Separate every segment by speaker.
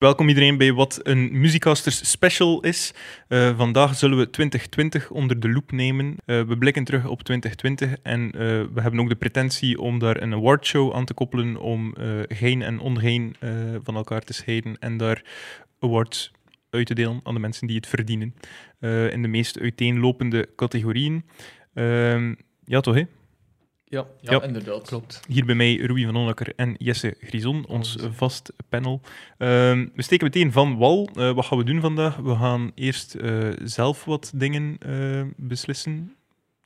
Speaker 1: Welkom iedereen bij wat een Musicasters special is. Eh, vandaag zullen we 2020 onder de loep nemen. Eh, we blikken terug op 2020 en eh, we hebben ook de pretentie om daar een awardshow aan te koppelen om eh geen en ongeen eh, van elkaar te scheiden en daar awards uit te delen aan de mensen die het verdienen. eh, in de meest uiteenlopende categorieën. Ehm, ja toch hè?
Speaker 2: Ja, ja,
Speaker 1: Ja.
Speaker 2: inderdaad. Klopt.
Speaker 1: Hier bij mij Rui van Onneker en Jesse Grison, ons
Speaker 2: Onze.
Speaker 1: vast panel. Ehm, we steken meteen van wal. Eh, wat gaan we doen vandaag? We gaan eerst eh, zelf wat dingen eh, beslissen.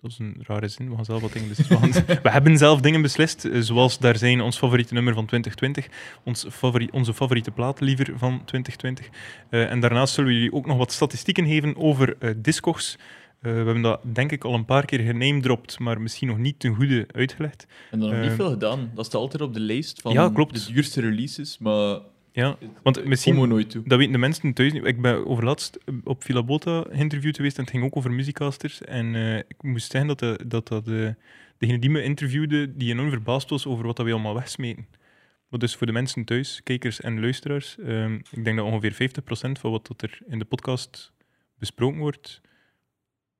Speaker 1: Dat is een rare zin. We gaan zelf wat dingen beslissen. We, gaan- we hebben zelf dingen beslist, eh, zoals daar zijn ons favoriete nummer van 2020, ons favori- onze favoriete plaat liever van 2020. Eh, en daarnaast zullen we jullie ook nog wat statistieken geven over eh Discogs. Eh, we hebben dat denk ik al een paar keer genamedropt, maar misschien nog niet ten goede uitgelegd.
Speaker 2: En dan nog niet
Speaker 1: Ehm.
Speaker 2: veel gedaan. Dat staat altijd op de lijst van
Speaker 1: Ja, klopt.
Speaker 2: de duurste releases, maar
Speaker 1: Ja, want
Speaker 2: komen
Speaker 1: misschien,
Speaker 2: we nooit toe.
Speaker 1: dat weten de mensen thuis niet. Ik ben overlaatst op Villa Bota geïnterviewd geweest en het ging ook over muziekcasters. En eh, ik moest zeggen dat, de, dat, dat de, degene die me interviewde, die enorm verbaasd was over wat dat we allemaal wegsmeten. Maar dus voor de mensen thuis, kijkers en luisteraars, ehm, ik denk dat ongeveer 50% van wat dat er in de podcast besproken wordt,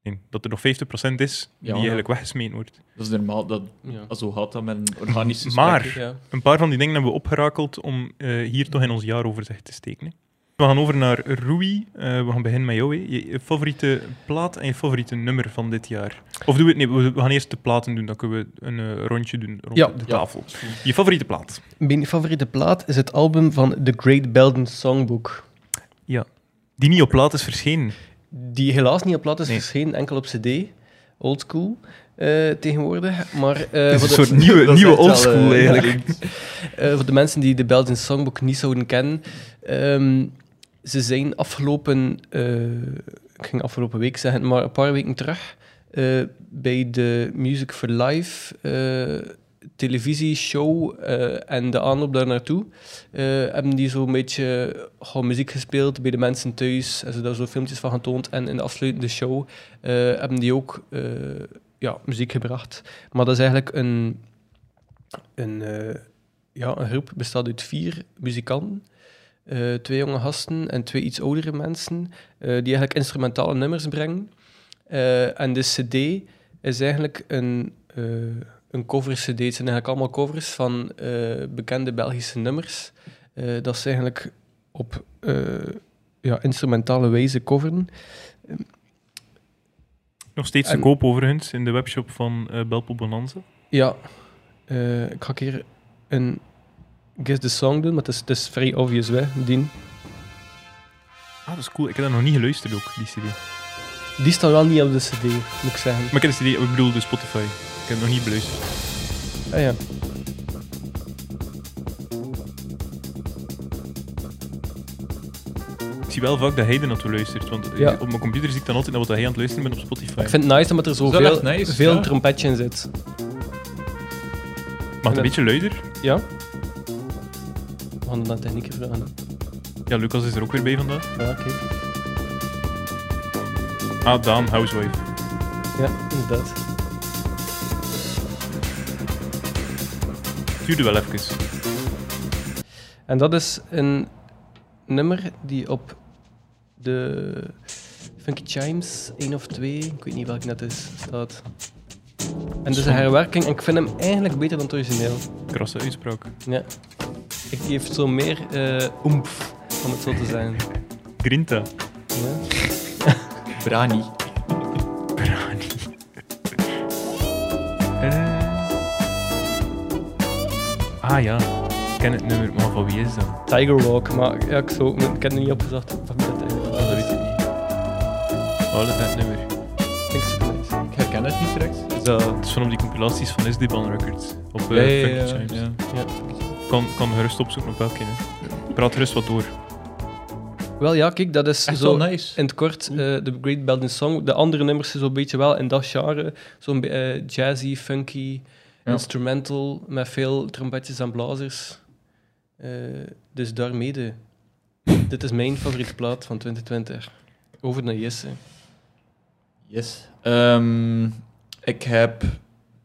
Speaker 1: nee, dat er nog 50% is die
Speaker 2: ja.
Speaker 1: eigenlijk weggesmeten wordt.
Speaker 2: Dat is normaal, dat,
Speaker 3: Ja.
Speaker 2: zo gaat dat met een organische
Speaker 1: Maar-
Speaker 2: gesprek.
Speaker 3: Ja.
Speaker 1: Een paar van die dingen hebben we opgerakeld om eh, hier toch in ons jaaroverzicht te steken. hè. We gaan over naar Rui. Eh, we gaan beginnen met jou. hè. Je, je favoriete plaat en je favoriete nummer van dit jaar. Of doen we het? Nee, we, we gaan eerst de platen doen. Dan kunnen we een eh, rondje doen rond
Speaker 3: Ja.
Speaker 1: de
Speaker 2: Ja.
Speaker 1: tafel. Je favoriete plaat?
Speaker 3: Mijn favoriete plaat is het album van The Great Belgian Songbook.
Speaker 1: Die niet op plaat is verschenen.
Speaker 2: Eh,
Speaker 3: Die helaas niet op plaat is
Speaker 1: Nee.
Speaker 3: verschenen, enkel op CD. Old school eh, tegenwoordig. Maar, eh,
Speaker 1: Het is
Speaker 3: voor
Speaker 1: een
Speaker 3: de-
Speaker 1: soort nieuwe,
Speaker 2: dat is
Speaker 1: nieuwe
Speaker 2: echt wel,
Speaker 1: oldschool
Speaker 3: eh,
Speaker 1: eigenlijk.
Speaker 3: eh, voor de mensen die de Belgian Songbook niet zouden kennen, ehm, ze zijn afgelopen, eh, ik ging afgelopen week zeggen, maar een paar weken terug, eh, bij de Music for Life eh, televisieshow eh, en de aanloop daar naartoe, eh, hebben die zo'n beetje gewoon muziek gespeeld bij de mensen thuis en ze daar zo filmpjes van getoond. En in de afsluitende show eh, hebben die ook eh, ja, muziek gebracht. Maar dat is eigenlijk een. een eh, ja, een groep bestaat uit vier muzikanten. eh, twee jonge gasten en twee iets oudere mensen, eh, die eigenlijk instrumentale nummers brengen. Eh, en de CD is eigenlijk een, eh, een cover-CD. Het zijn eigenlijk allemaal covers van eh, bekende Belgische nummers. Eh, dat ze eigenlijk op eh, ja, instrumentale wijze coveren.
Speaker 1: Nog steeds te
Speaker 3: en-
Speaker 1: koop overigens in de webshop van eh Belpo Bonanza.
Speaker 3: Ja, eh, ik ga een keer een Guess the Song doen, maar het is, het is vrij obvious, hè, Dien.
Speaker 1: Ah, dat is cool. Ik heb dat nog niet geluisterd ook, die cd. Maar
Speaker 3: Die staat wel niet op de CD, moet ik zeggen.
Speaker 1: ik heb de cd, ik bedoel de Spotify. Ik heb het nog niet beluisterd.
Speaker 3: Ah ja.
Speaker 1: Ik zie wel vaak dat hij er naartoe luistert. Want eh,
Speaker 3: Ja.
Speaker 1: op mijn computer zie ik dan altijd naar wat hij aan het luisteren bent op Spotify.
Speaker 3: Ik vind het nice omdat
Speaker 2: Dat
Speaker 3: er
Speaker 2: is wel
Speaker 3: zoveel
Speaker 2: echt nice,
Speaker 3: veel
Speaker 2: ja.
Speaker 3: trompetje in zit.
Speaker 1: Mag het een
Speaker 3: Ja.
Speaker 1: beetje luider?
Speaker 3: Ja? We gaan het aan technieken vragen.
Speaker 1: Ja, Lucas is er ook weer bij vandaag.
Speaker 3: Ja, kijk.
Speaker 1: Ah, Daan, housewife.
Speaker 3: Ja, inderdaad.
Speaker 1: Het duurde wel even.
Speaker 3: En dat is een nummer die op de Funky Chimes 1 of 2, ik weet niet welk net is, staat. En het is een herwerking en ik vind hem eigenlijk beter dan het origineel.
Speaker 1: Krasse uitspraak.
Speaker 3: Ja. Ik die heeft zo meer eh oemf, om het zo te zeggen.
Speaker 1: Grinta.
Speaker 3: Ja.
Speaker 2: Brani.
Speaker 1: Brani. Eh. Ah ja, ik ken het nummer, maar van wie is dat? Ah,
Speaker 3: Tiger Walk, maar ja, ik, zou, ik heb er niet opgezocht van wie dat eigenlijk
Speaker 1: Ah, dat
Speaker 3: was.
Speaker 1: weet ik niet. Oh, dat is dat nummer.
Speaker 3: Ik super nice.
Speaker 2: Ik herken het niet direct. Is
Speaker 1: Het
Speaker 2: dat...
Speaker 1: is van op die compilaties van Isdiban Records. Op eh,
Speaker 2: Ja, ja,
Speaker 1: Funky
Speaker 2: ja,
Speaker 1: Chimes.
Speaker 2: ja.
Speaker 1: Kan, kan gerust opzoeken op welke. Hè. Praat gerust wat door.
Speaker 3: Wel ja, kijk, dat is
Speaker 2: Echt
Speaker 3: zo
Speaker 2: wel nice.
Speaker 3: in het kort eh, de Great Belgian Song. De andere nummers zijn zo'n beetje wel in dat genre. Zo'n be- eh, jazzy, funky,
Speaker 2: Ja.
Speaker 3: instrumental, met veel trompetjes en blazers. Eh, dus daarmee de. Dit is mijn favoriete plaat van 2020. Over naar Jesse.
Speaker 2: Yes. Ehm, ik heb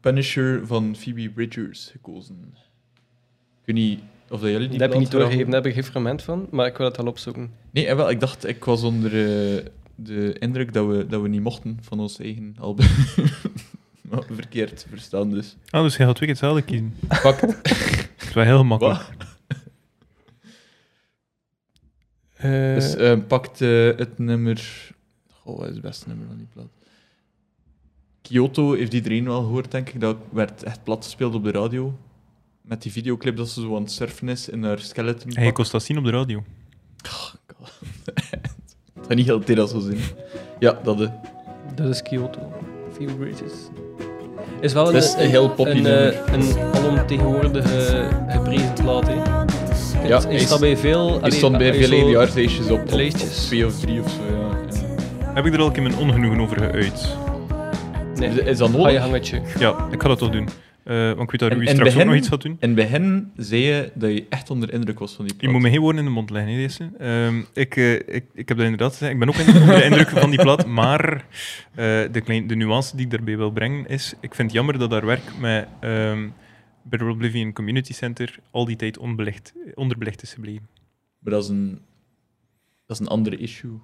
Speaker 2: Punisher van Phoebe Bridgers gekozen. Ik weet niet, Of dat jullie die
Speaker 3: Dat heb ik niet
Speaker 2: plaat
Speaker 3: doorgegeven,
Speaker 2: graag-
Speaker 3: daar heb ik geen fragment van, maar ik wil het wel opzoeken.
Speaker 2: Nee, eh, wel, ik dacht, ik was onder eh, de indruk dat we, dat we niet mochten van ons eigen album. Maar Verkeerd verstaan dus.
Speaker 1: Ah, dus je gaat twee keer hetzelfde kiezen.
Speaker 2: Fuck.
Speaker 1: Dat is wel heel makkelijk.
Speaker 2: Wat?
Speaker 3: Eh,
Speaker 2: Dus eh, pakt eh, het nummer. Goh, wat is het beste nummer van die plaat? Kyoto heeft iedereen wel gehoord, denk ik. Dat werd echt plat gespeeld op de radio. Met die videoclip dat ze zo aan het surfen is in haar skeleton.
Speaker 1: Hij kost dat zien op de radio.
Speaker 2: Dat niet heel tijd als zo zien. Ja, dat eh, de.
Speaker 3: Dat is Kyoto. Few Bridges. Is wel een,
Speaker 2: Best een heel poppy
Speaker 3: een, eh,
Speaker 2: nummer.
Speaker 3: een alomtegenwoordige eh, geprezen plaat. Hè.
Speaker 2: Ja,
Speaker 3: Ja,
Speaker 2: hij
Speaker 3: is dat bij veel...
Speaker 2: Die stond bij veel EDR-lijstjes op, op, op
Speaker 3: lijstjes.
Speaker 2: twee of drie of zo. Ja. Ja.
Speaker 1: Heb ik er al een keer mijn ongenoegen over geuit?
Speaker 2: Is,
Speaker 3: Nee,
Speaker 2: is dat
Speaker 3: ga je
Speaker 2: nodig?
Speaker 3: hangetje.
Speaker 1: Ja, ik ga dat toch doen. Eh, want ik weet dat
Speaker 2: En-
Speaker 1: Rui
Speaker 2: en
Speaker 1: straks ook
Speaker 2: begin-
Speaker 1: nog iets gaat doen.
Speaker 2: In het begin zei je dat je echt onder indruk was van die
Speaker 1: Je
Speaker 2: plaat.
Speaker 1: moet me geen woorden in de mond leggen, hè, deze. Ehm, ik, eh, ik, ik heb dat inderdaad gezegd. Ik ben ook in- onder de indruk van die plaat, maar eh, de, klein, de nuance die ik daarbij wil brengen is, ik vind het jammer dat haar werk met ehm Better Oblivion Community Center al die tijd onbelicht, onderbelicht is gebleven.
Speaker 2: Maar dat is een, dat is een andere issue.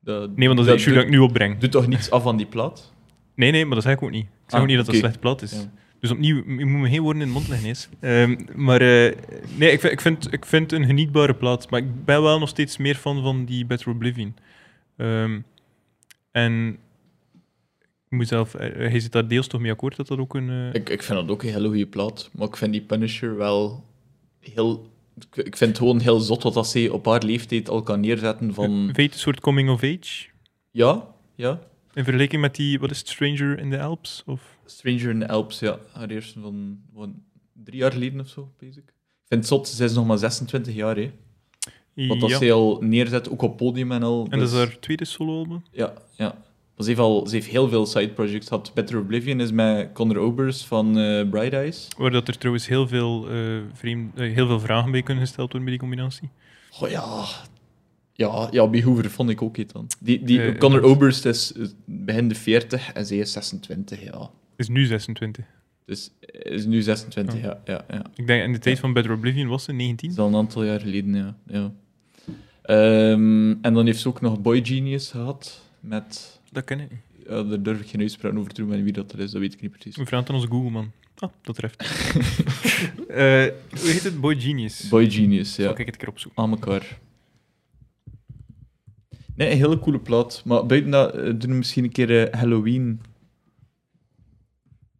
Speaker 2: Dat,
Speaker 1: Nee, want dat is het issue dat ik nu opbreng.
Speaker 2: doet toch niets af van die plaat?
Speaker 1: Nee, nee, maar dat zeg ik ook niet. Ik zeg
Speaker 2: Ah,
Speaker 1: ook niet dat dat
Speaker 2: oké.
Speaker 1: slecht plat is.
Speaker 2: Ja.
Speaker 1: Dus opnieuw, m- je moet me geen woorden in de mond leggen eens. Ehm, maar eh, nee, ik, vind- ik, vind, ik vind een genietbare plaat. Maar ik ben wel nog steeds meer fan van die Better Oblivion. Ehm, en ik moet zelf, eh, hij zit daar deels toch mee akkoord dat dat ook een. eh,
Speaker 2: Ik, ik vind dat ook een hele goede plaat, maar ik vind die Punisher wel heel... Ik ik vind het gewoon heel zot wat dat ze op haar leeftijd al kan neerzetten van...
Speaker 1: weet, een soort coming of age.
Speaker 2: Ja, ja.
Speaker 1: In vergelijking met die, wat is het, Stranger in the Alps? Of,
Speaker 2: Stranger in the Alps, ja. Haar eerste van, van drie jaar geleden of zo, basic. Ik vind het zot, ze is nog maar 26 jaar, hè. Wat dat
Speaker 1: ja.
Speaker 2: ze al neerzet, ook op podium en al.
Speaker 1: En dat is
Speaker 2: dus-
Speaker 1: haar tweede soloalbum.
Speaker 2: Ja, ja. Maar ze heeft, al, ze heeft heel veel side projects gehad. Better Oblivion is met Conor Obers van eh, Bright Eyes.
Speaker 1: Waar dat er trouwens heel veel, eh, vreemd, eh, heel veel vragen bij kunnen gesteld worden bij die combinatie.
Speaker 2: Oh ja. Ja, ja Behoever vond ik ook iets dan. Die, die,
Speaker 1: Eh,
Speaker 2: Conor
Speaker 1: ja.
Speaker 2: Oberst is eh, begin de 40 en zij is 26, ja.
Speaker 1: Is nu 26.
Speaker 2: Dus is nu 26,
Speaker 1: Ja.
Speaker 2: ja. ja, ja.
Speaker 1: Ik denk in de tijd
Speaker 2: Ja.
Speaker 1: van Better Oblivion was ze 19.
Speaker 2: Dat is al een aantal jaar geleden, ja. ja. Ehm, en dan heeft ze ook nog Boy Genius gehad. Met,
Speaker 1: Dat ken ik niet.
Speaker 2: ja, daar durf ik geen uitspraak over te doen, maar wie dat er is, dat weet ik niet precies.
Speaker 1: We vragen het aan onze Google, man. Ah, dat treft. Eh, hoe heet het? Boy Genius.
Speaker 2: Boy Genius, ja.
Speaker 1: Zal ik het een keer opzoeken.
Speaker 2: aan elkaar. Nee, een hele coole plaat. Maar buiten dat, eh, doen we misschien een keer eh, Halloween.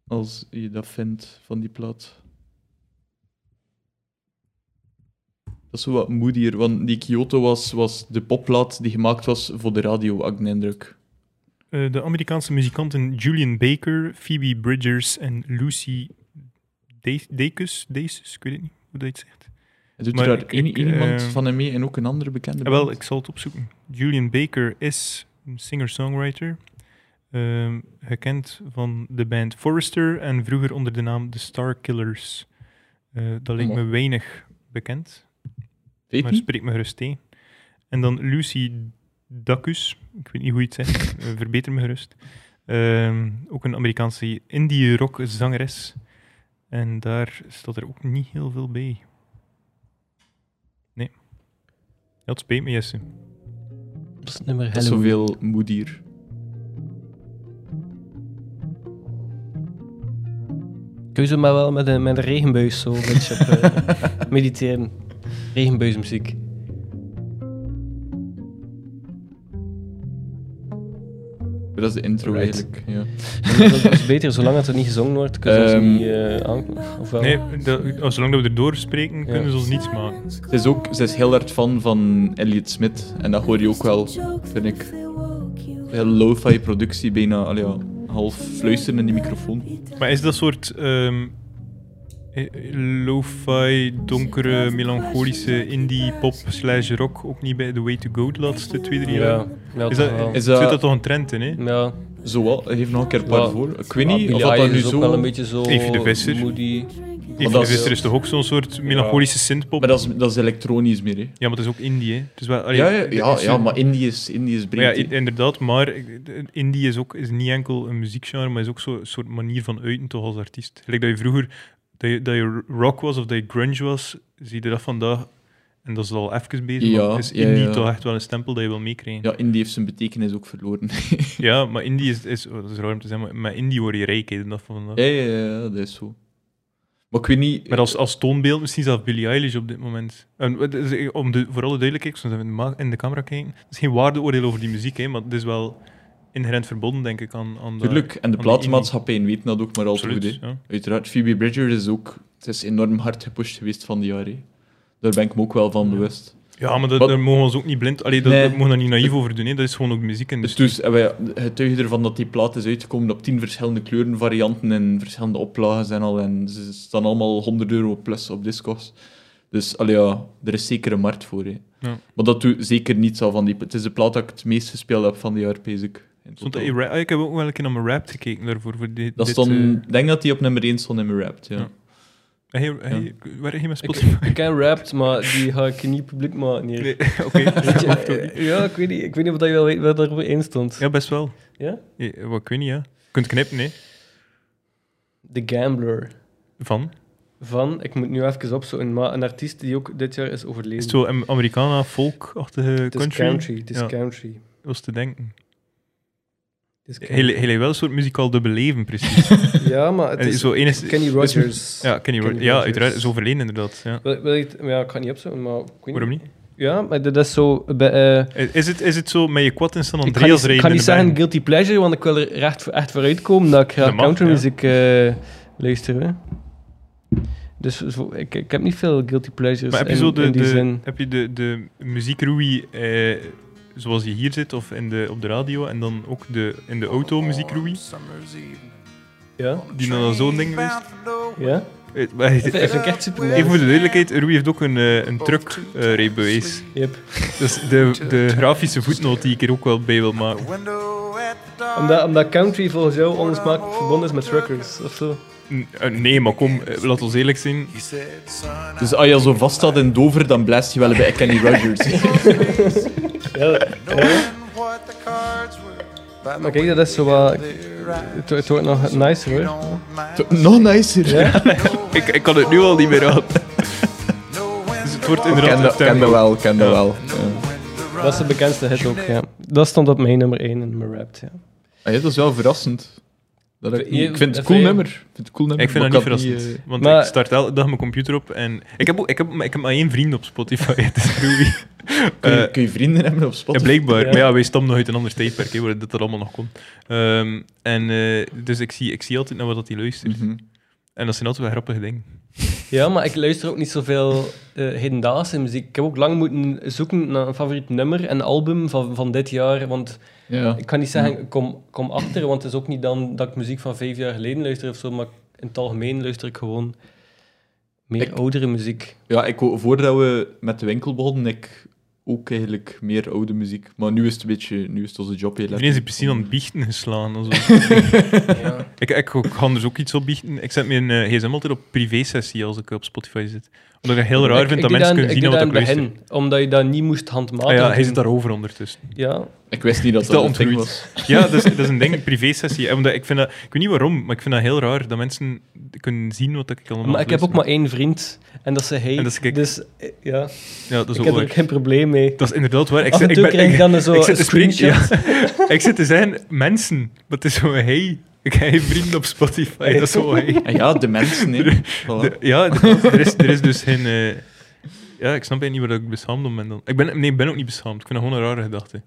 Speaker 2: Als je dat vindt van die plaat. Dat is zo wat moedier, want die Kyoto was, was de popplaat die gemaakt was voor de radio, had ik de indruk.
Speaker 1: Eh, de Amerikaanse muzikanten Julian Baker, Phoebe Bridgers en Lucy De- Dacus. Dacus, ik weet het niet hoe dat je het zegt.
Speaker 2: En Doet
Speaker 1: Maar
Speaker 2: er daar
Speaker 1: ik-
Speaker 2: één
Speaker 1: ik,
Speaker 2: iemand
Speaker 1: eh,
Speaker 2: van hem mee en ook een andere bekende?
Speaker 1: Ah, wel,
Speaker 2: band?
Speaker 1: ik zal het opzoeken. Julian Baker is een singer-songwriter. ehm, gekend van de band Forrester en vroeger onder de naam The Star Killers. Eh, dat leek me
Speaker 2: Amai.
Speaker 1: weinig bekend.
Speaker 2: Weet
Speaker 1: maar
Speaker 2: niet.
Speaker 1: spreek me gerust tegen. En dan Lucy Dacus, ik weet niet hoe je het zegt, eh, verbeter me gerust. Ehm, ook een Amerikaanse indie-rock zangeres. En daar staat er ook niet heel veel bij. Nee. Dat spijt me, Jesse.
Speaker 3: Dat is het nummer
Speaker 2: Dat is
Speaker 3: Halloween.
Speaker 2: zoveel moedier.
Speaker 3: Kun je zo maar wel met een, met een regenbuis zo een beetje op eh, mediteren. Regenbuismuziek.
Speaker 2: Maar dat is de intro
Speaker 3: Right.
Speaker 2: eigenlijk. Ja.
Speaker 3: Maar Dat is beter, zolang het er niet gezongen wordt, kunnen ze ons
Speaker 2: Ehm,
Speaker 3: niet eh, aan... Of wel?
Speaker 1: Nee, dat, als- zolang dat we erdoor spreken,
Speaker 3: Ja.
Speaker 1: kunnen ze ons niets maken.
Speaker 2: Ze is ook ze is heel hard fan van Elliot Smith. En dat hoor je ook wel, vind ik. Heel lo-fi productie, bijna allee, ja, half fluisteren in die microfoon.
Speaker 1: Maar is dat soort ehm eh, lo-fi, donkere, melancholische indie-pop slash rock ook niet bij The Way to Go de laatste twee, drie jaar?
Speaker 3: Ja, ja,
Speaker 1: Is
Speaker 3: toch
Speaker 1: dat,
Speaker 3: wel.
Speaker 1: is
Speaker 2: Is dat-
Speaker 1: Zit dat toch een trend in, hè?
Speaker 3: ja.
Speaker 2: Zo wat, geef nog een keer een paar
Speaker 3: Ja.
Speaker 2: voor. Ik
Speaker 3: Ja,
Speaker 2: weet niet
Speaker 3: Billie
Speaker 2: of dat dan
Speaker 3: Eilish
Speaker 2: nu
Speaker 3: is ook wel
Speaker 2: zo...
Speaker 3: een beetje zo...
Speaker 1: Evie de Visser.
Speaker 3: Moody.
Speaker 1: Even
Speaker 2: dat
Speaker 1: de
Speaker 2: is-
Speaker 1: Visser is toch ook zo'n soort melancholische synthpop?
Speaker 2: Maar dat is, dat is elektronisch meer, hè.
Speaker 1: Ja, maar het is ook indie, hè? Het is wel, allee,
Speaker 2: Ja, ja,
Speaker 1: het
Speaker 2: ja,
Speaker 1: is-
Speaker 2: ja, maar Indie is, Indie is
Speaker 1: maar ja,
Speaker 2: breed.
Speaker 1: i-
Speaker 2: hè.
Speaker 1: inderdaad, maar ik- de- indie is ook is niet enkel een muziekgenre, maar is ook zo- een soort manier van uiten toch als artiest. Gelijk dat je vroeger Dat je, dat je rock was of dat je grunge was, zie je dat vandaag. En dat is al even bezig.
Speaker 2: Ja,
Speaker 1: maar is
Speaker 2: ja,
Speaker 1: indie
Speaker 2: ja.
Speaker 1: toch echt wel een stempel dat je wil meekrijgen?
Speaker 2: Ja, Indie heeft zijn betekenis ook verloren.
Speaker 1: Ja, maar indie is, is oh, dat is raar om te zeggen, maar met indie word je rijk hè, de dag van vandaag.
Speaker 2: ja, ja, ja, dat is zo. Maar ik weet niet...
Speaker 1: Maar als, als toonbeeld misschien zelfs Billie Eilish op dit moment. En, wat is- eh, om de, voor alle duidelijkheid, zoals we in de, ma- in de camera kijken, het is geen waardeoordeel over die muziek, hè, maar het is wel inherent verbonden, denk ik, aan, aan dat-
Speaker 2: Tuurlijk, en de
Speaker 1: aan
Speaker 2: platenmaatschappijen weten dat ook maar al te
Speaker 1: Absoluut,
Speaker 2: goed. hè.
Speaker 1: ja.
Speaker 2: Uiteraard, Phoebe Bridger is ook... Het is enorm hard gepusht geweest van die jaren. hè. Daar ben ik me ook wel van bewust.
Speaker 1: Ja, maar dat,
Speaker 2: Wat-
Speaker 1: daar mogen we ons ook niet blind... Allee, dat,
Speaker 2: Nee.
Speaker 1: daar mogen we daar niet naïef over doen, hè. dat is gewoon ook muziek. En
Speaker 2: Dus toen hebben wij getuige ervan dat die plaat is uitgekomen op tien verschillende kleuren, varianten en verschillende oplages en al. En ze staan allemaal 100 euro plus op Discogs. Dus allee, ja, er is zeker een markt voor. Hè.
Speaker 1: Ja.
Speaker 2: Maar dat doet zeker niets al van die... Het is de plaat dat ik het meest gespeeld heb van die jaar, pees ik. in
Speaker 1: stond dat
Speaker 2: totaal.
Speaker 1: in rap- ah, ik heb ook wel een keer naar mijn rap gekeken daarvoor. Voor dit,
Speaker 2: Dat
Speaker 1: dit,
Speaker 2: stond,
Speaker 1: eh,
Speaker 2: ik denk dat die op nummer 1 stond in mijn rap. Ja.
Speaker 1: Ja. hij- hij- eh, Waar heb je met
Speaker 3: Ik,
Speaker 1: Spotify?
Speaker 3: ik ken Rapt, maar die ga ik niet publiek maken hier.
Speaker 1: Nee, oké.
Speaker 3: Weet je,
Speaker 1: Mag toch niet?
Speaker 3: eh, ja, ik weet niet, ik weet niet of dat je wel weet wat daarover in stond.
Speaker 1: Ja, best wel.
Speaker 3: Ja?
Speaker 1: Ja, wat, ik weet niet, ja. Je kunt knippen, hè.
Speaker 3: The Gambler.
Speaker 1: Van.
Speaker 3: Van, ik moet nu even opzoeken, maar een artiest die ook dit jaar is overleden.
Speaker 1: Is het zo een Americana, folk-achtige
Speaker 3: Het is
Speaker 1: country?
Speaker 3: country. Het is
Speaker 1: Ja.
Speaker 3: country.
Speaker 1: was te denken.
Speaker 3: Het is country.
Speaker 1: Heel, heel wel een soort muzikaal dubbele leven, precies.
Speaker 3: Ja, maar het
Speaker 1: En
Speaker 3: is
Speaker 1: zo één is-
Speaker 3: Kenny
Speaker 1: is-
Speaker 3: Rogers.
Speaker 1: ja, Kenny Rogers. Ja,
Speaker 3: Kenny Rogers.
Speaker 1: uiteraard. Is overleden, inderdaad. Ja.
Speaker 3: Wil, wil je het- ja, ik ga het niet opzoeken, maar... ik weet
Speaker 1: Waarom niet?
Speaker 3: Ja, maar dat is zo... eh, bij, eh,
Speaker 1: Is het, is het zo met je quad in San
Speaker 3: ik ga niet,
Speaker 1: Andreas
Speaker 3: ik
Speaker 1: rijden?
Speaker 3: ga
Speaker 1: in
Speaker 3: niet
Speaker 1: de
Speaker 3: zeggen
Speaker 1: bergen?
Speaker 3: guilty pleasure, want ik wil er echt, echt voor uitkomen dat ik
Speaker 1: Dat
Speaker 3: graag
Speaker 1: mag,
Speaker 3: countrymuziek eh, luister. Hè. Dus zo- ik, ik heb niet veel guilty pleasures
Speaker 1: Maar heb je
Speaker 3: Dus in,
Speaker 1: zo de,
Speaker 3: in die
Speaker 1: de-
Speaker 3: zin.
Speaker 1: heb je de, de muziekroei eh, zoals je hier zit of in de, op de radio en dan ook de, in de auto muziekroei?
Speaker 3: Ja?
Speaker 1: Die dan zo'n ding geweest?
Speaker 3: Ja?
Speaker 1: Eh, maar-
Speaker 3: Dat vind ik echt super
Speaker 1: Even voor de duidelijkheid, Rui heeft ook een, eh, een truck eh, rijbewijs.
Speaker 3: Yep.
Speaker 1: Dus de, de grafische voetnoot die ik er ook wel bij wil maken.
Speaker 3: Omdat, omdat country volgens jou onlosmakelijk verbonden is met truckers, of zo.
Speaker 1: N- eh, nee, maar kom, eh, laat ons eerlijk zijn.
Speaker 2: Dus als je zo vast staat in Dover, dan blaast je wel bij Kenny Rogers.
Speaker 3: Ja, ah, maar kijk, dat is zo wat... Het, het wordt nog nicer, hoor.
Speaker 2: Nog nicer.
Speaker 3: Ja?
Speaker 1: Ik, ik kan het nu al niet meer aan. Dus het wordt inderdaad
Speaker 2: Ken
Speaker 1: een
Speaker 2: dat, ken dat
Speaker 1: tuin.
Speaker 2: wel, ken dat
Speaker 1: Ja.
Speaker 2: wel.
Speaker 3: Dat is de bekendste hit ook, ja. Dat stond op mijn nummer 1 in mijn rap, ja.
Speaker 2: Ah, ja, dat is wel verrassend. Dat ik,
Speaker 3: Vind
Speaker 2: niet-
Speaker 3: je-
Speaker 2: ik vind het een
Speaker 3: vind
Speaker 2: cool
Speaker 3: je-
Speaker 2: nummer. Ik vind het een cool nummer.
Speaker 1: Ik vind dat
Speaker 2: maar
Speaker 1: niet
Speaker 2: had
Speaker 1: verrassend.
Speaker 2: niet, eh,
Speaker 1: want
Speaker 3: Maar-
Speaker 1: ik start elke dag mijn computer op en... Ik heb, ook- ik heb, maar ik heb maar één vriend op Spotify, het is Rui.
Speaker 2: kun, je,
Speaker 1: Eh,
Speaker 2: kun je vrienden hebben op
Speaker 1: ja,
Speaker 2: Spotify?
Speaker 1: blijkbaar.
Speaker 3: Ja.
Speaker 1: Maar ja, wij stammen nog uit een ander tijdperk, hè, waar dit dat allemaal nog kon. Ehm, en eh, dus ik zie, ik zie altijd naar wat dat hij luistert.
Speaker 2: Mhm.
Speaker 1: En dat zijn altijd wel grappige dingen.
Speaker 3: Ja, maar ik luister ook niet zoveel eh hedendaagse muziek. Ik heb ook lang moeten zoeken naar een favoriet nummer en album van, van dit jaar. Want
Speaker 2: Ja.
Speaker 3: ik kan niet zeggen, ik kom, kom achter, want het is ook niet dan dat ik muziek van vijf jaar geleden luister of zo. Maar in het algemeen luister ik gewoon meer
Speaker 2: Ik-
Speaker 3: oudere muziek.
Speaker 2: ja, ik wou- voordat we met de winkel begonnen, ik ook eigenlijk meer oude muziek. Maar nu is het een beetje, nu is het onze job heel erg.
Speaker 1: Iedereen is hier precies aan het biechten geslagen. of zo.
Speaker 3: Ja.
Speaker 1: ik, ik ga dus ook iets op biechten. Ik zet mijn eh, gsm altijd op privé-sessie als ik op Spotify zit. Omdat ik het heel raar
Speaker 3: Ik-
Speaker 1: vind dat
Speaker 3: ik doe
Speaker 1: mensen
Speaker 3: aan-
Speaker 1: kunnen zien
Speaker 3: doe
Speaker 1: naar wat
Speaker 3: dat
Speaker 1: ik
Speaker 3: aan het
Speaker 1: luister.
Speaker 3: begin, Omdat je dat niet moest
Speaker 1: Ah
Speaker 3: handmatig
Speaker 1: ja, hij
Speaker 3: doen.
Speaker 1: zit daarover ondertussen.
Speaker 3: Ja,
Speaker 2: Ik wist niet dat
Speaker 1: Is
Speaker 2: dat,
Speaker 1: dat
Speaker 2: een ding
Speaker 1: ontroerd?
Speaker 2: was.
Speaker 1: Ja, dat is, dat is een ding, een privé-sessie. En Omdat ik, vind dat, ik weet niet waarom, maar ik vind dat heel raar dat mensen kunnen zien wat ik allemaal
Speaker 3: maar ik heb ook maar
Speaker 1: luister.
Speaker 3: één vriend. En dat is hij.
Speaker 1: En dat is ik.
Speaker 3: Dus eh, ja,
Speaker 1: Ja, dat is
Speaker 3: ik
Speaker 1: ook
Speaker 3: heb er
Speaker 1: waar.
Speaker 3: geen probleem mee.
Speaker 1: Dat is inderdaad waar. Ik
Speaker 3: Af en
Speaker 1: zit-
Speaker 3: toe krijg ik dan zo
Speaker 1: ik zit te
Speaker 3: een
Speaker 1: spreken-
Speaker 3: screenshot.
Speaker 1: ja. ik zit te zijn mensen, maar het is zo hey. Ik heb geen vrienden op Spotify, dat is zo hey.
Speaker 2: Ah ja, de mensen, hè. Voilà.
Speaker 1: De- ja, inderdaad, er is, er is dus geen... eh, ja, ik snap eigenlijk niet waar ik beschaamd om ben dan. Ik ben, nee, ik ben ook niet beschaamd. Ik vind dat gewoon een rare gedachte.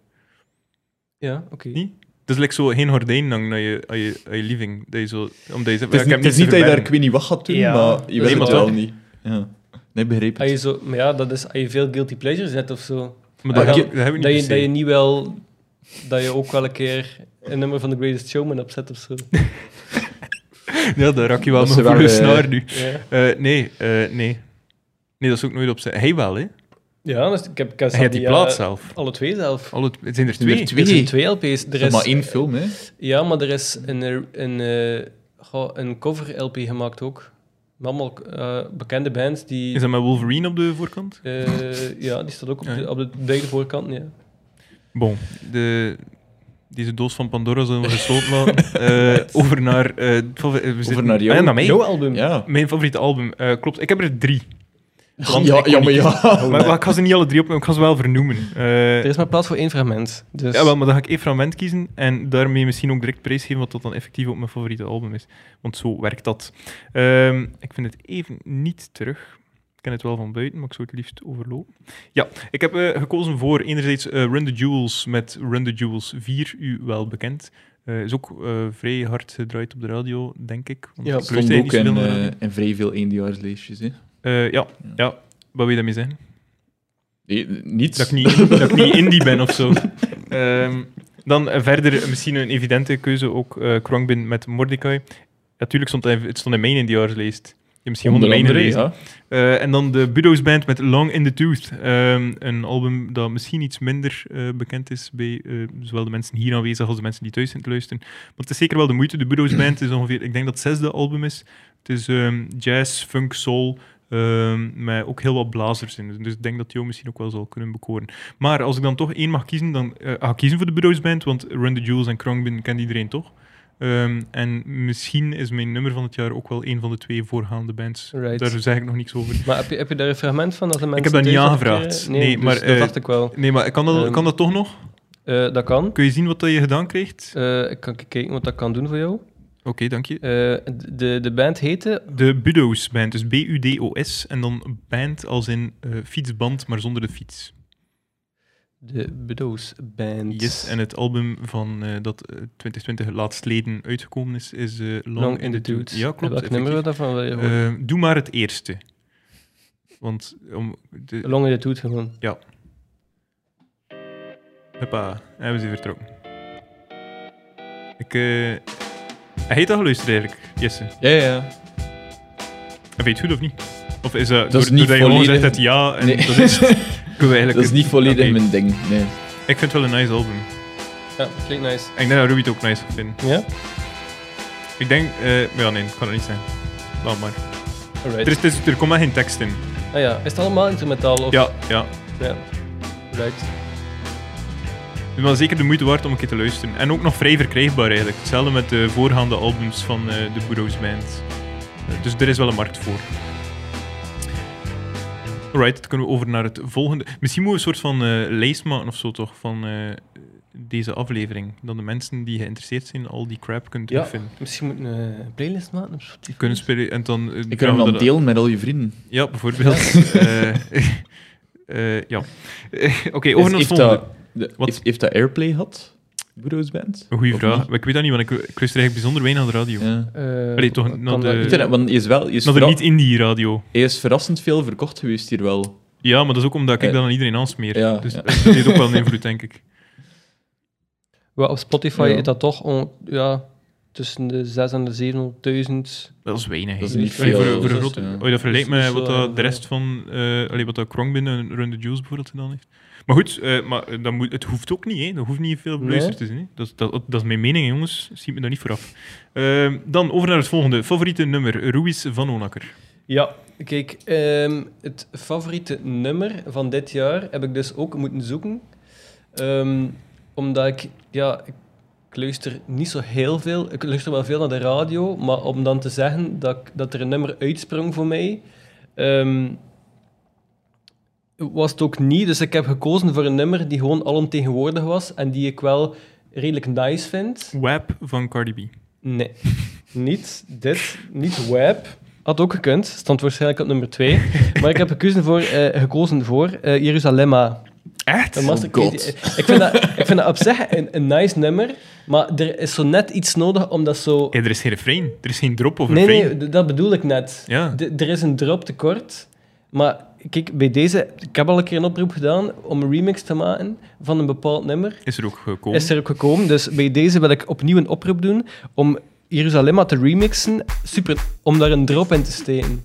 Speaker 3: Ja, oké.
Speaker 1: Niet? Het is like zo geen gordijn hangen aan je, aan je, aan je living. Dat je zo, omdat je zegt,
Speaker 2: Het
Speaker 1: ja,
Speaker 2: is,
Speaker 1: ik heb
Speaker 2: niet- het is
Speaker 1: niets
Speaker 2: niet
Speaker 1: te
Speaker 2: dat je daar
Speaker 1: verbergen.
Speaker 2: ik weet niet wat gaat doen,
Speaker 3: Ja.
Speaker 2: maar je
Speaker 3: Nee,
Speaker 2: weet het
Speaker 1: maar
Speaker 2: wel
Speaker 1: toch.
Speaker 2: niet. Ja. Nee, begreep
Speaker 3: Als je
Speaker 2: het.
Speaker 3: zo, maar ja, dat is als je veel guilty pleasures hebt of zo.
Speaker 1: Maar dat,
Speaker 2: Ah,
Speaker 1: heb-
Speaker 2: je-
Speaker 1: dat heb ik niet
Speaker 3: Dat
Speaker 1: per
Speaker 3: je,
Speaker 1: se.
Speaker 3: dat je niet wel. Dat je ook wel een keer een nummer van The Greatest Showman opzet of zo.
Speaker 1: Ja, daar raak je wel
Speaker 2: Dat
Speaker 1: mijn
Speaker 2: ze wel,
Speaker 1: goede
Speaker 2: eh,
Speaker 1: snaar nu.
Speaker 3: Ja,
Speaker 1: Eh, nee, eh, nee. Nee, dat is ook nooit op zijn. Hij wel, hè?
Speaker 3: ja dus ik heb, ik heb
Speaker 1: Hij had die
Speaker 3: eh,
Speaker 1: plaat zelf.
Speaker 3: Alle twee zelf.
Speaker 1: Alle, t- het zijn er
Speaker 2: Zijn er
Speaker 1: twee.
Speaker 2: twee?
Speaker 3: Er zijn twee LP's. Er
Speaker 2: Er is
Speaker 3: is,
Speaker 2: maar één film, hè.
Speaker 3: Ja, maar er is een, een, eh, goh, een cover LP gemaakt ook. Met allemaal eh, bekende bands die.
Speaker 1: Is dat met Wolverine op de voorkant?
Speaker 3: eh, ja, die staat ook op
Speaker 1: Ja.
Speaker 3: de, op de derde voorkant. Ja.
Speaker 1: Bon. De, deze doos van Pandora zullen we gesloten laten. Eh, over naar... eh, het favori- eh, we zitten-
Speaker 2: naar
Speaker 1: Ah,
Speaker 2: jou.
Speaker 1: ja, naar mij.
Speaker 3: Jouw album.
Speaker 2: Ja.
Speaker 1: Mijn favoriete album. Eh, klopt, ik heb er drie. Want
Speaker 2: ja,
Speaker 1: ik kon
Speaker 2: ja, maar
Speaker 1: niet
Speaker 2: ja.
Speaker 1: Maar, maar ik ga ze niet alle drie op, maar ik ga ze wel vernoemen. Eh,
Speaker 3: Er is maar plaats voor één fragment. Dus
Speaker 1: Ja, wel, maar dan ga ik één fragment kiezen en daarmee misschien ook direct prijsgeven wat dat dan effectief ook mijn favoriete album is. Want zo werkt dat. Ehm, ik vind het even niet terug. Ik ken het wel van buiten, maar ik zou het liefst overlopen. Ja, ik heb eh, gekozen voor enerzijds eh, Run the Jewels met Run the Jewels 4, u wel bekend. Eh, is ook eh, vrij hard gedraaid op de radio, denk ik. Want
Speaker 3: Ja,
Speaker 1: ik
Speaker 2: Stond
Speaker 1: luister
Speaker 2: ook
Speaker 1: eigenlijk
Speaker 2: in,
Speaker 1: niet zoveel naar radio.
Speaker 2: eh, in vrij veel eendejaarsleesjes. Hè.
Speaker 1: Eh, ja, ja. Wat wil je daarmee zeggen?
Speaker 2: Nee, niets.
Speaker 1: Dat ik niet, dat ik niet indie ben of zo. Ehm, dan eh, verder misschien een evidente keuze ook eh Krongbin met Mordecai. Natuurlijk stond hij- het stond in mijn indieaarslijst. Je hebt misschien onder
Speaker 2: Onder
Speaker 1: mijn
Speaker 2: andere,
Speaker 1: gelezen.
Speaker 2: ja.
Speaker 1: Eh, en dan de Budo's Band met Long in the Tooth. Ehm, een album dat misschien iets minder eh, bekend is bij eh, zowel de mensen hier aanwezig als de mensen die thuis zijn te luisteren. Maar het is zeker wel de moeite. De Budo's Band is ongeveer, ik denk dat het zesde album is. Het is ehm, jazz, funk, soul, ehm met ook heel wat blazers in. Dus ik denk dat jou misschien ook wel zal kunnen bekoren. Maar als ik dan toch één mag kiezen, dan eh, ga ik kiezen voor de Budo's Band, want Run the Jewels en Krongbin kent iedereen toch? Ehm, en misschien is mijn nummer van het jaar ook wel een van de twee voorgaande bands.
Speaker 3: Right.
Speaker 1: Daar zeg ik nog niks over.
Speaker 3: Maar heb je, heb je daar een fragment van? Dat de mensen
Speaker 1: heb dat niet
Speaker 3: thuis
Speaker 1: aangevraagd.
Speaker 3: opkeren? Nee,
Speaker 1: Nee,
Speaker 3: dus
Speaker 1: maar,
Speaker 3: dat
Speaker 1: eh,
Speaker 3: dacht ik wel.
Speaker 1: Nee, maar kan dat,
Speaker 3: Ehm,
Speaker 1: kan dat toch nog?
Speaker 3: Eh, dat kan.
Speaker 1: Kun je zien wat dat je gedaan krijgt?
Speaker 3: Eh, ik kan kijken wat dat kan doen voor jou.
Speaker 1: Oké, dank je.
Speaker 3: Eh, de, de band heette...
Speaker 1: De Budo's Band, dus B-U-D-O-S. En dan band als in eh, fietsband, maar zonder de fiets.
Speaker 3: De Bedoos Band.
Speaker 1: Yes, en het album van eh, dat eh, 2020 laatsleden uitgekomen is, is eh, Long,
Speaker 3: Long in the Dude.
Speaker 1: Tooth. Ja, klopt.
Speaker 3: Welk nummer we
Speaker 1: effectief.
Speaker 3: daarvan wil je horen?
Speaker 1: Eh, doe maar het eerste. Want, om, de,
Speaker 3: Long in the Tooth gewoon.
Speaker 1: huppa, hebben ze vertrokken. Ik, eh hij heet dat geluisterd eigenlijk, Jesse.
Speaker 2: Ja, ja.
Speaker 1: En weet je het goed of niet? Of is dat,
Speaker 2: Dat is niet
Speaker 1: doordat je gewoon
Speaker 2: volledig.
Speaker 1: zegt het ja en
Speaker 2: Nee.
Speaker 1: dat is, kunnen we eigenlijk
Speaker 2: Dat is niet volledig
Speaker 1: Oké.
Speaker 2: mijn ding. Nee.
Speaker 1: Ik vind het wel een nice album.
Speaker 3: Ja, klinkt nice.
Speaker 1: En ik denk dat Ruby het ook nice gaat vinden.
Speaker 3: Ja?
Speaker 1: Ik denk... eh ja, nee, het kan het niet zijn. Laat maar. Er,
Speaker 3: Alright.
Speaker 1: is, het is- er komt maar geen tekst in.
Speaker 3: Ah ja, is het allemaal instrumentaal? Of...
Speaker 1: Ja, ja.
Speaker 3: ja. Right.
Speaker 1: Het is wel zeker de moeite waard om een keer te luisteren. En ook nog vrij verkrijgbaar eigenlijk. Hetzelfde met de voorgaande albums van eh, de Burroughs Band. Eh, dus er is wel een markt voor. Alright, dan kunnen we over naar het volgende. Misschien moeten we een soort van eh, lijst maken of zo toch, van eh, deze aflevering. Dan de mensen die geïnteresseerd zijn al die crap kunnen
Speaker 3: Ja.
Speaker 1: terugvinden.
Speaker 3: Misschien moeten we een eh, playlist maken op Spotify.
Speaker 1: Kunnen spelen en dan... eh,
Speaker 2: Ik kan
Speaker 1: gaan
Speaker 2: hem
Speaker 1: we
Speaker 2: dan
Speaker 1: dat-
Speaker 2: delen met al je vrienden.
Speaker 1: Ja, bijvoorbeeld. Eh, eh, ja. Eh, Oké, over naar
Speaker 2: Is-
Speaker 1: het
Speaker 2: heeft,
Speaker 1: volgende.
Speaker 2: dat, de-
Speaker 1: Wat?
Speaker 2: heeft, heeft dat Airplay gehad? Bureaus Band?
Speaker 1: Een goede
Speaker 2: Of
Speaker 1: vraag.
Speaker 2: niet?
Speaker 1: Maar ik weet dat niet, want ik, ik luister eigenlijk bijzonder weinig aan de radio.
Speaker 2: Ja. Dus
Speaker 3: Eh,
Speaker 1: Allee, toch
Speaker 3: kan
Speaker 1: naar de-
Speaker 3: dat-
Speaker 2: Weet je dat, want hij is, wel, hij, is
Speaker 1: Nog er
Speaker 2: verra-
Speaker 1: niet in die radio.
Speaker 2: hij is verrassend veel verkocht geweest hier wel.
Speaker 1: Ja, maar dat is ook omdat ik
Speaker 2: Eh,
Speaker 1: dat aan iedereen aansmeer.
Speaker 2: ja,
Speaker 1: dus
Speaker 2: ja.
Speaker 1: dat heeft ook wel een invloed, denk ik.
Speaker 3: Wel, op Spotify
Speaker 2: Ja.
Speaker 3: is dat toch on- ja, tussen de 6 en de 700.000.
Speaker 1: Dat is weinig.
Speaker 2: Dat is
Speaker 1: hè.
Speaker 2: niet
Speaker 1: Allee,
Speaker 2: veel,
Speaker 1: Voor, voor een
Speaker 2: dus,
Speaker 1: grote,
Speaker 2: ja.
Speaker 1: oh, dat vergelijkt
Speaker 3: Dus-
Speaker 1: met
Speaker 3: dus
Speaker 1: wat
Speaker 3: wel-
Speaker 1: dat de rest van... eh allee, wat dat Krongbin en Run the Juice bijvoorbeeld gedaan heeft. Maar goed, eh, maar eh, dat moet, het hoeft ook niet. Hè. Dat hoeft niet veel
Speaker 3: Nee.
Speaker 1: beluisterd te zijn. Hè. Dat, is- dat, dat is mijn mening, hè, jongens. Ziet me daar niet vooraf. Eh, dan over naar het volgende. Favoriete nummer. Ruiz van Onakker.
Speaker 3: Ja, kijk, ehm, het favoriete nummer van dit jaar heb ik dus ook moeten zoeken. Ehm, omdat ik, ja, ik, ik luister niet zo heel veel. Ik luister wel veel naar de radio, maar om dan te zeggen dat, ik- dat er een nummer uitsprong voor mij, ehm, was het ook niet. Dus ik heb gekozen voor een nummer die gewoon alomtegenwoordig was en die ik wel redelijk nice vind.
Speaker 1: Wap van Cardi B.
Speaker 3: Nee, niet dit, niet Web. Had ook gekund, stond waarschijnlijk op nummer 2. Maar ik heb gekozen voor, eh, gekozen voor eh Jeruzalemma.
Speaker 1: Echt?
Speaker 3: Een master-
Speaker 2: God.
Speaker 3: Ik, ik vind dat, ik vind dat op zich een, een nice nummer, maar er is zo net iets nodig om dat zo...
Speaker 1: Ja, er is geen refrein. Er is geen drop of
Speaker 3: Nee,
Speaker 1: refrein.
Speaker 3: nee, d- dat bedoel ik net.
Speaker 1: Ja.
Speaker 3: D- er is een drop tekort. Maar kijk, bij deze... Ik heb al een keer een oproep gedaan om een remix te maken van een bepaald nummer.
Speaker 1: Is er ook gekomen.
Speaker 3: Is er ook gekomen. Dus bij deze wil ik opnieuw een oproep doen om Jeruzalemma te remixen. Super, om daar een drop in te steken.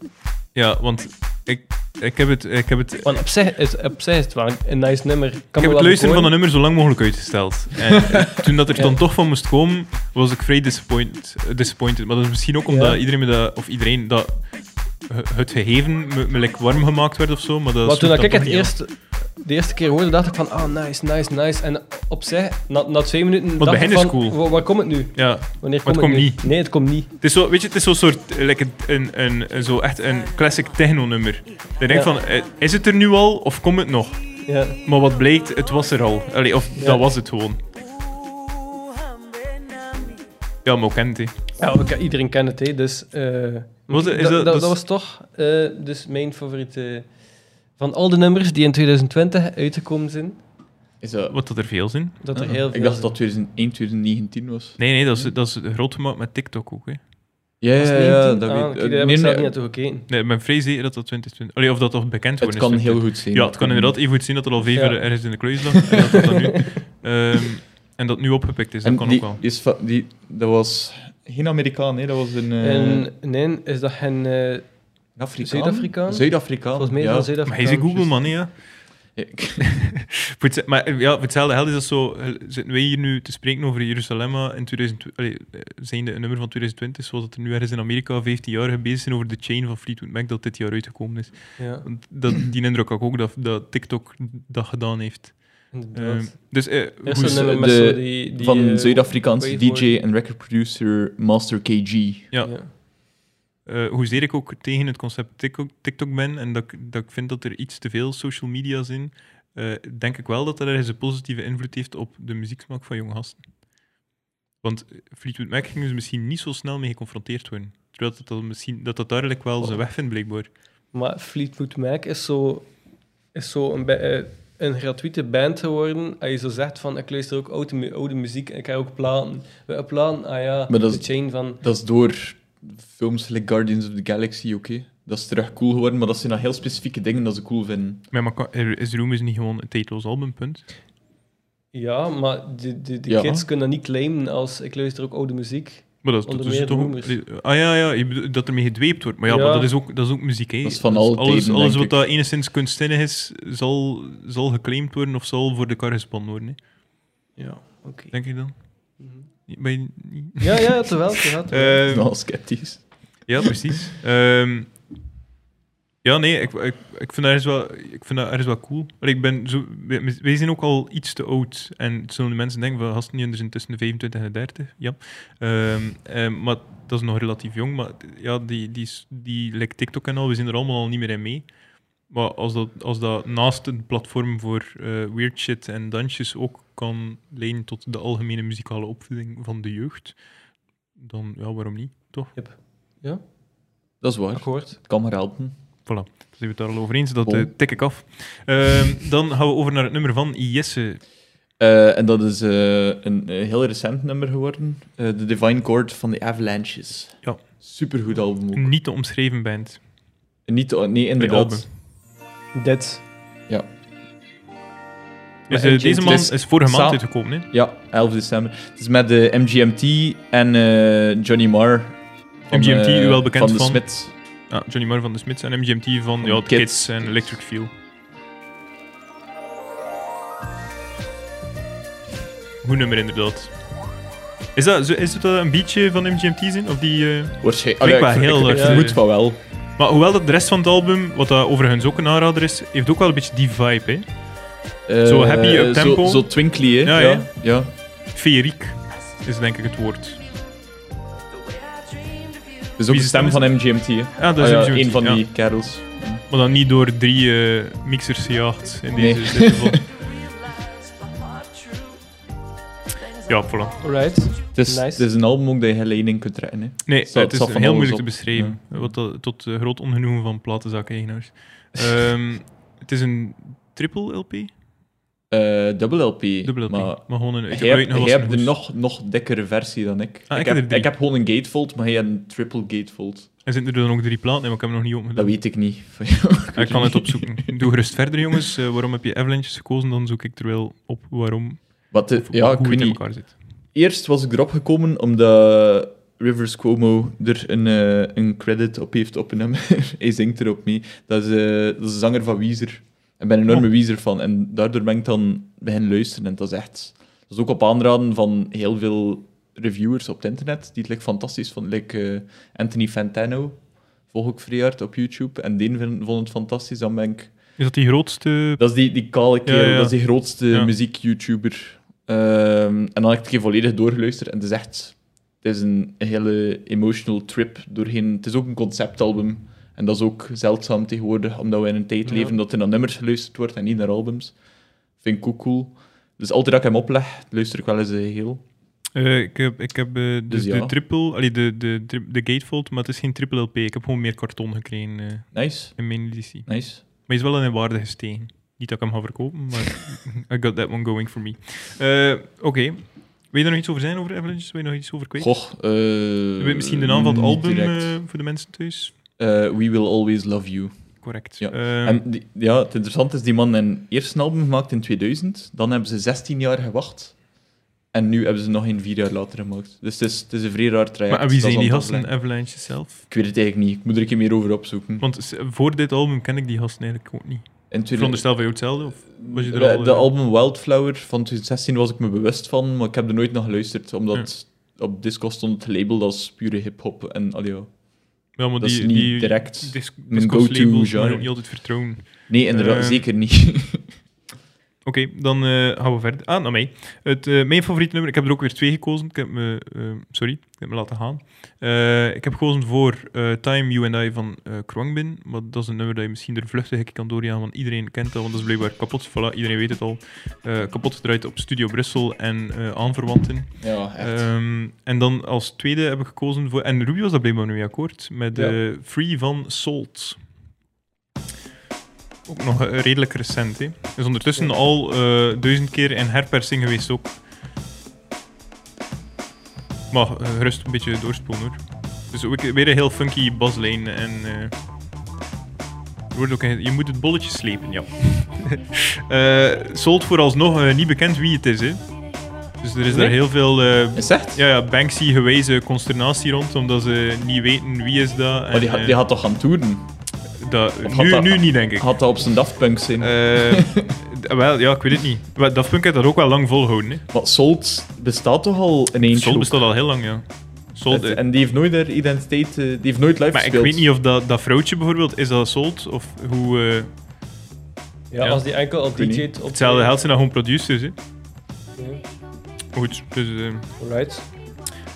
Speaker 1: Ja, want ik, ik heb het... Ik heb het
Speaker 3: Want op zich is, op zich is het wel een nice nummer. Kan
Speaker 1: ik
Speaker 3: me
Speaker 1: heb
Speaker 3: wel
Speaker 1: het luisteren van een
Speaker 3: bekoren.
Speaker 1: nummer zo lang mogelijk uitgesteld. En toen dat er
Speaker 3: Ja.
Speaker 1: dan toch van moest komen, was ik vrij disappointed. eh, disappointed. Maar dat is misschien ook omdat
Speaker 3: Ja.
Speaker 1: iedereen, me dat, eh, of iedereen dat, he- het gegeven me, me like warm gemaakt werd of zo. Maar dat
Speaker 3: Want toen
Speaker 1: sloeg
Speaker 3: ik
Speaker 1: dan toch
Speaker 3: het
Speaker 1: niet
Speaker 3: eerst de eerste keer hoorde, dacht ik van, ah, nice, nice, nice. En op zich, na, na twee minuten
Speaker 1: het
Speaker 3: dacht ik
Speaker 1: begin is
Speaker 3: van,
Speaker 1: cool.
Speaker 3: wa- waar komt het nu?
Speaker 1: Ja. Maar
Speaker 3: Wanneer komt
Speaker 1: het
Speaker 3: het,
Speaker 1: komt
Speaker 3: nu?
Speaker 1: niet.
Speaker 3: Nee, het komt niet.
Speaker 1: Het is zo, weet je, het is zo'n soort, eh, like een, een, een, zo echt een classic techno-nummer. Dan denk ik
Speaker 3: Ja.
Speaker 1: van, eh, is het er nu al of komt het nog?
Speaker 3: Ja.
Speaker 1: Maar wat blijkt, het was er al. Allee, of
Speaker 3: Ja.
Speaker 1: dat was het gewoon. Ja, maar ook kent hij.
Speaker 3: Ja, oké, iedereen kent het, hè, dus... eh,
Speaker 1: Was het- is
Speaker 3: dat,
Speaker 1: dat-
Speaker 3: dat,
Speaker 1: dat is-
Speaker 3: dat was toch eh, dus mijn favoriete... Van al de nummers die in 2020 uitgekomen zijn,
Speaker 2: Is dat...
Speaker 1: Wat dat er veel zijn.
Speaker 3: dat er
Speaker 2: Ah,
Speaker 3: heel veel
Speaker 2: Ik dacht
Speaker 3: zijn.
Speaker 2: dat 2001, 2019 was.
Speaker 1: Nee, nee, dat is, dat is groot gemaakt met TikTok ook. Hè.
Speaker 2: Ja,
Speaker 3: Was
Speaker 2: ja,
Speaker 3: het
Speaker 2: ja,
Speaker 3: 19?
Speaker 2: dat
Speaker 3: Ah,
Speaker 2: weet eh,
Speaker 3: oké, daar heb
Speaker 2: nee,
Speaker 3: ik zelf niet
Speaker 2: nee,
Speaker 3: naartoe gekeken.
Speaker 1: Nee, ik ben vrij zeker dat dat 2020... Allee, of dat toch bekend
Speaker 2: Het
Speaker 1: geworden
Speaker 2: kan
Speaker 1: is.
Speaker 2: heel goed zijn.
Speaker 1: Ja, het kan inderdaad even goed zien dat er al vijf
Speaker 3: Ja.
Speaker 1: er ergens in de kluis lag. En dat dat dan nu, ehm, en dat nu opgepikt is, Dus dat
Speaker 2: En
Speaker 1: kan
Speaker 2: die
Speaker 1: ook wel.
Speaker 2: Is va- die, dat was geen Amerikaan, nee, dat was een, eh,
Speaker 3: En nee, is dat geen... eh,
Speaker 2: een Afrikaan.
Speaker 3: Zuid-Afrikaan?
Speaker 2: Zuid-Afrikaan.
Speaker 3: volgens mij is
Speaker 2: ja.
Speaker 3: dat
Speaker 1: Maar
Speaker 3: Zuid-Afrikaans.
Speaker 1: hij is een Google man, hè, ja.
Speaker 2: Ja, ik-
Speaker 1: Voor het- Maar eh, ja, voor hetzelfde geld is dat zo. eh, Zitten wij hier nu te spreken over Jeruzalem eh, in 2020, allee, eh, zijnde een nummer van 2020, zoals dat er nu ergens in Amerika 15 jaar bezig zijn over de chain van Fleetwood Mac dat dit jaar uitgekomen is.
Speaker 3: Ja,
Speaker 1: Want Dat, die indruk had ik ook dat, dat TikTok dat gedaan heeft.
Speaker 3: inderdaad.
Speaker 1: Ehm, dus eh,
Speaker 3: Er is
Speaker 1: hoe
Speaker 3: zo'n
Speaker 1: is-
Speaker 2: zo-
Speaker 3: nummer met
Speaker 2: de-
Speaker 3: zo die... die
Speaker 2: van
Speaker 3: eh,
Speaker 2: Zuid-Afrikaanse
Speaker 3: wave
Speaker 2: DJ en record producer Master KG.
Speaker 1: ja, eh, hoezeer ik ook tegen het concept TikTok, TikTok ben en dat, ik- dat ik vind dat er iets te veel social media zijn, eh, denk ik wel dat dat ergens een positieve invloed heeft op de muzieksmaak van jonge gasten. Want eh, Fleetwood Mac gingen ze misschien niet zo snel mee geconfronteerd worden. Terwijl dat, dat, misschien, dat, dat duidelijk wel zijn weg vindt, blijkbaar.
Speaker 3: Maar Fleetwood Mac is zo, is zo een, ba- eh, een gratuite band geworden. Als je zo zegt van, ik luister ook oude, mu- oude muziek en ik heb ook platen. We hebben platen, ah ja,
Speaker 2: Maar dat
Speaker 3: de
Speaker 2: is-
Speaker 3: chain van...
Speaker 2: Dat is door films like Guardians of the Galaxy, oké. Dat is terug cool geworden, maar dat zijn dan heel specifieke dingen dat ze cool vinden.
Speaker 1: Maar, maar kan- er- is Room is niet gewoon een tijdloos album, punt.
Speaker 3: Ja, maar de, de, de
Speaker 2: Ja.
Speaker 3: kids kunnen dat niet claimen als ik luister ook oude muziek.
Speaker 1: Maar dat, is-
Speaker 3: Onder
Speaker 1: dat is
Speaker 3: meer
Speaker 1: toch...
Speaker 3: Roemers.
Speaker 1: ook- Ah ja, ja je bedoelt dat ermee gedweept wordt. Maar ja,
Speaker 3: Ja.
Speaker 1: Maar dat, is ook, dat is ook muziek, hè. Dus
Speaker 2: Dat is van alle
Speaker 1: alles,
Speaker 2: tijden,
Speaker 1: alles
Speaker 2: denk
Speaker 1: wat
Speaker 2: ik.
Speaker 1: daar enigszins kunstzinnig is, zal, zal geclaimd worden of zal voor de kar gespannen worden, hè.
Speaker 3: Ja, oké.
Speaker 1: denk ik dan.
Speaker 3: Mhm.
Speaker 1: Ben je niet-
Speaker 3: Ja, ja, terwijl, terwijl, terwijl.
Speaker 2: Ik
Speaker 1: Ehm,
Speaker 2: ben al sceptisch.
Speaker 1: ja, precies. Ehm, ja, nee, ik, ik, ik vind dat ergens wel, ik vind dat ergens wel cool. Maar ik ben zo, wij, wij zijn ook al iets te oud. En het zullen de mensen denken, van gasten die er zijn tussen de 25 en de 30. Ja. Ehm, ehm, maar dat is nog relatief jong. Maar ja, die, die, die like TikTok en al, we zijn er allemaal al niet meer in mee. Maar als dat, als dat naast een platform voor eh, weird shit en dansjes ook kan leiden tot de algemene muzikale opvoeding van de jeugd, dan ja, waarom niet, toch?
Speaker 2: Dat is waar.
Speaker 3: Akkoord.
Speaker 2: Het kan maar helpen.
Speaker 1: Voilà, dan zijn we het daar al over eens. Dat
Speaker 2: Bon.
Speaker 1: eh, tik ik af. Ehm, dan gaan we over naar het nummer van Jesse.
Speaker 2: Eh, en dat is eh, een eh, heel recent nummer geworden. Eh, The Divine Chord van de Avalanches.
Speaker 1: Ja.
Speaker 2: Supergoed album ook.
Speaker 1: Een niet te omschreven band.
Speaker 2: Niet, nee,
Speaker 1: album.
Speaker 2: inderdaad.
Speaker 3: Dit.
Speaker 1: Dus,
Speaker 3: Maar
Speaker 1: eh,
Speaker 3: MGMT
Speaker 1: deze man
Speaker 2: is
Speaker 1: is vorige maand
Speaker 2: sa-
Speaker 1: uitgekomen. Hè?
Speaker 2: Ja, 11 december. Het is met de MGMT en eh, Johnny Marr. van,
Speaker 1: MGMT,
Speaker 2: eh,
Speaker 1: u wel bekend
Speaker 2: de
Speaker 1: van?
Speaker 2: Smits.
Speaker 1: Ah, Johnny Marr van de Smits en MGMT van ja,
Speaker 2: Van
Speaker 1: de Kids.
Speaker 2: Kids.
Speaker 1: en Electric Feel. Goed nummer inderdaad. Is dat, zo- is dat een beetje van MGMT zijn? Of die, eh,
Speaker 2: Waarschijnlijk.
Speaker 1: Blijkbaar
Speaker 2: Allee, ik-
Speaker 1: heel erg.
Speaker 2: ik-
Speaker 1: eh,
Speaker 2: Ik vermoed van wel.
Speaker 1: Maar hoewel dat de rest van het album, wat dat overigens ook een aanrader is, heeft ook wel een beetje die vibe. Hè? Zo
Speaker 2: Eh,
Speaker 1: happy up
Speaker 2: zo-
Speaker 1: tempo.
Speaker 2: Zo, twinkly, hè?
Speaker 1: Ja,
Speaker 2: ja. ja.
Speaker 1: Feeriek is denk ik het woord.
Speaker 2: Dat is ook
Speaker 1: Wie
Speaker 2: de stem
Speaker 1: is-
Speaker 2: van MGMT. Hè?
Speaker 1: Ja, dat is
Speaker 2: Ah, ja,
Speaker 1: MGMT,
Speaker 2: een van
Speaker 1: ja.
Speaker 2: die kerels.
Speaker 1: Maar dan niet door drie eh, mixers gejaagd in
Speaker 2: Nee.
Speaker 1: deze dit geval. Ja, voilà.
Speaker 3: Alright.
Speaker 2: Het is,
Speaker 3: Nice.
Speaker 2: het is een album ook dat je helemaal in kunt trekken. Hè?
Speaker 1: Nee,
Speaker 2: Zal-
Speaker 1: het is
Speaker 2: zal van
Speaker 1: heel
Speaker 2: alles
Speaker 1: moeilijk
Speaker 2: op.
Speaker 1: te beschrijven. Wat dat- tot eh, groot ongenoegen van platenzak-eigenaars. Ehm, het is een triple LP?
Speaker 2: Eh, double LP.
Speaker 1: Dubbel LP.
Speaker 2: Maar
Speaker 1: Maar, gewoon een
Speaker 2: jij hebt, jij
Speaker 1: uitgewassen
Speaker 2: hebt de
Speaker 1: hoes.
Speaker 2: nog, nog dikkere versie dan ik.
Speaker 1: Ah, ik heb er
Speaker 2: heb,
Speaker 1: drie.
Speaker 2: ik heb gewoon een gatefold, maar jij hebt een triple gatefold.
Speaker 1: En zitten er dan ook drie platen in, maar ik heb hem nog niet opgedaan.
Speaker 2: Dat weet ik niet. Van jou.
Speaker 1: ik kan het opzoeken. Doe gerust verder, jongens. Eh, waarom heb je Avalanches gekozen? Dan zoek ik er wel op waarom.
Speaker 2: Wat de-
Speaker 1: Of
Speaker 2: ja, ik
Speaker 1: hoe
Speaker 2: weet
Speaker 1: het in
Speaker 2: niet.
Speaker 1: elkaar zit.
Speaker 2: Eerst was ik erop gekomen omdat Rivers Cuomo er een, eh, een credit op heeft op een nummer. Hij zingt erop mee. Dat is, eh, dat is de zanger van Weezer. Ik ben een enorme Weezer fan en daardoor ben ik dan beginnen luisteren. En dat is echt... Dat is ook op aanraden van heel veel reviewers op het internet die het like, fantastisch vonden. Like, eh, Anthony Fantano volg ik vrij hard op YouTube en die vinden- vond het fantastisch. Dan ben ik
Speaker 1: Is dat die grootste?
Speaker 2: Dat is die, die kale kerel,
Speaker 1: Ja, ja.
Speaker 2: dat is die grootste
Speaker 1: Ja.
Speaker 2: muziek-YouTuber. Ehm, en dan heb ik het een keer volledig doorgeluisterd. En het is echt... Het is een hele emotional trip doorheen. Het is ook een conceptalbum. En dat is ook zeldzaam tegenwoordig, omdat we in een tijd
Speaker 1: Ja.
Speaker 2: leven dat er naar nummers geluisterd wordt en niet naar albums. Vind ik ook cool. Dus altijd dat ik hem opleg, luister ik wel eens eh, heel.
Speaker 1: Eh, ik heb, ik heb eh, dus
Speaker 2: ja.
Speaker 1: de triple, allee, de, de, tri- de gatefold, maar het is geen triple LP. Ik heb gewoon meer karton gekregen eh,
Speaker 2: Nice,
Speaker 1: in mijn editie.
Speaker 2: nice.
Speaker 1: Maar hij is wel in een waarde gestegen. Niet dat ik hem ga verkopen, maar I got that one going for me. Eh, Oké. Wil je er nog iets over zijn, over Avalanche? Wil je nog iets over kwijt?
Speaker 2: Goh, eh,
Speaker 1: Weet misschien de naam van het
Speaker 2: niet
Speaker 1: album
Speaker 2: direct.
Speaker 1: eh, voor de mensen thuis?
Speaker 2: Eh, We Will Always Love You.
Speaker 1: Correct.
Speaker 2: Ja.
Speaker 1: Eh,
Speaker 2: En die- ja, het interessante is, die man een eerste album gemaakt in 2000. Dan hebben ze 16 jaar gewacht. En nu hebben ze nog geen vier jaar later gemaakt. Dus het is, het is een vrij raar traject.
Speaker 1: maar wie
Speaker 2: Dat is
Speaker 1: zijn die
Speaker 2: aan het
Speaker 1: gasten,
Speaker 2: afleggen.
Speaker 1: Avalanche zelf?
Speaker 2: Ik weet het eigenlijk niet. Ik moet er een keer meer over opzoeken.
Speaker 1: Want s- voor dit album ken ik die gasten eigenlijk ook niet.
Speaker 2: In
Speaker 1: Ik
Speaker 2: 2000
Speaker 1: veronderstel van jou hetzelfde? Of? was je er
Speaker 2: de,
Speaker 1: al,
Speaker 2: de
Speaker 1: eh?
Speaker 2: album Wildflower van 2016 was ik me bewust van, maar ik heb er nooit naar geluisterd. Omdat op Disco stond het label als pure hip-hop. En allee, ja.
Speaker 1: Ja, maar
Speaker 2: Dat is
Speaker 1: die,
Speaker 2: niet
Speaker 1: die
Speaker 2: direct
Speaker 1: dis-
Speaker 2: mijn
Speaker 1: discos
Speaker 2: go-to
Speaker 1: labels
Speaker 2: genre.
Speaker 1: moet je ook niet altijd vertrouwen.
Speaker 2: Nee, inderdaad,
Speaker 1: Eh.
Speaker 2: zeker niet.
Speaker 1: Oké, dan eh, gaan we verder. Ah, naar mij. Het, eh, mijn favoriete nummer, ik heb er ook weer twee gekozen. Ik heb me, eh, sorry, ik heb me laten gaan. Eh, ik heb gekozen voor eh, Time You and I van eh Krongbin. Maar dat is een nummer dat je misschien er vluchtig ik kan doorgaan, want iedereen kent dat, want dat is blijkbaar kapot. Voilà, iedereen weet het al. Eh, kapot gedraaid op Studio Brussel en eh, aanverwanten.
Speaker 2: ja, echt.
Speaker 1: Ehm, en dan als tweede heb ik gekozen voor... En Ruby was daar blijkbaar nu akkoord. Met
Speaker 2: Ja.
Speaker 1: eh, Free van Salt. Ook nog eh, redelijk recent, hè. Is ondertussen
Speaker 3: Ja.
Speaker 1: al eh, duizend keer in herpersing geweest ook. Maar eh, gerust een beetje doorspoelen, hoor. Dus ook weer een heel funky baslijn. En, eh, er wordt ook een- je moet het bolletje slepen, ja. Eh Salt vooralsnog eh, niet bekend wie het is, hè. Dus er is daar
Speaker 3: Nee?
Speaker 1: heel veel eh,
Speaker 2: Is het echt?
Speaker 1: ja, ja, Banksy gewezen consternatie rond, omdat ze niet weten wie is dat. En,
Speaker 2: Maar die, ga-
Speaker 1: eh,
Speaker 2: die gaat toch gaan toeren?
Speaker 1: dat-
Speaker 2: of had
Speaker 1: nu,
Speaker 2: dat-
Speaker 1: nu niet, denk ik.
Speaker 2: Gaat dat op zijn Daft Punk zijn?
Speaker 1: Eh, d- wel, ja, ik weet het niet. Wel, Daft Punk heeft dat ook wel lang volgehouden. Hè.
Speaker 2: Maar Salt bestaat toch al in één
Speaker 1: Sol bestaat al heel lang, ja. Sol, eh,
Speaker 2: En die heeft nooit haar identiteit, eh, die heeft nooit live
Speaker 1: maar ik
Speaker 2: gespeeld.
Speaker 1: weet niet of dat, dat vrouwtje bijvoorbeeld, is dat Sold? Of hoe... eh,
Speaker 3: Ja,
Speaker 1: Ja.
Speaker 3: als die enkel al
Speaker 2: Doe niet.
Speaker 3: DJ't op...
Speaker 1: hetzelfde geld zijn dat gewoon producers, hè.
Speaker 3: Ja,
Speaker 1: Goed, dus eh,
Speaker 3: Alright.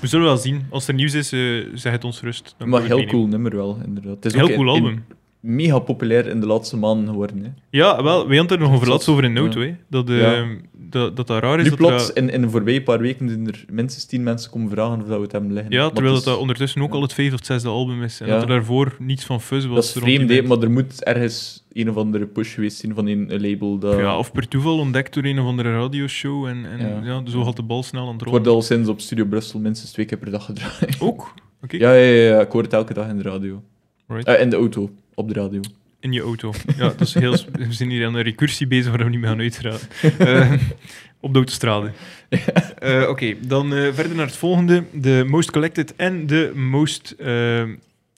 Speaker 1: we zullen wel zien. Als er nieuws is, eh, zeg het ons rust. Dan kunnen
Speaker 2: Maar
Speaker 1: we
Speaker 2: heel
Speaker 1: het meenemen.
Speaker 2: cool nummer wel, inderdaad. Het is ook
Speaker 1: Heel cool
Speaker 2: in- in-
Speaker 1: album.
Speaker 2: mega populair in de laatste maanden geworden. Hè.
Speaker 1: Ja, wel, we hadden er nog over laatst over in Note,
Speaker 2: Ja.
Speaker 1: hè. Dat, eh,
Speaker 2: Ja.
Speaker 1: dat, dat dat raar is.
Speaker 2: Nu
Speaker 1: dat
Speaker 2: plots,
Speaker 1: dat-
Speaker 2: in, in de voorbije paar weken zijn er minstens tien mensen komen vragen of dat we het hebben liggen.
Speaker 1: Ja,
Speaker 2: Maar
Speaker 1: terwijl dat,
Speaker 2: het is-
Speaker 1: dat ondertussen ook
Speaker 2: ja.
Speaker 1: al het vijfde of het zesde album is. En
Speaker 2: Ja.
Speaker 1: dat er daarvoor niets van fuzz was.
Speaker 2: dat is
Speaker 1: rond die
Speaker 2: vreemd, hè,
Speaker 1: band.
Speaker 2: maar er moet ergens een of andere push geweest zijn van een, een label. Dat...
Speaker 1: Ja, of per toeval ontdekt door een of andere radioshow. En, en ja.
Speaker 2: Ja.
Speaker 1: zo had de bal snel aan het
Speaker 2: Het wordt
Speaker 1: rollen.
Speaker 2: al sinds op Studio Brussel minstens twee keer per dag gedraaid.
Speaker 1: Ook? Oké.
Speaker 2: Ja, ja, ja, ja, ik hoor het elke dag in de radio.
Speaker 1: Right.
Speaker 2: Eh, in de auto, op de radio.
Speaker 1: In je auto. Ja, dat is heel... sp- we zijn hier aan een recursie bezig waar we niet mee gaan uitraden. Eh, op de autostrade. Eh, Oké, dan eh, verder naar het volgende. De most collected en de most eh,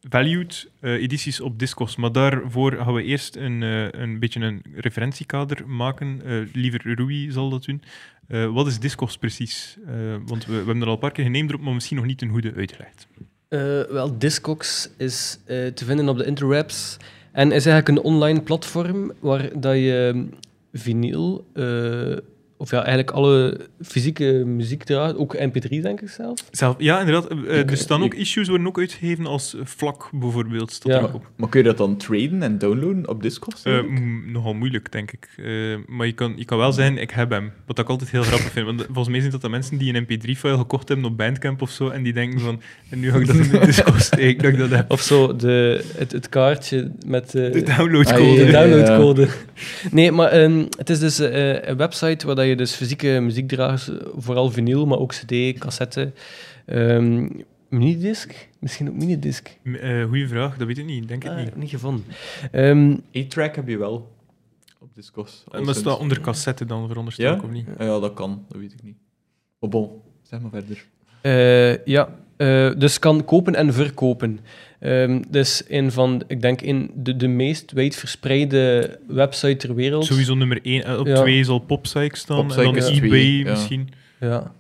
Speaker 1: valued eh, edities op Discos. Maar daarvoor gaan we eerst een, eh, een beetje een referentiekader maken. Eh, liever Rui zal dat doen. Eh, wat is Discos precies? Eh, want we, we hebben er al een paar keer geneemd op, maar misschien nog niet een goede uitgelegd.
Speaker 3: Eh, wel, Discogs is eh, te vinden op de interwebs en is eigenlijk een online platform waar dat je mm, vinyl, eh, of ja, eigenlijk alle fysieke muziek draait, ook MP3 denk ik zelf.
Speaker 1: Zelf, ja, inderdaad. eh, eh, er
Speaker 2: Ik-
Speaker 1: staan ook
Speaker 2: ik-
Speaker 1: issues worden ook uitgegeven als eh, vlak bijvoorbeeld. Staat
Speaker 3: Ja.
Speaker 1: er ook eh, op.
Speaker 2: Maar kun je dat dan traden en downloaden op Discord?
Speaker 1: Eh, m- nogal moeilijk, denk ik. Eh, maar je kan, je kan wel zeggen, ik heb hem. Wat ik altijd heel grappig vind. Want volgens mij zijn dat de mensen die een mp3-file gekocht hebben op Bandcamp of zo. En die denken van, en nu ga ik dat in de disco steken, dat ik dat heb.
Speaker 3: Of zo, de, het, het kaartje met eh,
Speaker 1: De
Speaker 2: Ah, ja,
Speaker 1: downloadcode.
Speaker 3: de
Speaker 2: ja, ja.
Speaker 3: downloadcode. Nee, maar ehm, het is dus eh, een website waar dat je dus fysieke muziekdragers, eh, vooral vinyl, maar ook cd, cassette, ehm minidisc, misschien ook minidisc.
Speaker 1: M- eh, goeie vraag, dat weet ik niet. Denk het
Speaker 3: Ah,
Speaker 1: niet.
Speaker 3: heb ik niet gevonden. Ehm,
Speaker 2: A-track heb je wel op Discord.
Speaker 1: En dat staat onder cassette dan, veronderstel
Speaker 2: Ja?
Speaker 1: ik, of niet?
Speaker 2: Ah ja, dat kan, dat weet ik niet. Maar bon, zeg maar verder.
Speaker 3: Eh, ja, eh, dus kan kopen en verkopen. Ehm dus een van, ik denk, in de, de meest wijdverspreide website ter wereld.
Speaker 1: Sowieso nummer 1. Op
Speaker 3: Ja.
Speaker 1: 2 zal PopSyc staan.
Speaker 2: Popsych
Speaker 1: en dan
Speaker 2: is
Speaker 1: eBay
Speaker 2: twee, ja.
Speaker 1: misschien.
Speaker 3: Ja.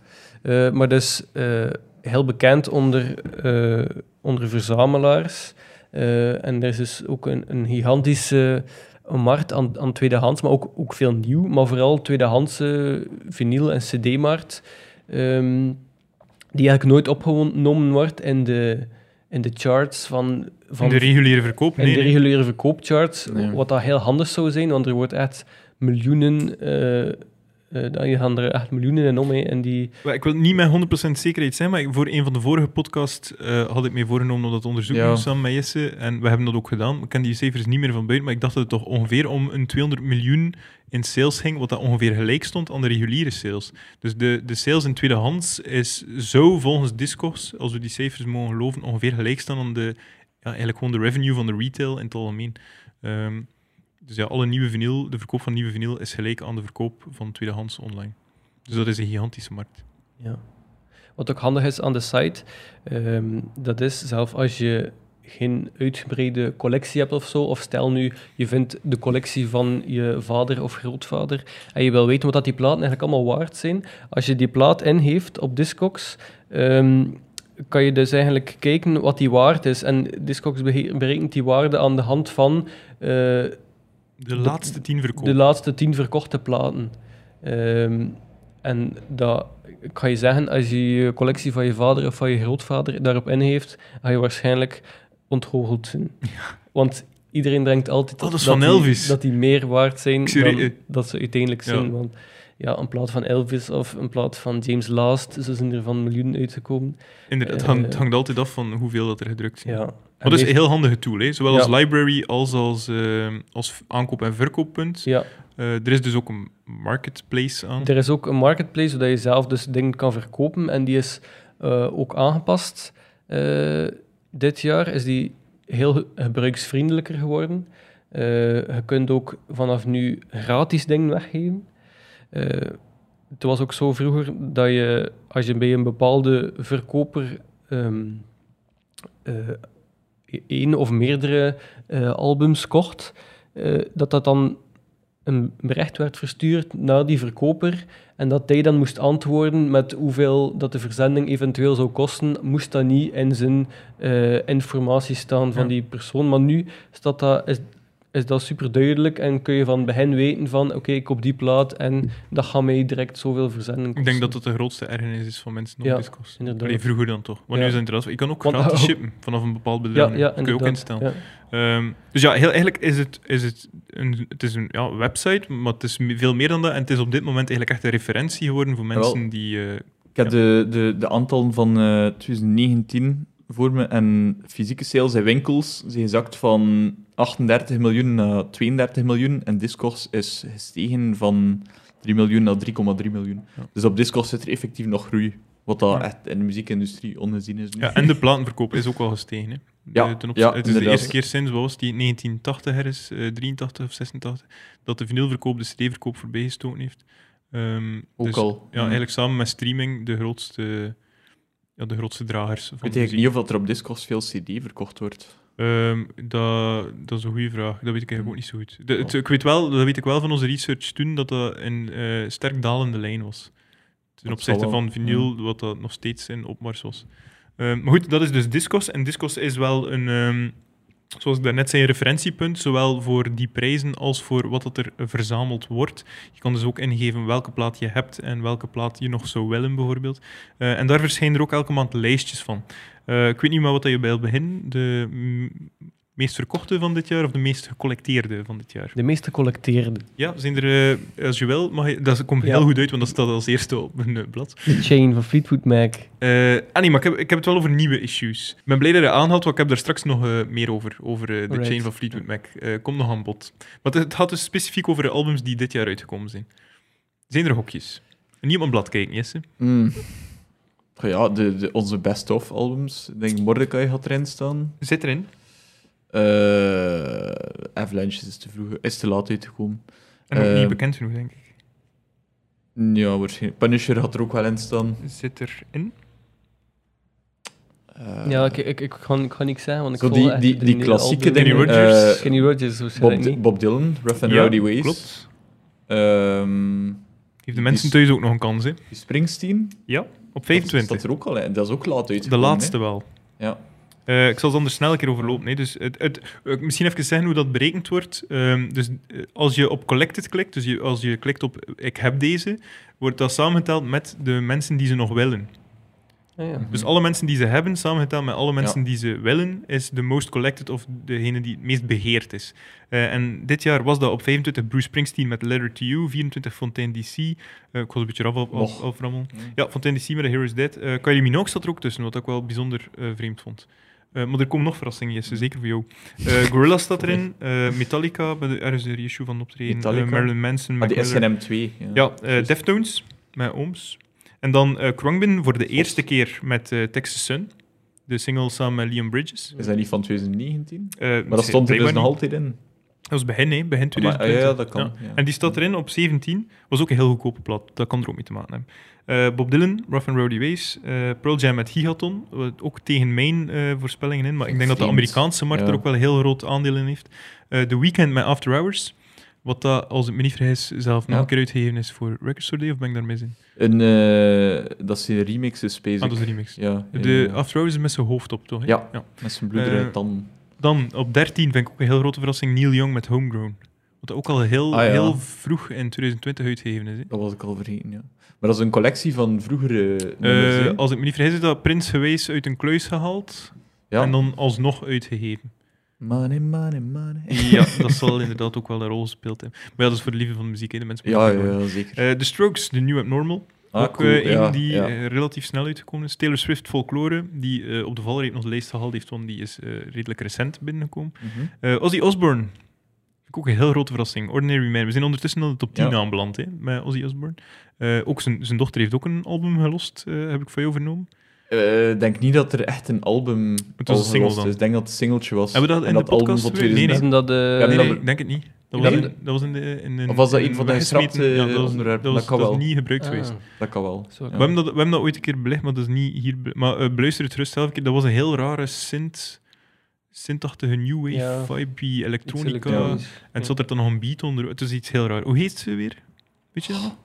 Speaker 3: Eh, maar dus eh, heel bekend onder, eh, onder verzamelaars. Eh, en er is dus ook een, een gigantische een markt aan, aan tweedehands, maar ook, ook veel nieuw. Maar vooral tweedehands eh, vinyl- en cd-markt, ehm, die eigenlijk nooit opgenomen wordt in de, in de charts van... van
Speaker 1: Van de reguliere verkoop?
Speaker 3: in
Speaker 1: Nee.
Speaker 3: de
Speaker 1: nee.
Speaker 3: reguliere verkoopcharts,
Speaker 2: Nee.
Speaker 3: wat dat heel handig zou zijn, want er wordt echt miljoenen, eh eh dan gaan er echt miljoenen in om, hè, en die...
Speaker 1: Maar Ik wil niet met 100% zekerheid zijn, maar ik- voor een van de vorige podcasts eh, had ik mij voorgenomen om dat te onderzoeken,
Speaker 2: Ja.
Speaker 1: samen met Jesse. En we hebben dat ook gedaan. Ik ken die cijfers niet meer van buiten, maar ik dacht dat het toch ongeveer om een 200 miljoen in sales ging, wat dat ongeveer gelijk stond aan de reguliere sales. Dus de, de sales in tweedehands is zo volgens Discogs, als we die cijfers mogen geloven, ongeveer gelijk staan aan de, ja, eigenlijk gewoon de revenue van de retail in het algemeen. Ehm, dus ja, alle nieuwe vinyl, de verkoop van nieuwe vinyl is gelijk aan de verkoop van tweedehands online. Dus dat is een gigantische markt.
Speaker 3: Ja. Wat ook handig is aan de site, ehm, dat is zelf als je geen uitgebreide collectie hebt of zo, of stel nu je vindt de collectie van je vader of grootvader en je wil weten wat dat die platen eigenlijk allemaal waard zijn, als je die plaat ingeeft op Discogs, ehm, kan je dus eigenlijk kijken wat die waard is. En Discogs behe- berekent die waarde aan de hand van eh,
Speaker 1: De, laatste tien verkopen.
Speaker 3: de laatste tien verkochte platen. Ehm, en dat, ik ga je zeggen, als je je collectie van je vader of van je grootvader daarop inheeft, ga je waarschijnlijk ontgoocheld zijn. Want iedereen denkt altijd
Speaker 1: Oh, dat is
Speaker 3: dat,
Speaker 1: van
Speaker 3: die,
Speaker 1: Elvis.
Speaker 3: dat die meer waard zijn
Speaker 1: Ik zie
Speaker 3: dan
Speaker 1: re-
Speaker 3: dat ze uiteindelijk
Speaker 1: Ja.
Speaker 3: zijn. Want ja, een plaat van Elvis of een plaat van James Last, zo zijn er van miljoenen uitgekomen.
Speaker 1: Inderdaad, het
Speaker 3: eh,
Speaker 1: hangt, het hangt altijd af van hoeveel dat er gedrukt zijn.
Speaker 3: Ja.
Speaker 1: Maar dat
Speaker 3: En
Speaker 1: is
Speaker 3: meest-
Speaker 1: een heel handige tool, hè? zowel
Speaker 3: Ja.
Speaker 1: als library als als, eh, als aankoop- en verkooppunt.
Speaker 3: ja,
Speaker 1: Eh, er is dus ook een marketplace aan.
Speaker 3: Er is ook een marketplace zodat je zelf dus dingen kan verkopen. En die is eh, ook aangepast. Eh, dit jaar is die heel ge- gebruiksvriendelijker geworden. Eh, je kunt ook vanaf nu gratis dingen weggeven. Eh, het was ook zo vroeger dat je, als je bij een bepaalde verkoper ehm, eh, één of meerdere eh, albums kocht, eh, dat dat dan een bericht werd verstuurd naar die verkoper en dat hij dan moest antwoorden met hoeveel dat de verzending eventueel zou kosten, moest dat niet in zijn eh, informatie staan van
Speaker 1: Ja.
Speaker 3: die persoon. Maar nu staat dat, is, is dat super duidelijk en kun je van begin weten van oké, ik koop die plaat en dat gaat mij direct zoveel verzending kosten.
Speaker 1: Ik denk dat dat de grootste ergernis is van mensen op
Speaker 3: Ja,
Speaker 1: Discogs.
Speaker 3: inderdaad.
Speaker 1: Allee, vroeger dan toch. Maar
Speaker 3: Ja.
Speaker 1: nu zijn het inderdaad... Je kan ook
Speaker 3: Want-
Speaker 1: gratis shippen vanaf een bepaald bedrijf. dat kun je ook
Speaker 3: inderdaad,
Speaker 1: instellen.
Speaker 3: ja.
Speaker 1: Ehm, dus ja, heel, eigenlijk is het, is het een, het is een ja, website, maar het is me- veel meer dan dat. En het is op dit moment eigenlijk echt een referentie geworden
Speaker 3: Ah,
Speaker 1: voor mensen
Speaker 2: Jawel.
Speaker 1: die... eh,
Speaker 2: Ik heb
Speaker 1: Ja.
Speaker 2: de, de, de aantallen van eh 2019 voor me en fysieke sales in winkels zijn gezakt van 38 miljoen naar 32 miljoen en Discogs is gestegen van 3 miljoen naar 3,3 miljoen.
Speaker 1: Ja.
Speaker 2: Dus op Discogs zit er effectief nog groei, wat dat
Speaker 1: Ja.
Speaker 2: echt in de muziekindustrie ongezien is nu.
Speaker 1: Ja, en de platenverkoop is ook wel gestegen. Hè.
Speaker 2: Ja,
Speaker 1: De- ten opzichte- het
Speaker 2: ja,
Speaker 1: is de
Speaker 2: inderdaad.
Speaker 1: eerste keer sinds wat was het, die 1980 ergens, eh 83 of 86, dat de vinylverkoop de CD-verkoop voorbijgestoken heeft. Ehm,
Speaker 2: Ook
Speaker 1: dus,
Speaker 2: al. Mhm.
Speaker 1: Ja, eigenlijk samen met streaming de grootste, ja, de grootste dragers van
Speaker 2: Ik weet
Speaker 1: de muziek.
Speaker 2: eigenlijk niet of er op Discogs veel CD verkocht wordt.
Speaker 1: Ehm, dat, dat is een goede vraag. Dat weet ik eigenlijk ook niet zo goed. De- het-
Speaker 2: Ja.
Speaker 1: ik weet wel, dat weet ik wel van onze research toen, dat dat een eh, sterk dalende lijn was. Ten
Speaker 2: zal
Speaker 1: opzichte
Speaker 2: wel.
Speaker 1: van vinyl, wat dat nog steeds in opmars was. Ehm, maar goed, dat is dus Discos. En Discos is wel een, ehm, zoals ik daarnet zei, een referentiepunt, zowel voor die prijzen als voor wat dat er verzameld wordt. Je kan dus ook ingeven welke plaat je hebt en welke plaat je nog zou willen, bijvoorbeeld. Eh, en daar verschijnen er ook elke maand lijstjes van. Eh, ik weet niet meer wat dat je bij het begin, de mm, meest verkochte van dit jaar of de meest gecollecteerde van dit jaar?
Speaker 3: De meeste collecteerde.
Speaker 1: Ja, zijn er, eh, als je wil, mag je, dat komt heel
Speaker 3: Ja.
Speaker 1: goed uit, want dat staat als eerste op mijn eh, blad.
Speaker 3: De chain van Fleetwood Mac.
Speaker 1: Eh, ah nee, maar ik heb, ik heb het wel over nieuwe issues. Ik ben blij dat je aanhaalt, want ik heb daar straks nog eh, meer over. Over eh, de
Speaker 3: Alright.
Speaker 1: chain van Fleetwood Mac. Eh, komt nog aan bod. Maar het, het gaat dus specifiek over de albums die dit jaar uitgekomen zijn. Zijn er hokjes? Niet op een blad kijken, Jesse.
Speaker 2: Mm. Ja, de, de, onze best-of albums. Ik denk Mordecai had erin staan.
Speaker 1: Zit erin.
Speaker 2: Eh Avalanche is te, vroeg, is te laat uitgekomen.
Speaker 1: En nog niet
Speaker 2: Eh,
Speaker 1: bekend genoeg, denk ik.
Speaker 2: Ja, waarschijnlijk. Punisher had er ook wel in staan.
Speaker 1: Zit erin.
Speaker 2: Eh,
Speaker 3: ja, ik, ik, ik, ga, ik ga niks zeggen, want ik
Speaker 2: Zo
Speaker 3: wil
Speaker 2: die,
Speaker 3: echt
Speaker 2: die,
Speaker 3: de
Speaker 2: die
Speaker 3: nieuwe
Speaker 2: klassieke
Speaker 3: album-
Speaker 1: Kenny
Speaker 2: dingen.
Speaker 1: Rogers.
Speaker 2: eh,
Speaker 3: Kenny Rogers,
Speaker 2: Bob,
Speaker 3: waarschijnlijk niet.
Speaker 2: Bob Dylan, Rough and
Speaker 1: Ja,
Speaker 2: Rowdy Ways.
Speaker 1: Klopt.
Speaker 2: Ehm,
Speaker 1: Heeft de
Speaker 2: Die
Speaker 1: mensen
Speaker 2: is-
Speaker 1: thuis ook nog een kans, hè?
Speaker 2: Springsteen.
Speaker 1: Ja, op
Speaker 2: Dat
Speaker 1: 25.
Speaker 2: staat er ook al in. Dat is ook laat uitgekomen.
Speaker 1: De laatste
Speaker 2: hè.
Speaker 1: wel.
Speaker 2: Ja.
Speaker 1: Eh, ik zal ze anders snel een keer overlopen. Hè. Dus het, het, eh, misschien even zeggen hoe dat berekend wordt. Ehm, dus eh, als je op collected klikt, dus je, als je klikt op eh, ik heb deze, wordt dat samengeteld met de mensen die ze nog willen.
Speaker 3: Ah, ja.
Speaker 1: Dus
Speaker 2: Mhm.
Speaker 1: alle mensen die ze hebben, samengeteld met alle mensen die ze willen, is de most collected of degene die het meest beheerd is. Eh, en dit jaar was dat op 25 Bruce Springsteen met Letter to You, 24 Fontaine DC. eh, ik was een beetje raf af, af,
Speaker 2: Och.
Speaker 1: aframmelen.
Speaker 2: Ah,
Speaker 1: Ja, Fontaine DC met The Heroes Dead. Eh Kylie Minogue zat er ook tussen, wat ik wel bijzonder eh, vreemd vond. Eh, maar er komen nog verrassingen, Jesse, zeker voor jou. Gorilla Gorillaz staat erin, eh, Metallica, met de, er is een reissue van optreden, eh,
Speaker 2: Metallica?
Speaker 1: Marilyn Manson,
Speaker 2: Maar
Speaker 1: Mac
Speaker 2: die
Speaker 1: Miller.
Speaker 2: SNM 2. Ja,
Speaker 1: Ja, eh
Speaker 2: Juist.
Speaker 1: Deftones met Ooms. En dan eh Krongbin voor de eerste keer met eh, Texas Sun. De single samen met Liam Bridges.
Speaker 2: Is dat niet van 2019?
Speaker 1: Eh,
Speaker 2: Maar dat stond er dus
Speaker 1: blijkbaar
Speaker 2: nog
Speaker 1: niet.
Speaker 2: altijd in.
Speaker 1: Dat was begin, hè? Begin
Speaker 2: Ah, maar- ah,
Speaker 1: 2020.
Speaker 2: ja, dat kan, ja.
Speaker 1: En die staat erin op 17. Was ook een heel goedkope plaat. Dat kan er ook mee te maken hebben. Eh, Bob Dylan, Rough and Rowdy Ways. eh, Pearl Jam met Gigaton. Wat Ook tegen mijn eh, voorspellingen in. Maar ik denk dat de
Speaker 2: Vreemd.
Speaker 1: Amerikaanse markt
Speaker 2: Ja.
Speaker 1: er ook wel een heel groot aandeel in heeft. Eh The Weeknd met After Hours. Wat dat, als ik me niet vergis, zelf nog
Speaker 2: Ja.
Speaker 1: een keer uitgegeven is voor Record Store Day. Of ben ik daar mis in?
Speaker 2: Een, eh, dat is een remix, is Space.
Speaker 1: Ah, dat is een remix.
Speaker 2: Ja, ja,
Speaker 1: De
Speaker 2: ja.
Speaker 1: After Hours is met zijn hoofd op, toch? hè?
Speaker 2: Ja. met zijn bloederige
Speaker 1: Eh,
Speaker 2: tanden.
Speaker 1: Dan op 13 vind ik ook een heel grote verrassing Neil Young met Homegrown. Wat ook al heel,
Speaker 2: Ah, ja.
Speaker 1: heel vroeg in 2020 uitgegeven is. Hè?
Speaker 2: Dat was ik al vergeten, ja. Maar dat is een collectie van vroegere nummers,
Speaker 1: Eh,
Speaker 2: hè?
Speaker 1: als ik me niet vergis, is dat Prins geweest uit een kluis gehaald
Speaker 2: ja.
Speaker 1: en dan alsnog uitgegeven.
Speaker 2: Money, money, money.
Speaker 1: Ja, dat zal inderdaad ook wel een rol gespeeld hebben. Maar ja, dat is voor de liefde van de muziek, hè? de mensen.
Speaker 2: Ja,
Speaker 1: moeten het
Speaker 2: ja,
Speaker 1: horen.
Speaker 2: ja, zeker.
Speaker 1: Eh, The Strokes, de New Abnormal.
Speaker 2: Ah,
Speaker 1: ook
Speaker 2: cool,
Speaker 1: eh, een
Speaker 2: ja,
Speaker 1: die
Speaker 2: ja.
Speaker 1: eh, relatief snel uitgekomen is. Taylor Swift Folklore, die eh, op de valreep nog de lijst gehaald heeft, want die is eh, redelijk recent binnengekomen.
Speaker 2: Mhm.
Speaker 1: Eh, Ozzy Osbourne. Vind ik ook een heel grote verrassing. Ordinary Man. We zijn ondertussen al de top 10
Speaker 2: Ja.
Speaker 1: aanbeland hè, met Ozzy Osbourne. Eh, ook zijn, zijn dochter heeft ook een album gelost, eh, heb ik van jou vernomen.
Speaker 2: Eh, denk niet dat er echt een album
Speaker 1: Het was een
Speaker 2: al
Speaker 1: single
Speaker 2: gelost
Speaker 1: dan.
Speaker 2: is. Ik denk dat het een singeltje was.
Speaker 1: Hebben we dat
Speaker 2: En
Speaker 1: in de
Speaker 2: album
Speaker 1: podcast
Speaker 2: van
Speaker 1: geweest? Nee, nee.
Speaker 3: Is hem dat, eh,
Speaker 2: Ja,
Speaker 1: nee,
Speaker 2: dat-
Speaker 1: nee, ik denk het niet. Dat was,
Speaker 2: Dat-
Speaker 1: in, dat was in de... In, in,
Speaker 2: Of was dat
Speaker 1: in
Speaker 2: een van de
Speaker 1: weggesmeten-
Speaker 2: geschrapte,
Speaker 1: ja, dat was,
Speaker 2: onderwerpen?
Speaker 1: Dat, was,
Speaker 2: Dat kan
Speaker 1: dat is
Speaker 2: wel.
Speaker 1: niet gebruikt
Speaker 3: ah,
Speaker 1: geweest.
Speaker 2: Dat kan wel.
Speaker 3: Zo.
Speaker 1: We, hebben dat, we hebben dat ooit een keer belegd, maar dat is niet hier... be- Maar eh, beluister het rust zelf. een keer. Dat was een heel rare synth... Synthachtige new wave,
Speaker 3: Ja.
Speaker 1: vibe,
Speaker 3: iets
Speaker 1: elektronica. En
Speaker 3: elektronisch.
Speaker 1: het zat er dan nog een beat onder. Het is iets heel raar. Hoe heet ze weer? Weet je dat nog?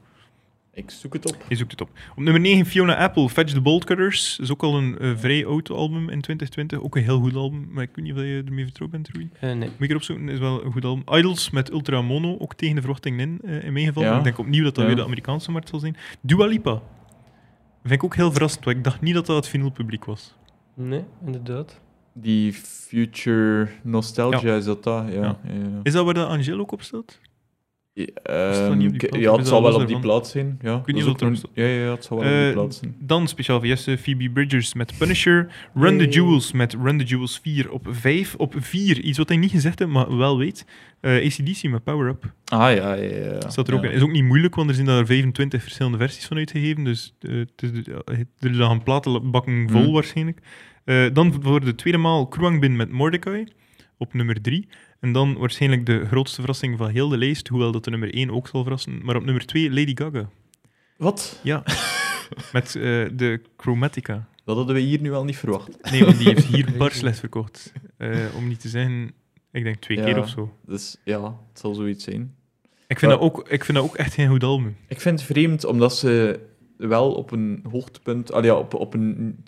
Speaker 2: Ik zoek het op.
Speaker 1: Je zoekt het op. Op nummer 9, Fiona Apple, Fetch the Bolt Cutters. is ook al een eh, vrij oud album in 2020. Ook een heel goed album, maar ik weet niet of je ermee vertrouwd bent, Rui.
Speaker 3: Eh, nee.
Speaker 1: Moet ik erop zoeken, is wel een goed album. Idols met Ultra Mono, ook tegen de verwachting in, eh, in mijn geval.
Speaker 2: Ja.
Speaker 1: Maar Ik denk opnieuw dat dat
Speaker 2: Ja.
Speaker 1: weer de Amerikaanse markt zal zijn. Dua Lipa. Vind ik ook heel verrassend, want ik dacht niet dat dat het finale publiek was.
Speaker 3: nee, inderdaad.
Speaker 2: Die Future Nostalgia, is dat dat? Ja.
Speaker 1: Ja.
Speaker 2: ja. ja.
Speaker 1: Is dat waar dat Angel ook op staat?
Speaker 2: Eh,
Speaker 1: Is dat niet op die
Speaker 2: ik-
Speaker 1: plaat?
Speaker 2: ja,
Speaker 1: Is
Speaker 2: het zal
Speaker 1: dat
Speaker 2: wel
Speaker 1: los
Speaker 2: op die
Speaker 1: daarvan?
Speaker 2: plaats zijn. Ja,
Speaker 1: weet niet
Speaker 2: Dat is
Speaker 1: of dat
Speaker 2: ook
Speaker 1: er
Speaker 2: nog- ja, ja, ja, het zal wel op
Speaker 1: Eh,
Speaker 2: die plaats zijn.
Speaker 1: Dan speciaal voor Jesse, Phoebe Bridgers met Punisher. Run the
Speaker 3: Hey.
Speaker 1: Jewels met Run the Jewels 4 op 5. Op 4, iets wat hij niet gezegd heeft, maar wel weet. Eh ACDC met Power Up.
Speaker 2: Ah ja, ja, ja. ja.
Speaker 1: Staat er ook
Speaker 2: Ja.
Speaker 1: in. Is ook niet moeilijk, want er zijn daar 25 verschillende versies van uitgegeven. Dus eh, het is de- eh, er is dan een platenbakken vol
Speaker 2: Mhm.
Speaker 1: waarschijnlijk. Eh, dan voor de tweede maal Kruangbin met Mordecai op nummer 3. En dan waarschijnlijk de grootste verrassing van heel de lijst, hoewel dat de nummer 1 ook zal verrassen. Maar op nummer 2 Lady Gaga
Speaker 2: Wat?
Speaker 1: met eh, de Chromatica.
Speaker 2: Dat hadden we hier nu wel niet verwacht.
Speaker 1: Nee, want die heeft hier bar slecht verkocht. Eh, om niet te zeggen, ik denk twee
Speaker 2: Ja.
Speaker 1: keer of zo.
Speaker 2: Dus ja, het zal zoiets zijn.
Speaker 1: Ik vind,
Speaker 2: Ja.
Speaker 1: dat ook, ik vind dat ook echt geen goed album.
Speaker 2: Ik vind het vreemd, omdat ze wel op een hoogtepunt, ah ja, op, op een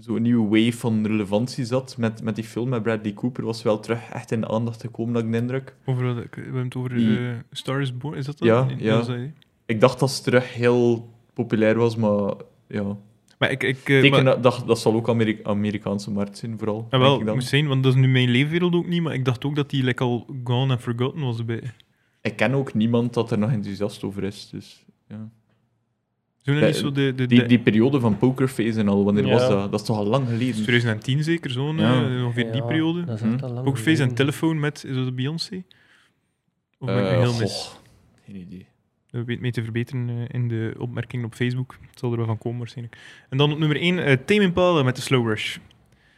Speaker 2: zo'n nieuwe wave van relevantie zat. Met, met die film met Bradley Cooper was ze wel terug echt in de aandacht gekomen, dat ik de indruk.
Speaker 1: Over, wat ik- we hebben het over
Speaker 2: Die-
Speaker 1: eh, Star is Born, is dat dat?
Speaker 2: Ja,
Speaker 1: Nee,
Speaker 2: ja.
Speaker 1: dat is dat, hè?
Speaker 2: Ik dacht dat ze terug heel populair was, maar ja.
Speaker 1: Maar ik... ik eh,
Speaker 2: Ik
Speaker 1: maar-
Speaker 2: teken dat, dat, dat zal ook Ameri- Amerikaanse markt zijn, vooral.
Speaker 1: Ah,
Speaker 2: denk
Speaker 1: wel,
Speaker 2: ik, dan.
Speaker 1: moest zijn, want dat is nu mijn leefwereld ook niet, maar ik dacht ook dat die like, al gone and forgotten was bij...
Speaker 2: ik ken ook niemand dat er nog enthousiast over is. Dus, ja.
Speaker 1: Zo
Speaker 2: Ja,
Speaker 1: niet zo de... de,
Speaker 2: Eh, die,
Speaker 1: de-
Speaker 2: die periode van Pokerface en al, wanneer
Speaker 3: Ja.
Speaker 2: was dat? Dat is toch al lang geleden?
Speaker 1: 2010 zeker, zo'n,
Speaker 2: Ja.
Speaker 1: eh, ongeveer die
Speaker 3: Ja,
Speaker 1: periode.
Speaker 3: dat is echt
Speaker 2: Hm.
Speaker 3: al lang
Speaker 1: Ook Face en
Speaker 3: geleden.
Speaker 1: Telephone met, is dat de Beyoncé? Of ben ik
Speaker 2: Eh,
Speaker 1: nu heel
Speaker 2: goh,
Speaker 1: mis?
Speaker 2: Geen idee.
Speaker 1: Eh, weet mee te verbeteren eh, in de opmerkingen op Facebook. Het zal er wel van komen waarschijnlijk. En dan op nummer 1, eh Tame Impala met de Slow Rush.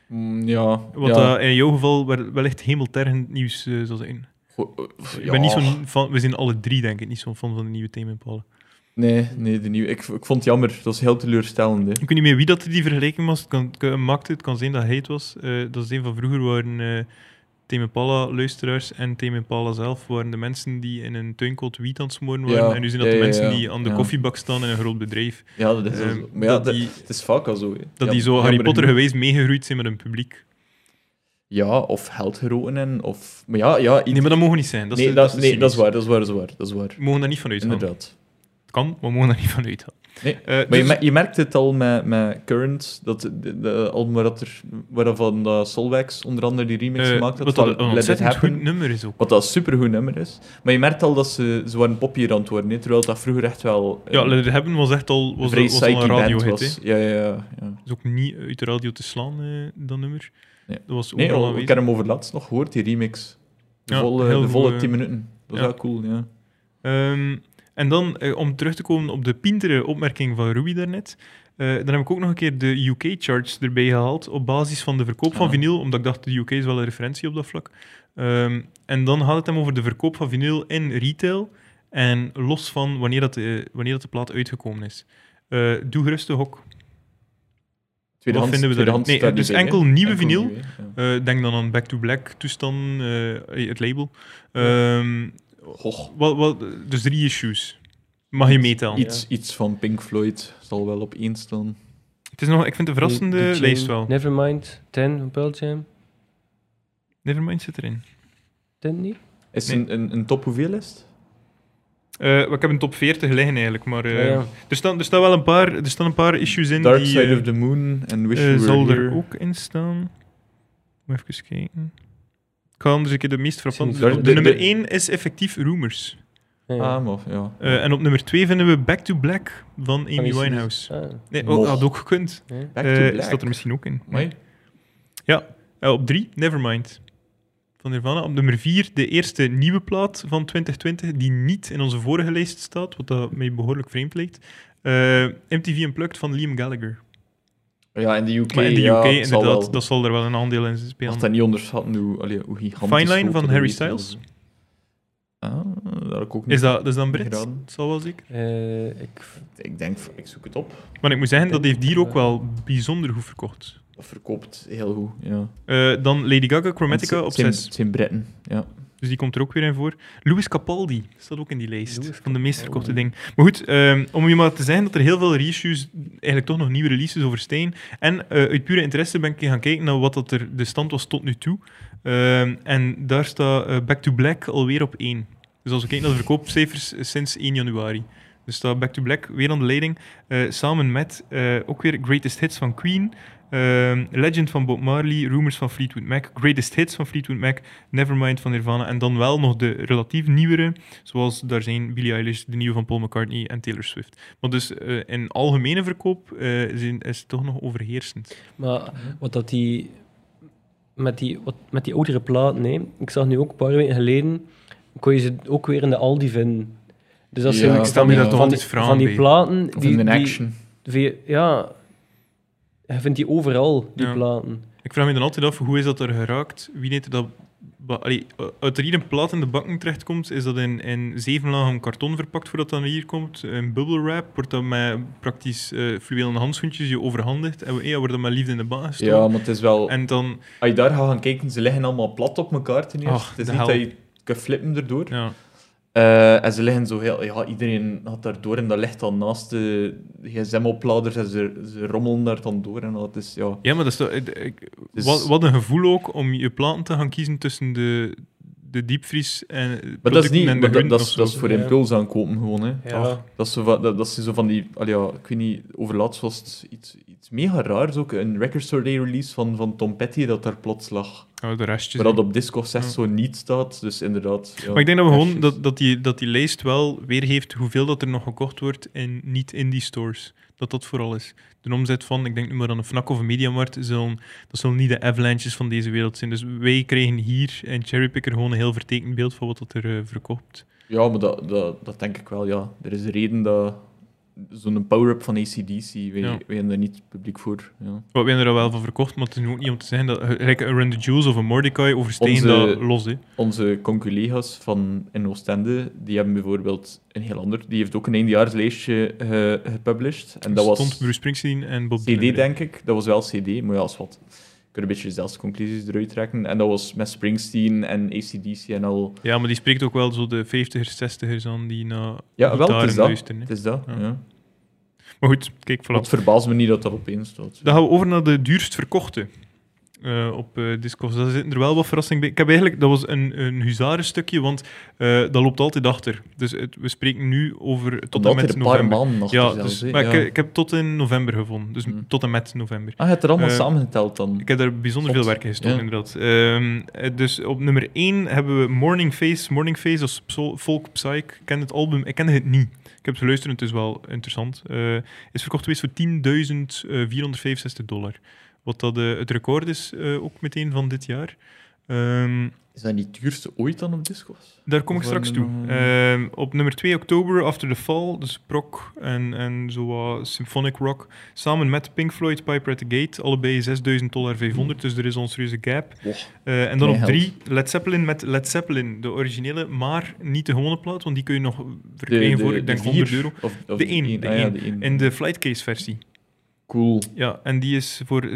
Speaker 2: Mm, ja.
Speaker 1: Wat
Speaker 2: ja.
Speaker 1: eh, in jouw geval wel- wellicht hemeltergend nieuws eh, zal zijn.
Speaker 2: Goh, eh,
Speaker 1: Ik ben niet
Speaker 2: ja.
Speaker 1: zo'n fan, we zijn alle drie denk ik niet zo'n fan van de nieuwe Tame Impala.
Speaker 2: Nee, nee de nieuwe. Ik, ik vond het jammer. Dat was heel teleurstellend. Hè.
Speaker 1: Ik weet niet meer wie dat die vergelijking was, het kan, het kan- maakte. Het kan zijn dat hij het was. Eh, dat is een van vroeger waren eh Tame Impala luisteraars en Tame Impala zelf waren de mensen die in een tuinkoot wiet aan het smoren waren.
Speaker 2: Ja,
Speaker 1: En nu zijn dat
Speaker 2: ja,
Speaker 1: de
Speaker 2: ja,
Speaker 1: mensen
Speaker 2: ja.
Speaker 1: die aan de
Speaker 2: Ja.
Speaker 1: koffiebak staan in een groot bedrijf.
Speaker 2: Ja, dat is wel
Speaker 1: Ehm,
Speaker 2: zo. Maar ja,
Speaker 1: dat
Speaker 2: dat-
Speaker 1: die-
Speaker 2: het is vaak al zo. Hè.
Speaker 1: Dat
Speaker 2: Ja,
Speaker 1: die zo Harry
Speaker 2: jammer
Speaker 1: Potter
Speaker 2: genoeg.
Speaker 1: geweest meegegroeid zijn met een publiek.
Speaker 2: Ja, of held en of... Maar ja, ja...
Speaker 1: Nee, maar dat mogen we niet zijn. Dat is
Speaker 2: nee,
Speaker 1: de-
Speaker 2: dat,
Speaker 1: is de
Speaker 2: nee, dat is
Speaker 1: cynisch.
Speaker 2: waar, dat is waar, dat is waar. Dat is waar.
Speaker 1: We mogen daar niet van uitgaan.
Speaker 2: Inderdaad.
Speaker 1: Het kan, maar we mogen daar niet van uitgaan.
Speaker 2: Nee,
Speaker 1: Eh,
Speaker 2: Maar je,
Speaker 1: dus-
Speaker 2: mer- je merkt het al met, met Current, dat de, de, de album waar dat er, waarvan dat Solwax onder andere die remix
Speaker 1: eh,
Speaker 2: gemaakt had,
Speaker 1: wat dat
Speaker 2: van
Speaker 1: een
Speaker 2: Let It
Speaker 1: ontzettend
Speaker 2: Happen,
Speaker 1: goed nummer is ook.
Speaker 2: wat dat een supergoed nummer is. Maar je merkt al dat ze, ze waren poppier aan het worden, hè, terwijl dat vroeger echt wel eh,
Speaker 1: Ja, Let It Happen was echt al, was
Speaker 2: vrij
Speaker 1: was al een
Speaker 2: psyche band
Speaker 1: radiohit. hè.
Speaker 2: was. Ja, ja, ja. ja.
Speaker 1: is ook niet uit de radio te slaan, eh, dat nummer.
Speaker 2: Nee.
Speaker 1: Dat was
Speaker 2: Nee,
Speaker 1: overal
Speaker 2: oh, ik
Speaker 1: aanwezig.
Speaker 2: heb hem over het laatst nog gehoord, die remix. De
Speaker 1: Ja,
Speaker 2: volle,
Speaker 1: heel
Speaker 2: de volle
Speaker 1: goeie-
Speaker 2: 10 minuten. Dat is
Speaker 1: ja.
Speaker 2: wel cool, ja.
Speaker 1: Ehm, en dan, eh, om terug te komen op de pintere opmerking van Ruby daarnet, eh, dan heb ik ook nog een keer de UK-charts erbij gehaald op basis van de verkoop van
Speaker 2: Ah.
Speaker 1: vinyl, omdat ik dacht, de UK is wel een referentie op dat vlak. Ehm, en dan gaat het hem over de verkoop van vinyl in retail en los van wanneer dat de, wanneer dat de plaat uitgekomen is. Eh, doe gerust de hok.
Speaker 2: Tweedehands-
Speaker 1: vinden we daar-
Speaker 2: tweedehands
Speaker 1: nee,
Speaker 2: staat
Speaker 1: dus
Speaker 2: niet bij, hè.
Speaker 1: enkel nieuwe vinyl.
Speaker 2: hè, ja.
Speaker 1: Eh, denk dan aan Back to Black toestand, eh, het label. Ehm,
Speaker 2: Goh,
Speaker 1: Wel, wel, dus drie issues. Mag je meetellen.
Speaker 2: iets, iets van Pink Floyd zal wel op één staan.
Speaker 1: Het is nog, ik vind het een verrassende
Speaker 3: The- The Chain,
Speaker 1: lijst wel.
Speaker 3: Nevermind, Ten van Pearl Jam.
Speaker 1: Nevermind zit erin.
Speaker 3: Ten niet?
Speaker 2: Is
Speaker 1: Nee.
Speaker 2: een, een, een top hoeveel is het?
Speaker 1: Eh, maar ik heb een top 40 liggen eigenlijk, maar eh,
Speaker 3: Ja, Oh, ja.
Speaker 1: Er, staan, er, staan wel een paar, er staan een paar issues in
Speaker 2: Dark
Speaker 1: die
Speaker 2: Side
Speaker 1: eh,
Speaker 2: of the Moon en Wish
Speaker 1: eh,
Speaker 2: You Were
Speaker 1: zal er
Speaker 2: Here.
Speaker 1: ook in staan. Moet even kijken. Ik ga anders een keer de meest frappante...
Speaker 3: Zie je
Speaker 1: De,
Speaker 3: het?
Speaker 2: De-
Speaker 1: nummer
Speaker 2: de-
Speaker 1: 1 is effectief Rumors.
Speaker 3: Ja, ja.
Speaker 2: Ah, maar ja.
Speaker 1: Eh, en op nummer 2 vinden we Back to Black van
Speaker 3: Van
Speaker 1: Amy
Speaker 3: die-
Speaker 1: Winehouse.
Speaker 3: Ah,
Speaker 1: Nee, oh, dat
Speaker 2: Mocht.
Speaker 1: had ook gekund.
Speaker 3: ja.
Speaker 2: Back to
Speaker 1: Eh,
Speaker 2: Black.
Speaker 1: Staat er misschien ook in.
Speaker 2: Amai.
Speaker 1: Eh, op drie, Nevermind. Van Nirvana. Op nummer vier, de eerste nieuwe plaat van 2020, die niet in onze vorige lijst staat, wat dat mij behoorlijk vreemd lijkt. Eh, MTV Unplugged van Liam Gallagher.
Speaker 2: Ja, in de UK,
Speaker 1: maar in de
Speaker 2: ja,
Speaker 1: UK,
Speaker 2: het zal
Speaker 1: inderdaad,
Speaker 2: wel.
Speaker 1: dat zal er wel een aandeel in spelen.
Speaker 2: Mag dat niet onderschatten hoe, allee, hoe gigantisch...
Speaker 1: Fine Line
Speaker 2: groot
Speaker 1: van
Speaker 2: dat
Speaker 1: Harry
Speaker 2: is.
Speaker 1: Styles.
Speaker 2: Ah, dat had ik ook niet.
Speaker 1: Is dat, dat is dan Brit?
Speaker 2: Geraden.
Speaker 1: Dat zal wel zeker.
Speaker 3: Eh, ik,
Speaker 2: Ik denk, ik zoek het op.
Speaker 1: Maar ik moet zeggen, dat
Speaker 3: denk
Speaker 1: heeft hier
Speaker 3: dat,
Speaker 1: ook
Speaker 3: eh,
Speaker 1: wel bijzonder goed verkocht.
Speaker 2: Dat verkoopt heel goed, ja.
Speaker 1: Eh, dan Lady Gaga, Chromatica
Speaker 2: Chromatica
Speaker 1: op
Speaker 2: Het
Speaker 1: 6.
Speaker 2: zijn Britten, ja.
Speaker 1: Dus die komt er ook weer in voor. Louis Capaldi staat ook in die lijst
Speaker 3: Louis
Speaker 1: van de meest
Speaker 3: Capaldi.
Speaker 1: verkochte dingen. Maar goed, ehm, om je maar te zeggen dat er heel veel reissues, eigenlijk toch nog nieuwe releases over Steen. En eh, uit pure interesse ben ik gaan kijken naar wat dat er de stand was tot nu toe. Ehm, en daar staat eh, Back to Black alweer op 1. Dus als we kijken naar de verkoopcijfers eh, sinds 1 januari. Dus staat Back to Black weer aan de leiding. eh, samen met eh, ook weer Greatest Hits van Queen. ehm, Legend van Bob Marley, Rumors van Fleetwood Mac, Greatest Hits van Fleetwood Mac, Nevermind van Nirvana en dan wel nog de relatief nieuwere, zoals daar zijn Billie Eilish, de nieuwe van Paul McCartney en Taylor Swift. Maar dus eh, in algemene verkoop eh, zijn, is het toch nog overheersend.
Speaker 3: maar wat dat die... Met die, wat, met die oudere platen, nee. Ik zag nu ook een paar weken geleden, kon je ze ook weer in de Aldi vinden. Dus dat
Speaker 2: Ja,
Speaker 3: zijn
Speaker 2: ik
Speaker 1: stel me
Speaker 3: van die-
Speaker 1: daar toch
Speaker 3: van
Speaker 1: altijd
Speaker 3: die,
Speaker 1: vragen
Speaker 3: van die
Speaker 1: bij.
Speaker 3: platen...
Speaker 2: Of
Speaker 3: die,
Speaker 2: in
Speaker 3: die-
Speaker 2: action.
Speaker 3: via- ja, je vindt die overal, die
Speaker 1: Ja.
Speaker 3: platen.
Speaker 1: Ik vraag me dan altijd af, hoe is dat er geraakt? Wie weet dat... ba- Allee, eh, uit er hier een plaat in de bakken terechtkomt, is dat in, in zeven lagen karton verpakt voordat dat naar hier komt. In bubble wrap wordt dat met praktisch eh fluwelen handschoentjes je overhandigd. En ja, wordt dat met liefde in de baan gestopt.
Speaker 2: Ja, maar het is wel...
Speaker 1: En dan...
Speaker 2: Als je daar gaat gaan kijken, ze liggen allemaal plat op elkaar ten eerste.
Speaker 1: Ach,
Speaker 2: het is
Speaker 1: de
Speaker 2: niet
Speaker 1: hel.
Speaker 2: dat je kunt flippen erdoor.
Speaker 1: Ja.
Speaker 2: Eh, en ze liggen zo heel... Ja, iedereen had daar door en dat ligt dan naast de gsm-opladers en ze, ze rommelen daar dan door en dat is... Ja,
Speaker 1: Ja, maar dat is toch- ik- ik-
Speaker 2: Dus-
Speaker 1: wat, wat een gevoel ook om je planten te gaan kiezen tussen de, de diepvries en
Speaker 2: maar dat is
Speaker 1: en
Speaker 2: niet...
Speaker 1: de
Speaker 2: maar dat,
Speaker 1: groenten
Speaker 2: dat,
Speaker 1: of
Speaker 2: is,
Speaker 1: zo.
Speaker 2: dat is voor
Speaker 3: Ja.
Speaker 2: impuls aankopen gewoon, hè.
Speaker 3: Ja.
Speaker 1: Ach.
Speaker 2: Dat is, zo van, dat, dat is zo van die... Allee, ja, ik weet niet, overlaatst was het iets, iets mega raars ook. Een Record Store Day release van, van Tom Petty dat daar plots lag.
Speaker 1: Oh, de restjes.
Speaker 2: Maar dat op Discord 6
Speaker 1: Ja.
Speaker 2: zo niet staat, dus inderdaad... Ja,
Speaker 1: Maar ik denk dat we gewoon
Speaker 2: restjes.
Speaker 1: dat, dat, die, dat die lijst wel weergeeft hoeveel dat er nog gekocht wordt in niet-indie stores. Dat dat vooral is. De omzet van, ik denk nu maar aan een Fnac of een Mediamarkt, zullen, dat zullen niet de avalanches van deze wereld zijn. Dus wij krijgen hier in Cherrypicker gewoon een heel vertekend beeld van wat dat er eh, verkoopt.
Speaker 2: Ja, maar dat, dat, dat denk ik wel, ja. Er is een reden dat zo'n power-up van ACDC, wij,
Speaker 1: Ja.
Speaker 2: wij hebben daar niet publiek voor. Ja.
Speaker 1: Wat we hebben er al wel van verkocht, maar het is nu ook niet om te zeggen dat gelijk een Run the Jewels of een Mordecai oversteken
Speaker 2: Onze-
Speaker 1: dat los. Hè.
Speaker 2: Onze conculega's van in Oostende, die hebben bijvoorbeeld een heel ander, die heeft ook een eindjaarslijstje ge- gepublished. En dat was
Speaker 1: stond Bruce Springsteen en Bob Dylan.
Speaker 2: CD, denk ik. Dat was wel CD, maar ja, is wat. Je kunt een beetje zelfsconclusies eruit trekken. En dat was met Springsteen en ACDC en al.
Speaker 1: Ja, maar die spreekt ook wel zo de 50ers, 60ers aan die naar
Speaker 2: Ja, wel, het
Speaker 1: gitaren
Speaker 2: is dat.
Speaker 1: luisteren. hè.
Speaker 2: Het is dat,
Speaker 1: Ja.
Speaker 2: ja.
Speaker 1: Maar goed, kijk, voilà.
Speaker 2: Het verbaast me niet dat dat opeens staat.
Speaker 1: Dan gaan we over naar de duurst verkochte. eh, op eh Discogs. Daar zitten er wel wat verrassing bij. Ik heb eigenlijk, dat was een, een huzarenstukje, want eh, dat loopt altijd achter. Dus het- we spreken nu over tot en
Speaker 2: Omdat
Speaker 1: met
Speaker 2: er een paar
Speaker 1: november.
Speaker 2: maanden nog
Speaker 1: Ja,
Speaker 2: zelfs,
Speaker 1: dus,
Speaker 2: hè.
Speaker 1: maar
Speaker 2: Ja.
Speaker 1: Ik, ik heb tot in november gevonden. Dus
Speaker 2: Hmm.
Speaker 1: tot en met november.
Speaker 2: Ah, je hebt er allemaal
Speaker 1: Eh,
Speaker 2: samengeteld dan?
Speaker 1: Ik heb daar bijzonder
Speaker 2: Zot.
Speaker 1: veel werk in gestoken,
Speaker 2: Ja.
Speaker 1: inderdaad. Ehm, eh, dus op nummer 1 hebben we Morning Face. Morning Face als pso- folk psych. Ik ken het album, ik kende het niet. Ik heb het geluisterd, het is wel interessant. Eh, is verkocht geweest voor 10.465 dollar. Wat dat, eh, het record is eh, ook meteen van dit jaar. Ehm,
Speaker 2: Is dat niet het duurste ooit dan op Discos?
Speaker 1: daar kom ik
Speaker 2: Of
Speaker 1: straks toe.
Speaker 2: hebben we nog,
Speaker 1: Ehm, op nummer 2 oktober, After the Fall, dus prog en, en zo wat symphonic rock. Samen met Pink Floyd, Piper at the Gate, allebei 6000 dollar 500, dus er is een serieuze gap.
Speaker 2: Wow.
Speaker 1: Eh, en dan op
Speaker 2: Knijheld.
Speaker 1: 3 Led Zeppelin met Led Zeppelin, de originele, maar niet de gewone plaat, want die kun je nog verkrijgen voor, ik denk,
Speaker 2: vier,
Speaker 1: 100 euro.
Speaker 2: Of, of
Speaker 1: De één,
Speaker 2: één,
Speaker 1: de
Speaker 2: ah ja,
Speaker 1: één.
Speaker 2: de één.
Speaker 1: In de flightcase versie.
Speaker 2: Cool.
Speaker 1: Ja, en die is voor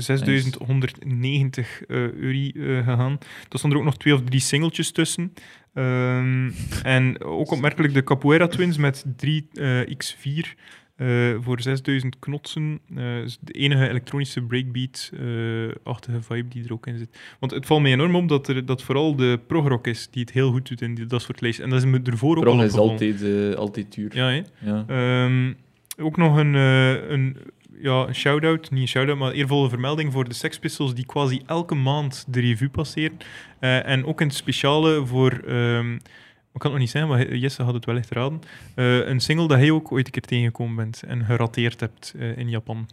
Speaker 1: 6190 eh euro eh, gegaan. Er stonden er ook nog twee of drie singeltjes tussen. Ehm, en ook opmerkelijk de Capoeira Twins met eh, 3x4 eh, voor 6000 knotsen. Eh, is de enige elektronische breakbeat-achtige vibe die er ook in zit. Want het valt mij enorm op dat, er, dat vooral de progrock is die het heel goed doet in die, dat soort lijstjes. En dat is me ervoor ook al
Speaker 2: Prog is
Speaker 1: opgevallen.
Speaker 2: altijd, eh, altijd duur.
Speaker 1: Ja, hè?
Speaker 2: Ja.
Speaker 1: Ehm, ook nog een, eh, een, ja, een shout-out, niet een shout-out, maar eervolle vermelding voor de Sex Pistols, die quasi elke maand de revue passeren. Eh, en ook een speciale voor, ehm, ik kan het nog niet zeggen, maar Jesse had het wellicht raden, Eh, een single dat hij ook ooit een keer tegengekomen bent en gerateerd hebt eh, in Japan.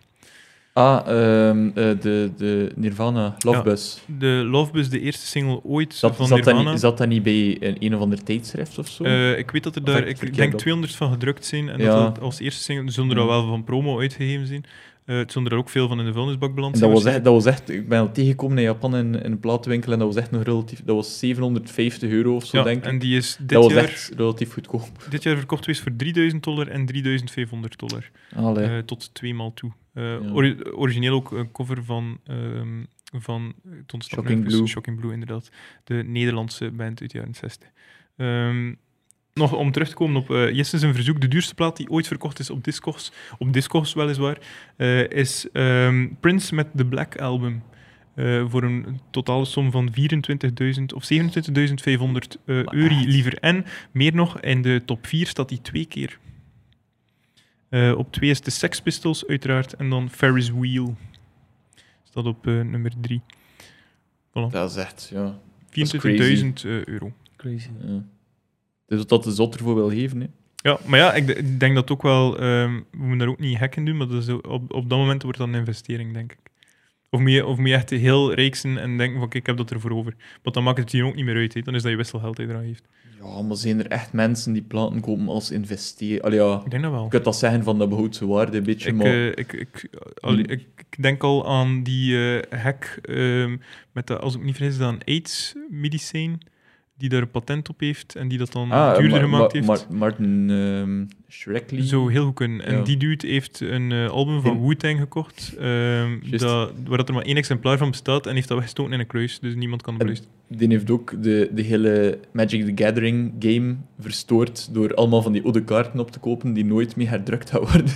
Speaker 2: Ah, ehm, eh, de, de Nirvana, Lovebus.
Speaker 1: De Lovebus, de eerste single ooit
Speaker 2: Zat,
Speaker 1: van
Speaker 2: zat, dat
Speaker 1: Nirvana.
Speaker 2: niet, zat dat niet bij een, een of ander tijdschrift of zo?
Speaker 1: Eh, ik weet dat er
Speaker 2: Of
Speaker 1: daar,
Speaker 2: heb ik
Speaker 1: ik
Speaker 2: verkeerd
Speaker 1: denk
Speaker 2: op?
Speaker 1: 200 van gedrukt zijn. En
Speaker 2: Ja. Mm.
Speaker 1: dat dat als eerste single, ze zullen er al
Speaker 2: Ja.
Speaker 1: wel van promo uitgegeven zijn. Eh het zullen er ook veel van in de vuilnisbak beland
Speaker 2: En dat,
Speaker 1: zijn.
Speaker 2: was echt, dat was echt, ik ben al tegengekomen in Japan in, in een platenwinkel en dat was echt nog relatief, dat was 750 euro of zo,
Speaker 1: Ja,
Speaker 2: denk ik.
Speaker 1: en die is dit
Speaker 2: dat was
Speaker 1: jaar,
Speaker 2: echt relatief goedkoop.
Speaker 1: dit jaar verkocht geweest voor 3000 dollar en 3500 dollar.
Speaker 2: Allee.
Speaker 1: Eh, tot twee maal toe. Eh,
Speaker 2: Oh Ja.
Speaker 1: ori- origineel ook een cover van, ehm van eh, het ontsnappen
Speaker 2: Shocking
Speaker 1: is
Speaker 2: Blue.
Speaker 1: Shocking Blue, inderdaad. De Nederlandse band uit de jaren 60. Ehm, nog om terug te komen op eh Jesse zijn verzoek, de duurste plaat die ooit verkocht is op Discogs, op Discogs weliswaar, eh, is ehm, Prince met The Black Album. eh, voor een totale som van 24.000 of 27.500 eh euro liever. En meer nog, in de top 4 staat hij twee keer. Eh, op 2 is de Sex Pistols, uiteraard. En dan Ferris Wheel. Staat op eh, nummer 3.
Speaker 2: Dat is echt, ja.
Speaker 1: 24.000 eh, euro.
Speaker 3: Crazy.
Speaker 2: ja. Dus dat de zot ervoor wil geven, hè.
Speaker 1: Ja, maar ja, ik, d- ik denk dat ook wel. ehm, we moeten daar ook niet gek in doen, maar dat is, op, op dat moment wordt dat een investering, denk ik. Of moet je, of moet je echt heel reeksen en denken: van kijk, ik heb dat ervoor over. Want dan maakt het hier ook niet meer uit. hè. Dan is dat je wisselgeld dat je eraan heeft.
Speaker 2: Ja, maar zijn er echt mensen die platen kopen als investeren? Allee, ja,
Speaker 1: Ik denk dat wel.
Speaker 2: je kunt dat zeggen van dat behoudt zijn waarde een beetje,
Speaker 1: Ik,
Speaker 2: maar...
Speaker 1: eh, ik, ik, allee, ik, ik denk al aan die eh, hack ehm, met, de, als ik me niet vergis, dan AIDS-medicijn, die daar een patent op heeft en die dat dan
Speaker 2: Ah,
Speaker 1: eh, duurder
Speaker 2: Ma-
Speaker 1: gemaakt
Speaker 2: Ma-
Speaker 1: heeft.
Speaker 2: Ma- Martin ehm Shrekley.
Speaker 1: Zo heel goed kunnen. En
Speaker 2: Ja.
Speaker 1: die dude heeft een eh, album van
Speaker 2: In-
Speaker 1: Wu-Tang gekocht, ehm,
Speaker 2: Juist.
Speaker 1: dat, waar dat er maar één exemplaar van bestaat en heeft dat weggestoten in een kluis, dus niemand kan het
Speaker 2: En-
Speaker 1: beluisteren.
Speaker 2: Die heeft ook de, de hele Magic the Gathering game verstoord door allemaal van die oude kaarten op te kopen die nooit meer herdrukt gaan worden.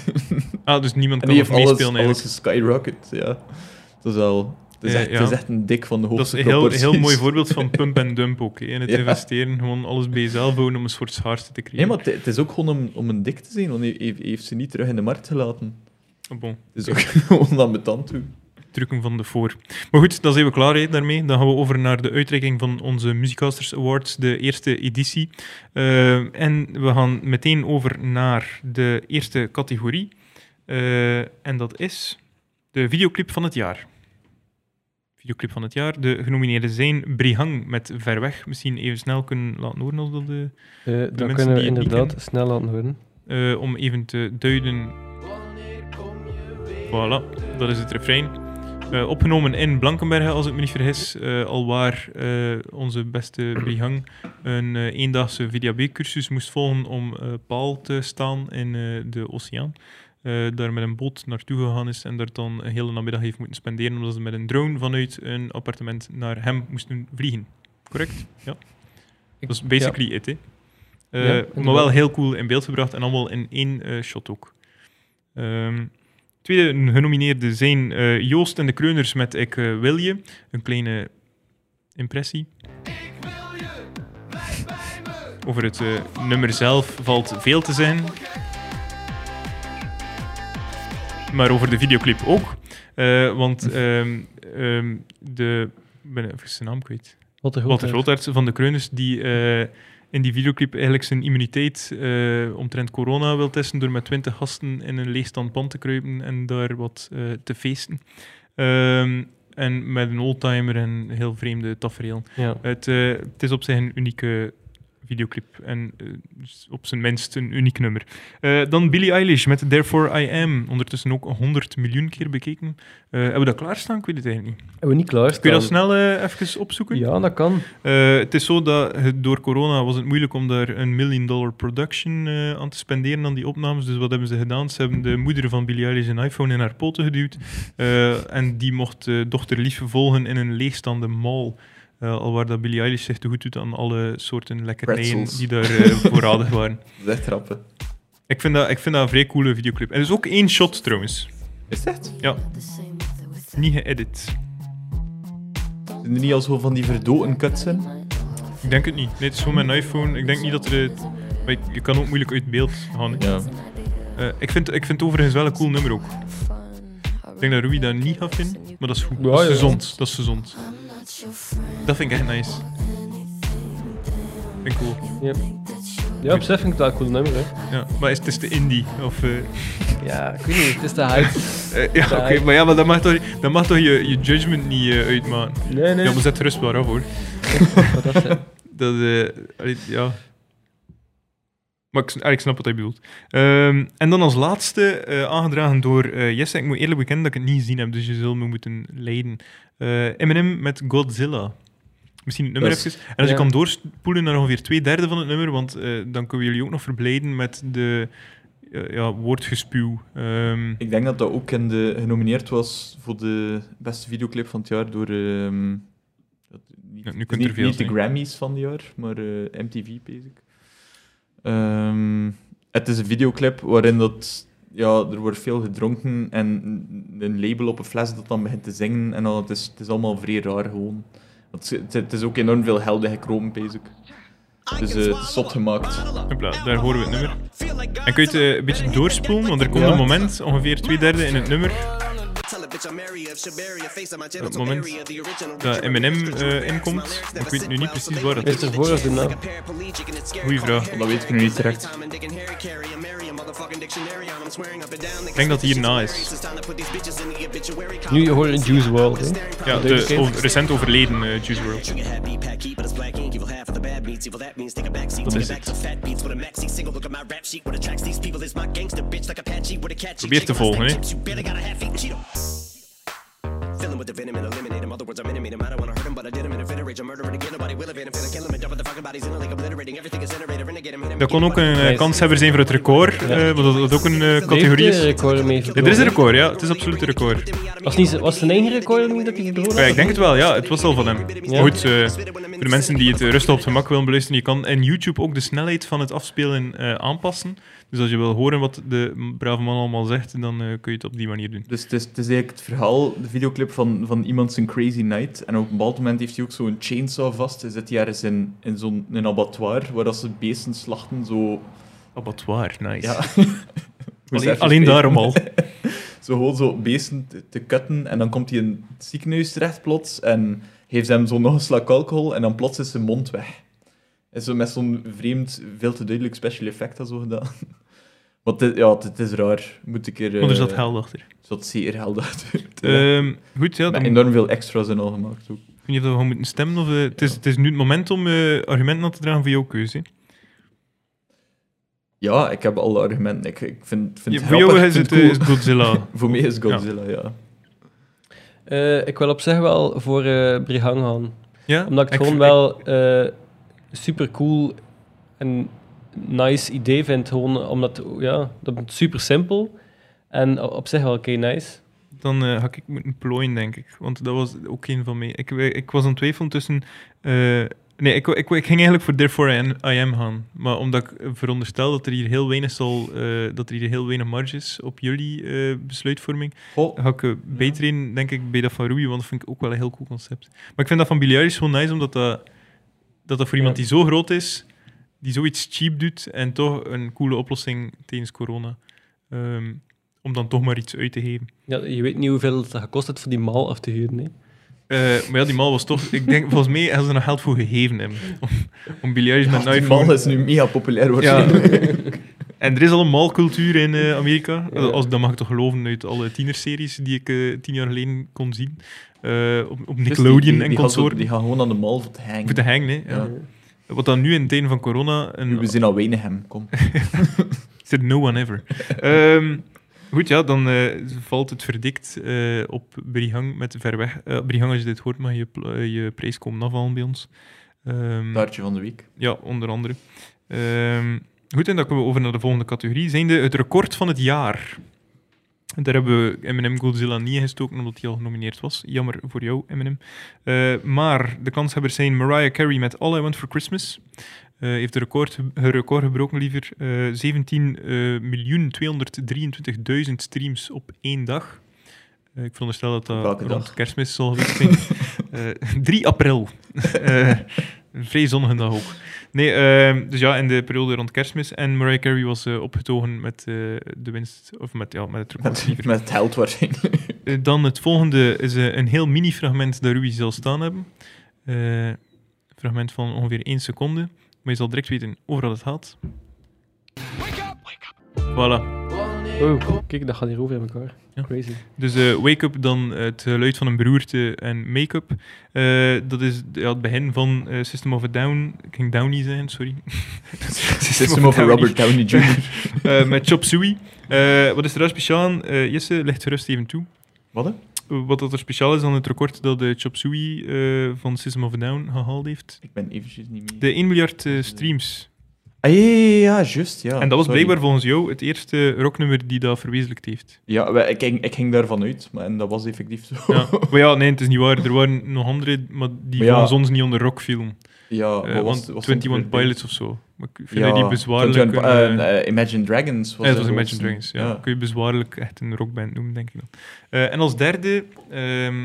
Speaker 1: Ah, dus niemand
Speaker 2: En
Speaker 1: kan
Speaker 2: die
Speaker 1: het
Speaker 2: heeft alles,
Speaker 1: meespelen
Speaker 2: alles
Speaker 1: eigenlijk.
Speaker 2: geskyrocket, ja. Dat is wel... Het is,
Speaker 1: Ja,
Speaker 2: echt,
Speaker 1: ja.
Speaker 2: het is echt een dik van de
Speaker 1: Dat is
Speaker 2: hoogste
Speaker 1: een heel,
Speaker 2: proporties.
Speaker 1: heel mooi voorbeeld van pump en dump ook. hè. In het
Speaker 2: Ja.
Speaker 1: investeren, gewoon alles bij jezelf houden om een soort schaarste te
Speaker 2: Nee,
Speaker 1: creëren.
Speaker 2: maar het, het is ook gewoon om, om een dik te zijn, want hij heeft, hij heeft ze niet terug in de markt gelaten.
Speaker 1: Oh, bon.
Speaker 2: Het is ook gewoon aan betand toe.
Speaker 1: drukken van de voor. Maar goed, dan zijn we klaar hè, daarmee. Dan gaan we over naar de uitreiking van onze Musicasters Awards, de eerste editie. Eh, en we gaan meteen over naar de eerste categorie. Eh, en dat is de videoclip van het jaar. Videoclip van het jaar. De genomineerden zijn Brihang met Ver Weg. Misschien even snel kunnen laten horen als dat... De,
Speaker 3: Eh
Speaker 1: mensen
Speaker 3: dat kunnen we
Speaker 1: die het niet
Speaker 3: inderdaad
Speaker 1: kennen.
Speaker 3: snel laten horen.
Speaker 1: eh, om even te duiden. Voilà, dat is het refrein. Eh, opgenomen in Blankenberge, als ik me niet vergis. eh alwaar eh, onze beste Brihang een eh, eendaagse VDAB-cursus moest volgen om eh, paal te staan in eh, de oceaan. Eh, daar met een boot naartoe gegaan is en daar dan een hele namiddag heeft moeten spenderen omdat ze met een drone vanuit een appartement naar hem moesten vliegen. Correct? Ja.
Speaker 3: Ik-
Speaker 1: Dat is basically it, hè. Eh, maar
Speaker 3: Ja,
Speaker 1: wel
Speaker 3: inderdaad.
Speaker 1: heel cool in beeld gebracht en allemaal in één eh, shot ook. Ehm, Tweede genomineerden zijn eh, Joost en de Kreuners met Ik eh, wil je. Een kleine impressie. Over het eh, nummer zelf valt veel te zijn. Maar over de videoclip ook. Eh, want ehm, ehm, de... Ik ben even zijn naam kwijt.
Speaker 3: Wat een
Speaker 1: Walter Grootarts van de Kreuners, die eh, in die videoclip eigenlijk zijn immuniteit eh, omtrent corona wil testen door met twintig gasten in een leegstand pand te kruipen en daar wat eh, te feesten. Ehm, en met een oldtimer en heel vreemde tafereel.
Speaker 3: Ja.
Speaker 1: Het, eh, het is op zich een unieke videoclip en eh, dus op zijn minst een uniek nummer. Eh, dan Billie Eilish met Therefore I Am, ondertussen ook 100 miljoen keer bekeken. Eh, hebben we dat klaarstaan? Ik weet het eigenlijk niet.
Speaker 3: Hebben we niet klaar?
Speaker 1: Kun je dat snel eh, even opzoeken?
Speaker 3: Ja, dat kan.
Speaker 1: Eh, het is zo dat het- door corona was het moeilijk om daar een million dollar production eh, aan te spenderen aan die opnames. Dus wat hebben ze gedaan? Ze hebben de moeder van Billie Eilish een iPhone in haar poten geduwd. eh, en die mocht eh, dochter lief volgen in een leegstaande mall. Eh, al waar dat Billie Eilish zich te goed doet aan alle soorten lekkernijen
Speaker 2: Pretzels.
Speaker 1: die daar eh, voorradig waren.
Speaker 2: Dat is echt rappen.
Speaker 1: Ik vind, dat, ik vind dat een vrij coole videoclip. En er is ook één shot trouwens.
Speaker 2: Is dat?
Speaker 1: Ja, niet geëdit.
Speaker 2: Zijn er niet al zo van die verdoten cuts zijn?
Speaker 1: Ik denk het niet. Nee, het is gewoon mijn iPhone. Ik denk niet dat er... eh, maar je- je kan ook moeilijk uit beeld gaan. hè.
Speaker 2: Ja.
Speaker 1: Eh, ik, vind, ik vind het overigens wel een cool nummer ook. Ik denk dat Rui dat niet gaat vinden, maar dat is goed.
Speaker 3: Ja,
Speaker 1: dat is
Speaker 3: ja.
Speaker 1: gezond. Dat is gezond. Dat vind ik echt nice. Vind ik cool.
Speaker 3: Ja, op zich vind ik dat een cool nummer. Hè.
Speaker 1: Ja. Maar is, het is de indie. Of, eh,
Speaker 3: Ja, ik weet niet. Het is de hype.
Speaker 1: eh, ja, oké. maar ja, maar dat mag toch, dat mag toch je, je judgment niet eh, uitmaken.
Speaker 3: Nee, nee.
Speaker 1: Ja, maar zet rust maar af hoor.
Speaker 3: Wat dat zijn.
Speaker 1: Dat, eh, allee, ja. Maar ik, allee, ik snap wat hij bedoelt. Ehm, en dan als laatste, eh, aangedragen door eh, Jesse. Ik moet eerlijk bekennen dat ik het niet gezien heb, dus je zult me moeten leiden. Eh Eminem met Godzilla. Misschien het nummer
Speaker 2: Dat is-
Speaker 1: even. En als je
Speaker 3: ja.
Speaker 1: kan doorspoelen naar ongeveer twee derde van het nummer, want eh, dan kunnen we jullie ook nog verblijden met de eh, ja, woordgespuw. Ehm,
Speaker 2: Ik denk dat dat ook in de, genomineerd was voor de beste videoclip van het jaar door... ehm, dat- niet,
Speaker 1: Ja, nu
Speaker 2: het
Speaker 1: kunt
Speaker 2: is
Speaker 1: er
Speaker 2: niet,
Speaker 1: veel
Speaker 2: niet de
Speaker 1: zijn.
Speaker 2: Grammys van het jaar, maar eh, MTV, basic. Ehm, het is een videoclip waarin dat... Ja, er wordt veel gedronken en een label op een fles dat dan begint te zingen. En al, het, is, het is allemaal vrij raar gewoon. Want ze- Het, het is ook enorm veel helden gekropen, basic. Dus eh, het is zot gemaakt.
Speaker 1: Hopla, daar horen we het nummer. En kun je het eh, een beetje doorspoelen, want er komt
Speaker 2: Ja.
Speaker 1: een moment, ongeveer twee derde in het nummer,
Speaker 4: Het moment
Speaker 1: dat Eminem eh, inkomt. Ik weet nu niet precies waar dat
Speaker 3: Is
Speaker 1: is.
Speaker 3: er voor of erna?
Speaker 1: Goeie vraag.
Speaker 2: Dat weet ik nu niet direct.
Speaker 1: Ik denk dat hij hierna is.
Speaker 3: Nu hoor je Juice WRLD. Hè.
Speaker 1: Ja,
Speaker 3: Dat is
Speaker 1: de
Speaker 3: oké.
Speaker 1: over- recent overleden eh, Juice WRLD.
Speaker 4: Dat is het.
Speaker 1: Probeer te volgen, hè.
Speaker 4: Filling with the venom and eliminate 'em. Other words, I'm intimate 'em. I don't wanna hurt 'em, but I did 'em in a fit of rage. I'm murdering again. Nobody will evade 'em. Finna kill 'em and dump the fucking bodies in a lake, obliterating. Everything is iterated. Renegade 'em, hit 'em
Speaker 1: Dat
Speaker 4: again.
Speaker 1: kon ook een eh,
Speaker 3: Nice.
Speaker 1: kanshebber zijn voor het record, eh, want dat, dat ook een eh, categorie
Speaker 3: Heeft
Speaker 1: is.
Speaker 3: de record mee
Speaker 1: Ja, er is een record, ja. Het is absoluut een record.
Speaker 3: Was, niet, was het een eigen record niet dat hij verloren
Speaker 1: Ja,
Speaker 3: had?
Speaker 1: ik denk het wel, ja. Het was al van hem. Maar Goed, eh, voor de mensen die het eh, rustig op het gemak willen beluisteren, je kan in YouTube ook de snelheid van het afspelen eh, aanpassen. Dus als je wil horen wat de brave man allemaal zegt, dan eh, kun je het op die manier doen.
Speaker 2: Dus het is, het is eigenlijk het verhaal, de videoclip van, van iemand zijn crazy night. En op een bepaald moment heeft hij ook zo'n chainsaw vast. Hij zit hier ergens in, in zo'n een abattoir, waar dat ze beesten slachten. Zo,
Speaker 1: Abattoir, nice.
Speaker 2: ja.
Speaker 1: Alleen, alleen daarom al.
Speaker 2: Zo gewoon zo beesten te, te cutten. En dan komt hij in het ziekenhuis terecht plots. En geeft hem zo nog een slak alcohol. En dan plots is zijn mond weg. En zo met zo'n vreemd, veel te duidelijk special effect dat zo gedaan. Want het, ja, het, het is raar. Moet ik er...
Speaker 1: Want er
Speaker 2: eh,
Speaker 1: zat held achter.
Speaker 2: er zat zeer held uit.
Speaker 1: Ehm, goed, ja,
Speaker 2: Met
Speaker 1: dan
Speaker 2: enorm veel extra's in al gemaakt ook.
Speaker 1: Ik weet niet of we gaan moeten stemmen. Of, eh, het, is, het is nu het moment om eh, argumenten aan te dragen voor jouw keuze. hè.
Speaker 2: Ja, ik heb alle argumenten. Ik, ik vind, vind
Speaker 1: Ja,
Speaker 2: het
Speaker 1: voor
Speaker 2: grappig.
Speaker 1: jou
Speaker 2: ik
Speaker 1: is
Speaker 2: vind
Speaker 1: het
Speaker 2: het
Speaker 1: eh,
Speaker 2: cool.
Speaker 1: is Godzilla.
Speaker 2: Voor mij is Godzilla, ja.
Speaker 3: Eh, ik wil op zich wel voor eh Brihang gaan.
Speaker 1: ja?
Speaker 3: Omdat ik het gewoon
Speaker 1: v-
Speaker 3: wel eh super cool en nice idee vind. Gewoon omdat ja, dat is super simpel en o- op zich wel oké nice.
Speaker 1: Dan eh, had ik moeten plooien, denk ik. Want dat was ook een van mij. Ik, we- ik was aan het twijfelen tussen eh, Nee, ik, wou- ik, wou- ik ging eigenlijk voor Therefore I Am- I Am gaan. Maar omdat ik eh, veronderstel dat er hier heel weinig, zal, eh, dat er hier heel weinig marge is op jullie eh, besluitvorming,
Speaker 2: Goh,
Speaker 1: ga ik eh, beter in, denk ik, bij dat van Ruby, want dat vind ik ook wel een heel cool concept. Maar ik vind dat van Billiards gewoon nice, omdat dat, dat, dat voor iemand
Speaker 3: Ja.
Speaker 1: die zo groot is, die zoiets cheap doet en toch een coole oplossing tijdens corona, ehm, om dan toch maar iets uit te geven.
Speaker 3: Ja, je weet niet hoeveel het gekost heeft voor die maal af te huren. Hè.
Speaker 1: Eh, maar ja, die mal was toch... Ik denk, volgens mij hebben ze er nog geld voor gegeven hebben. Om, om biljartjes met een
Speaker 2: die
Speaker 1: iPhone...
Speaker 2: man is nu mega populair
Speaker 1: Ja.
Speaker 2: waarschijnlijk.
Speaker 1: en er is al een malcultuur in eh, Amerika.
Speaker 3: Ja.
Speaker 1: Als, dat mag ik toch geloven uit alle tienerseries die ik eh, tien jaar geleden kon zien. Eh, op, op
Speaker 2: Dus
Speaker 1: Nickelodeon
Speaker 2: die- die-
Speaker 1: en
Speaker 2: die gaan zo-
Speaker 1: consorten.
Speaker 2: Die gaan gewoon aan de mal te hangen.
Speaker 1: Voor te hangen, hè. Ja. Wat dan nu in het einde van corona... Een,
Speaker 2: We zijn al weinig hem, kom.
Speaker 1: Said no one ever. Ehm, goed, ja, dan eh, valt het verdikt eh, op Brihang met ver weg. Eh, Brihang, als je dit hoort, mag je, pl- eh, je prijs komen afhalen bij ons. Ehm,
Speaker 2: Taartje van de week.
Speaker 1: Ja, onder andere. Ehm, goed, en dan komen we over naar de volgende categorie. Zijnde het record van het jaar. En Daar hebben we M&M Godzilla niet in gestoken, omdat hij al genomineerd was. Jammer voor jou, M&M. Eh, maar de kanshebbers zijn Mariah Carey met All I Want For Christmas. Eh, heeft de record, haar record gebroken, liever. Eh 17 eh, miljoen 223.000 streams op één dag. Eh, ik veronderstel dat dat
Speaker 2: Welke
Speaker 1: rond
Speaker 2: dag?
Speaker 1: kerstmis zal geweest zijn. Eh, 3 april. Eh een vrij zonnige dag ook. Nee, ehm, dus ja, in de periode rond kerstmis. En Mariah Carey was eh, opgetogen met eh, de winst, of met, ja, met het record
Speaker 2: Met,
Speaker 1: liever.
Speaker 2: met het held waarschijnlijk.
Speaker 1: Eh, Dan het volgende is eh, een heel mini-fragment dat Ruby zal staan hebben. Eh, fragment van ongeveer 1 seconde. Maar je zal direct weten overal het gaat. Voilà.
Speaker 3: Oh, kijk, dat gaat hier over in elkaar.
Speaker 1: Ja.
Speaker 3: Crazy.
Speaker 1: Dus eh, Wake Up, dan het geluid van een beroerte en Make-up. Eh, dat is ja, het begin van eh, System of a Down. Ik ging Downy zijn, sorry.
Speaker 2: System of
Speaker 1: a
Speaker 2: a Robert Downey Jr.
Speaker 1: Eh, met Chop Suey. Eh, wat is er daar speciaal aan? Eh, Jesse, leg gerust even toe.
Speaker 2: Wat? hè?
Speaker 1: Eh, Wat dat er speciaal is aan het record dat de Chop Suey eh, van System of a Down gehaald heeft.
Speaker 2: Ik ben eventjes niet mee.
Speaker 1: De 1 miljard eh, streams.
Speaker 2: Ah, ja, ja, ja, ja, juist, ja.
Speaker 1: en dat was
Speaker 2: Sorry.
Speaker 1: blijkbaar volgens jou het eerste rocknummer die dat verwezenlijkt heeft.
Speaker 2: Ja, wij- ik ging, ik ging daarvan uit, maar en dat was effectief zo.
Speaker 1: Ja. maar ja, nee, het is niet waar. Er waren nog andere, maar die
Speaker 2: Maar ja.
Speaker 1: volgens ons niet onder rock vielen.
Speaker 2: Ja, wat
Speaker 1: Eh,
Speaker 2: was-
Speaker 1: want
Speaker 2: was het
Speaker 1: 21
Speaker 2: verplicht?
Speaker 1: Pilots of zo. Maar ik vind
Speaker 2: Ja,
Speaker 1: dat die bezwaarlijk...
Speaker 2: 21
Speaker 1: kunnen-
Speaker 2: eh, eh, Imagine Dragons was
Speaker 1: Ja, dat was
Speaker 2: de
Speaker 1: Imagine
Speaker 2: grootste.
Speaker 1: Dragons. Ja. Kun je bezwaarlijk echt een rockband noemen, denk ik dan. Eh, en als derde, ehm,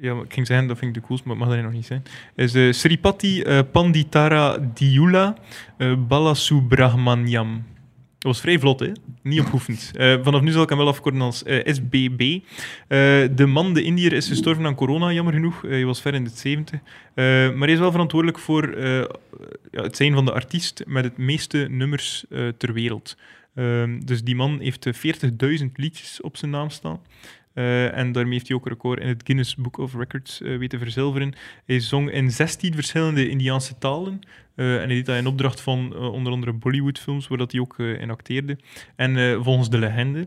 Speaker 1: ja, maar ik ging zeggen, dat vind ik de coolste, maar het mag dat nog niet zijn. Is eh, Sripati eh, Panditara Diula eh, Balasubrahmanyam. Dat was vrij vlot, hè? Niet opgeoefend. Eh, vanaf nu zal ik hem wel afkorten als eh, SBB. Eh, de man, de Indiër, is gestorven aan corona, jammer genoeg. Eh, hij was ver in de 70. Eh, maar hij is wel verantwoordelijk voor eh, ja, het zijn van de artiest met het meeste nummers eh, ter wereld. Ehm, dus die man heeft eh, 40.000 liedjes op zijn naam staan. Eh, en daarmee heeft hij ook een record in het Guinness Book of Records eh, weten verzilveren. Hij zong in 16 verschillende Indiaanse talen. Eh, en hij deed dat in opdracht van eh, onder andere Bollywoodfilms, waar dat hij ook eh, in acteerde. En eh, volgens de legende eh,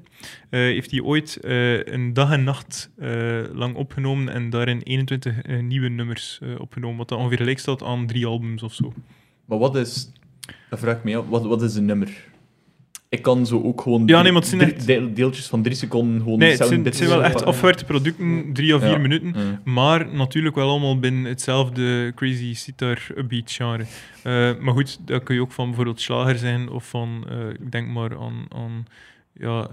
Speaker 1: heeft hij ooit eh, een dag en nacht eh, lang opgenomen en daarin 21 eh, nieuwe nummers eh, opgenomen. Wat dat ongeveer gelijk staat aan drie albums of zo.
Speaker 2: Maar wat is... Dat vraag ik me af. Wat, wat is een nummer? Ik kan zo ook gewoon
Speaker 1: Ja, nee, maar het zijn
Speaker 2: drie-
Speaker 1: echt-
Speaker 2: deel- deeltjes van drie seconden gewoon...
Speaker 1: Nee, het
Speaker 2: zelf
Speaker 1: zijn,
Speaker 2: dit
Speaker 1: het zijn wel echt
Speaker 2: pakken.
Speaker 1: afgewerkte producten, drie à vier
Speaker 2: Ja.
Speaker 1: minuten.
Speaker 2: Ja.
Speaker 1: Maar natuurlijk wel allemaal binnen hetzelfde crazy sitar beat genre. Eh, maar goed, dat kun je ook van bijvoorbeeld slager zijn of van, eh, ik denk maar aan, aan ja,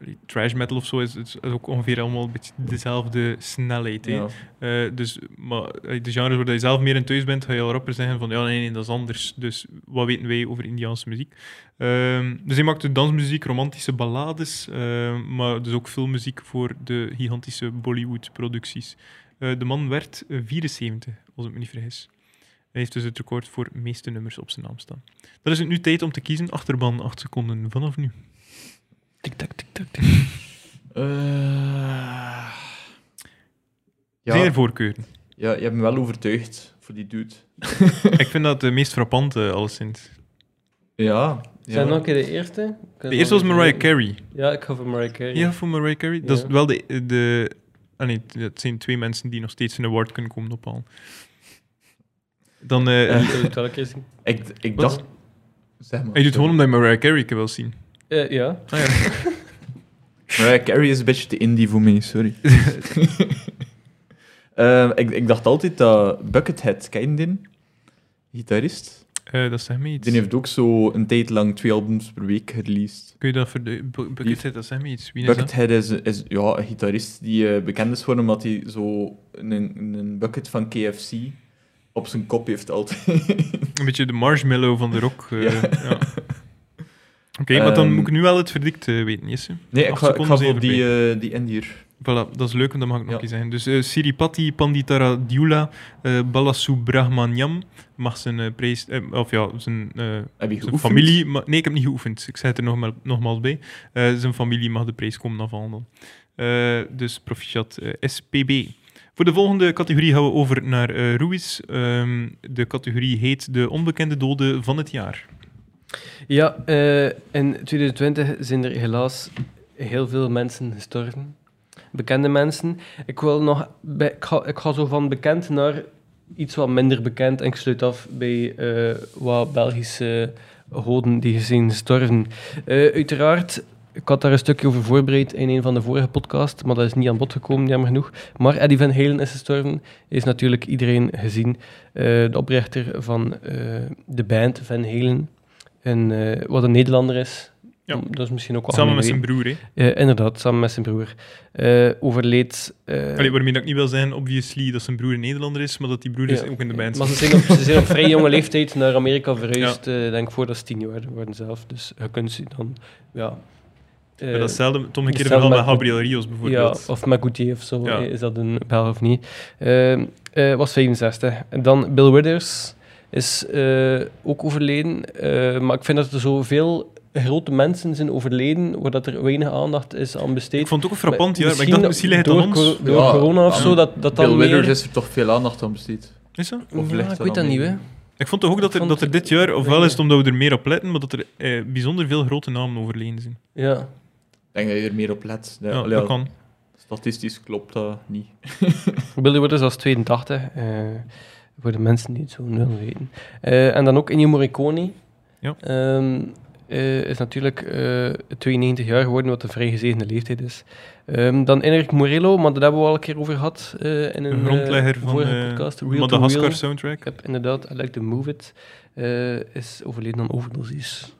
Speaker 1: eh, trash metal of zo, is het is ook ongeveer allemaal een beetje dezelfde snelheid. hè.
Speaker 2: Ja.
Speaker 1: Eh, dus maar, eh, de genres waar dat je zelf meer in thuis bent, ga je al rapper zeggen van ja, nee, nee, dat is anders. Dus wat weten wij over Indiaanse muziek? Ehm, dus hij maakte dansmuziek, romantische ballades, ehm, maar dus ook filmmuziek voor de gigantische Bollywood-producties. Eh, de man werd eh, 74, als ik me niet vergis. Hij heeft dus het record voor de meeste nummers op zijn naam staan. Dan is het nu tijd om te kiezen. Achterban 8 seconden vanaf nu.
Speaker 3: Tik tak, tik tak,
Speaker 2: Eh,
Speaker 1: Zijn er
Speaker 2: ja,
Speaker 1: voorkeuren?
Speaker 2: ja, je hebt me wel overtuigd voor die dude.
Speaker 1: ik vind dat de meest frappante, alleszins.
Speaker 2: Ja. ja.
Speaker 3: Zijn nog een keer de eerste?
Speaker 1: De eerste was Mariah Carey.
Speaker 3: Ja, ik ga voor Mariah Carey.
Speaker 1: Ja, voor Mariah Carey. Dat
Speaker 3: Ja.
Speaker 1: is wel de... de ah nee, dat zijn twee mensen die nog steeds een award kunnen komen ophalen. Dan... eh
Speaker 2: Eh,
Speaker 3: Zal ik welke kiezen?
Speaker 2: Ik, ik
Speaker 1: Wat?
Speaker 2: dacht... Zeg maar.
Speaker 1: je doet het gewoon omdat je Mariah Carey kan wel zien.
Speaker 3: Eh, ja.
Speaker 1: Ah, ja.
Speaker 2: Mariah Carey is een beetje te indie voor mij, sorry. Eh, ik, ik dacht altijd dat Buckethead, ken je die? Gitarist.
Speaker 1: Eh, dat zegt me iets.
Speaker 2: Die heeft ook zo een tijd lang twee albums per week gereleased.
Speaker 1: Kun je dat voor de... Bu- Buckethead, dat zegt me iets. Wie is dat?
Speaker 2: Buckethead is, is ja, een gitarist die eh, bekend is geworden omdat hij zo een, een- een bucket van KFC op zijn kop heeft altijd.
Speaker 1: Een beetje de marshmallow van de rock. eh,
Speaker 2: Ja.
Speaker 1: ja. Oké, maar dan
Speaker 2: Ehm.
Speaker 1: moet ik nu wel het verdict eh, weten, Jesse.
Speaker 2: nee, ik
Speaker 1: Acht
Speaker 2: ga, ik
Speaker 1: seconden
Speaker 2: ga voor
Speaker 1: zijn
Speaker 2: die,
Speaker 1: voorbij.
Speaker 2: eh, die end hier.
Speaker 1: Voilà, dat is leuk, want dat mag ik nog
Speaker 2: Ja.
Speaker 1: eens zeggen. Dus eh, Siripati Panditara Diula eh Balasubramaniam mag zijn eh, prijs... eh, of ja, zijn, eh,
Speaker 2: Heb je
Speaker 1: zijn
Speaker 2: geoefend?
Speaker 1: familie... ma- nee, ik heb niet geoefend. Ik zei het er nogmaals, nogmaals bij. Eh, zijn familie mag de prijs komen afhandelen. Eh, dus proficiat eh, SPB. Voor de volgende categorie gaan we over naar eh Ruiz. Ehm, de categorie heet De Onbekende Doden van het Jaar.
Speaker 3: Ja, eh, in 2020 zijn er helaas heel veel mensen gestorven. Bekende mensen. Ik, wil nog bij- ik, ga, ik ga zo van bekend naar iets wat minder bekend. En ik sluit af bij eh, wat Belgische goden die zijn gestorven. Eh, uiteraard, ik had daar een stukje over voorbereid in een van de vorige podcasts. Maar dat is niet aan bod gekomen, jammer genoeg. Maar Eddie Van Halen is gestorven. Is natuurlijk iedereen gezien. Eh, de oprichter van eh, de band Van Halen. En eh, wat een Nederlander is.
Speaker 1: Ja.
Speaker 3: Dat is misschien ook wel
Speaker 1: Samen met zijn broer, hè.
Speaker 3: broer. Eh, inderdaad, samen met zijn broer. Eh, overleed. eh,
Speaker 1: Allee, waarmee dat ik niet wil zijn, obviously, dat zijn broer een Nederlander is, maar dat die broer is
Speaker 3: ja.
Speaker 1: dus ook in de band
Speaker 3: Maar ze
Speaker 1: zit.
Speaker 3: zijn, op, ze zijn op vrij jonge leeftijd naar Amerika verhuisd. eh, denk voordat ze tien jaar worden zelf. Dus je kunt ze dan. Ja, eh,
Speaker 1: Maar dat is hetzelfde, het omgekeerde verhaal
Speaker 3: hetzelfde
Speaker 1: met
Speaker 3: met-
Speaker 1: Gabriel Rios
Speaker 3: ja,
Speaker 1: bijvoorbeeld.
Speaker 3: of Magoutier of zo.
Speaker 1: Ja.
Speaker 3: eh, Is dat een Belg of niet? Ehm, eh, was 65. En dan Bill Withers is eh, ook overleden. Eh, maar ik vind dat er zoveel grote mensen zijn overleden, waar dat er weinig aandacht is aan besteed.
Speaker 1: Ik vond het ook een frappant jaar, maar ik
Speaker 3: Misschien
Speaker 1: dacht, misschien ligt het
Speaker 3: door
Speaker 1: aan ons.
Speaker 3: cor- Door
Speaker 2: Ja,
Speaker 3: corona of
Speaker 2: aan
Speaker 3: zo, dat, dat
Speaker 2: Bill
Speaker 3: dan
Speaker 2: Withers
Speaker 3: meer...
Speaker 2: is er toch veel aandacht aan besteed.
Speaker 1: Is dat?
Speaker 2: of
Speaker 3: Ja,
Speaker 2: ligt
Speaker 3: ik
Speaker 2: dat
Speaker 3: weet dat
Speaker 2: aan
Speaker 3: niet,
Speaker 2: mee?
Speaker 3: hè.
Speaker 1: Ik vond toch ook dat er,
Speaker 3: vond
Speaker 1: dat er
Speaker 3: ik-
Speaker 1: dit jaar, ofwel
Speaker 3: Nee.
Speaker 1: is het omdat we er meer op letten, maar dat er eh, bijzonder veel grote namen overleden zijn.
Speaker 3: Ja.
Speaker 2: Ik denk dat je er meer op let. Ja,
Speaker 1: Ja,
Speaker 2: allee,
Speaker 1: dat kan.
Speaker 2: Statistisch klopt dat niet.
Speaker 3: Billy Withers was 82, eh, voor de mensen die het zo nul weten. Eh, en dan ook Ennio Morricone.
Speaker 1: Ja.
Speaker 3: Ehm, eh, is natuurlijk eh, 92 jaar geworden, wat een vrij gezegende leeftijd is. Ehm, dan Enric Morello, maar daar hebben we al een keer over gehad eh, in een
Speaker 1: Een grondlegger
Speaker 3: eh,
Speaker 1: van
Speaker 3: vorige
Speaker 1: eh,
Speaker 3: podcast. Real to Wheel.
Speaker 1: Madagaskar soundtrack.
Speaker 3: Ik heb inderdaad, I like to move it, eh, is overleden aan overdosis.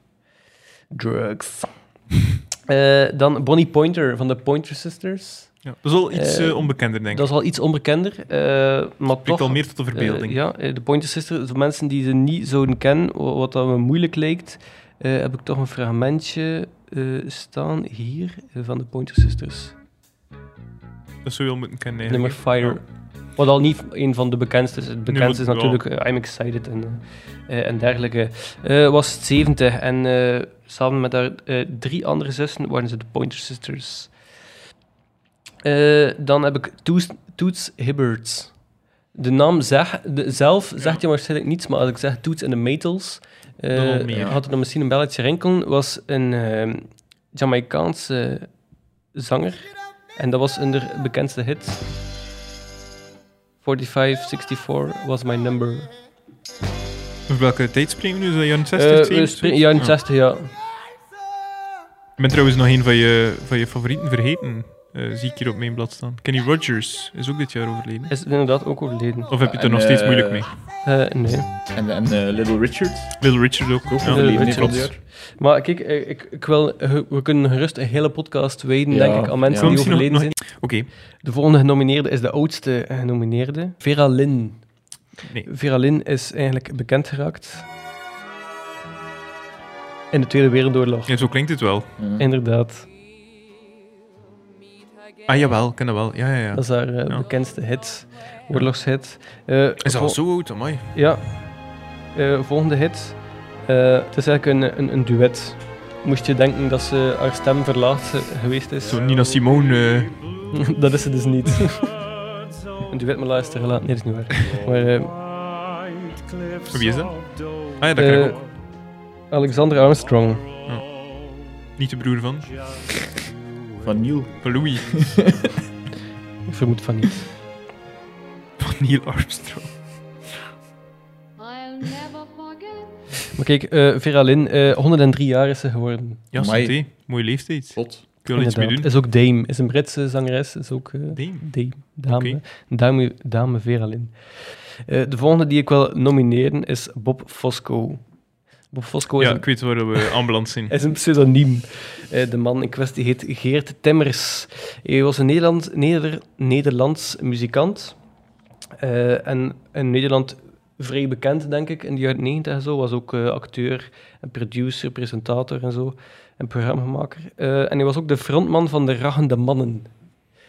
Speaker 3: Drugs. Eh, dan Bonnie Pointer van de Pointer Sisters.
Speaker 1: Ja. Dat is wel iets
Speaker 3: Eh,
Speaker 1: eh, onbekender, denk ik.
Speaker 3: Dat
Speaker 1: Dat
Speaker 3: is al iets onbekender, eh, maar toch...
Speaker 1: al meer tot de verbeelding.
Speaker 3: eh, ja, eh, de Pointer Sisters, voor mensen die ze niet zouden kennen, wa- wat dan moeilijk lijkt, eh, heb ik toch een fragmentje eh, staan hier eh, van de Pointer Sisters.
Speaker 1: Dat zou je wel moeten kennen,
Speaker 3: Nummer
Speaker 1: eigenlijk.
Speaker 3: Fire. Wat al niet een van de bekendste is. Het bekendste
Speaker 1: wat-
Speaker 3: is natuurlijk eh, I'm Excited en, eh, eh, en dergelijke. Eh, was het 70 en eh, samen met haar eh, drie andere zussen waren ze de Pointer Sisters. Eh, dan heb ik Toets, Toots Hibberts. De naam zeg, de- zelf zegt je waarschijnlijk niets, maar als ik zeg Toots en de Maytals, eh,
Speaker 1: Dan al meer.
Speaker 3: had er dan misschien een belletje rinkelen. Was een eh, Jamaicaanse zanger. En dat was hun der- bekendste hit. 4564 was my number.
Speaker 1: Over welke tijd springen we nu? Is dat jaren 60,
Speaker 3: Eh,
Speaker 1: 70?
Speaker 3: we springen jaren
Speaker 1: Ja.
Speaker 3: 60, ja.
Speaker 1: Ik ben trouwens nog een van je, van je favorieten vergeten. Eh, zie ik hier op mijn blad staan. Kenny Rogers is ook dit jaar overleden.
Speaker 3: Is inderdaad ook overleden.
Speaker 1: Of heb je het er
Speaker 2: En,
Speaker 1: nog steeds
Speaker 2: eh,
Speaker 1: moeilijk mee?
Speaker 3: Eh, nee.
Speaker 2: En, en eh, Little Richard.
Speaker 1: Little Richard ook.
Speaker 2: Ook
Speaker 1: ja.
Speaker 3: Little
Speaker 2: overleden,
Speaker 3: Richard.
Speaker 2: klopt.
Speaker 1: Klopt.
Speaker 3: Maar kijk, eh, ik, ik wil, eh, we kunnen gerust een hele podcast wijden,
Speaker 2: Ja,
Speaker 3: denk ik, aan mensen
Speaker 2: ja.
Speaker 3: die
Speaker 1: Misschien nog-
Speaker 3: overleden
Speaker 1: nog- Oké,
Speaker 3: zijn. De volgende genomineerde is de oudste eh, genomineerde. Vera Lynn.
Speaker 1: Nee.
Speaker 3: Vera Lynn is eigenlijk bekend geraakt. In de Tweede Wereldoorlog.
Speaker 1: ja, zo klinkt het wel.
Speaker 3: Inderdaad.
Speaker 1: Ah jawel, ik ken dat wel. Ja, ja, ja.
Speaker 3: Dat is haar eh,
Speaker 1: Ja.
Speaker 3: bekendste hit. Oorlogshit. Eh,
Speaker 1: Is dat al
Speaker 3: vol-
Speaker 1: zo oud, amai.
Speaker 3: Ja. Eh, volgende hit. Eh, het is eigenlijk een, een, een duet. Moest je denken dat ze haar stem verlaagd eh, geweest is?
Speaker 1: Zo Nina Simone. eh,
Speaker 3: dat is ze dus niet. een duet maar luisteren laat. Nee, dat is niet waar. Maar eh,
Speaker 1: Wie is dat? ah ja, dat ken ik
Speaker 3: Eh,
Speaker 1: ook.
Speaker 3: Alexander Armstrong.
Speaker 1: Niet de broer van.
Speaker 2: Van Neil.
Speaker 1: Van eh, Louis.
Speaker 3: Ik vermoed van niet.
Speaker 1: Van Neil Armstrong.
Speaker 5: I'll never forget.
Speaker 3: Maar kijk, eh Vera Lynn, eh, 103 jaar is ze geworden.
Speaker 1: Ja,
Speaker 2: Amai.
Speaker 1: santé. Mooie leeftijd.
Speaker 2: Slot.
Speaker 1: Ik wil er iets mee
Speaker 3: Inderdaad.
Speaker 1: doen.
Speaker 3: Is ook Dame. Is een Britse zangeres. Is ook eh,
Speaker 1: Dame?
Speaker 3: Dame. Dame,
Speaker 1: Oké.
Speaker 3: dame, dame Vera Lynn. Eh, de volgende die ik wil nomineren is Bob Fosco. Bob Fosco is,
Speaker 1: Ja,
Speaker 3: een,
Speaker 1: ik weet waar we ambulant zijn.
Speaker 3: is een pseudoniem. Eh, de man in kwestie heet Geert Timmers. Hij was een Nederland, Neder, Nederlands muzikant. Eh, en in Nederland vrij bekend, denk ik, in de jaren 90 en zo. Was ook eh, acteur en producer, presentator en zo. En programmamaker. Eh, en hij was ook de frontman van de Rachende Mannen.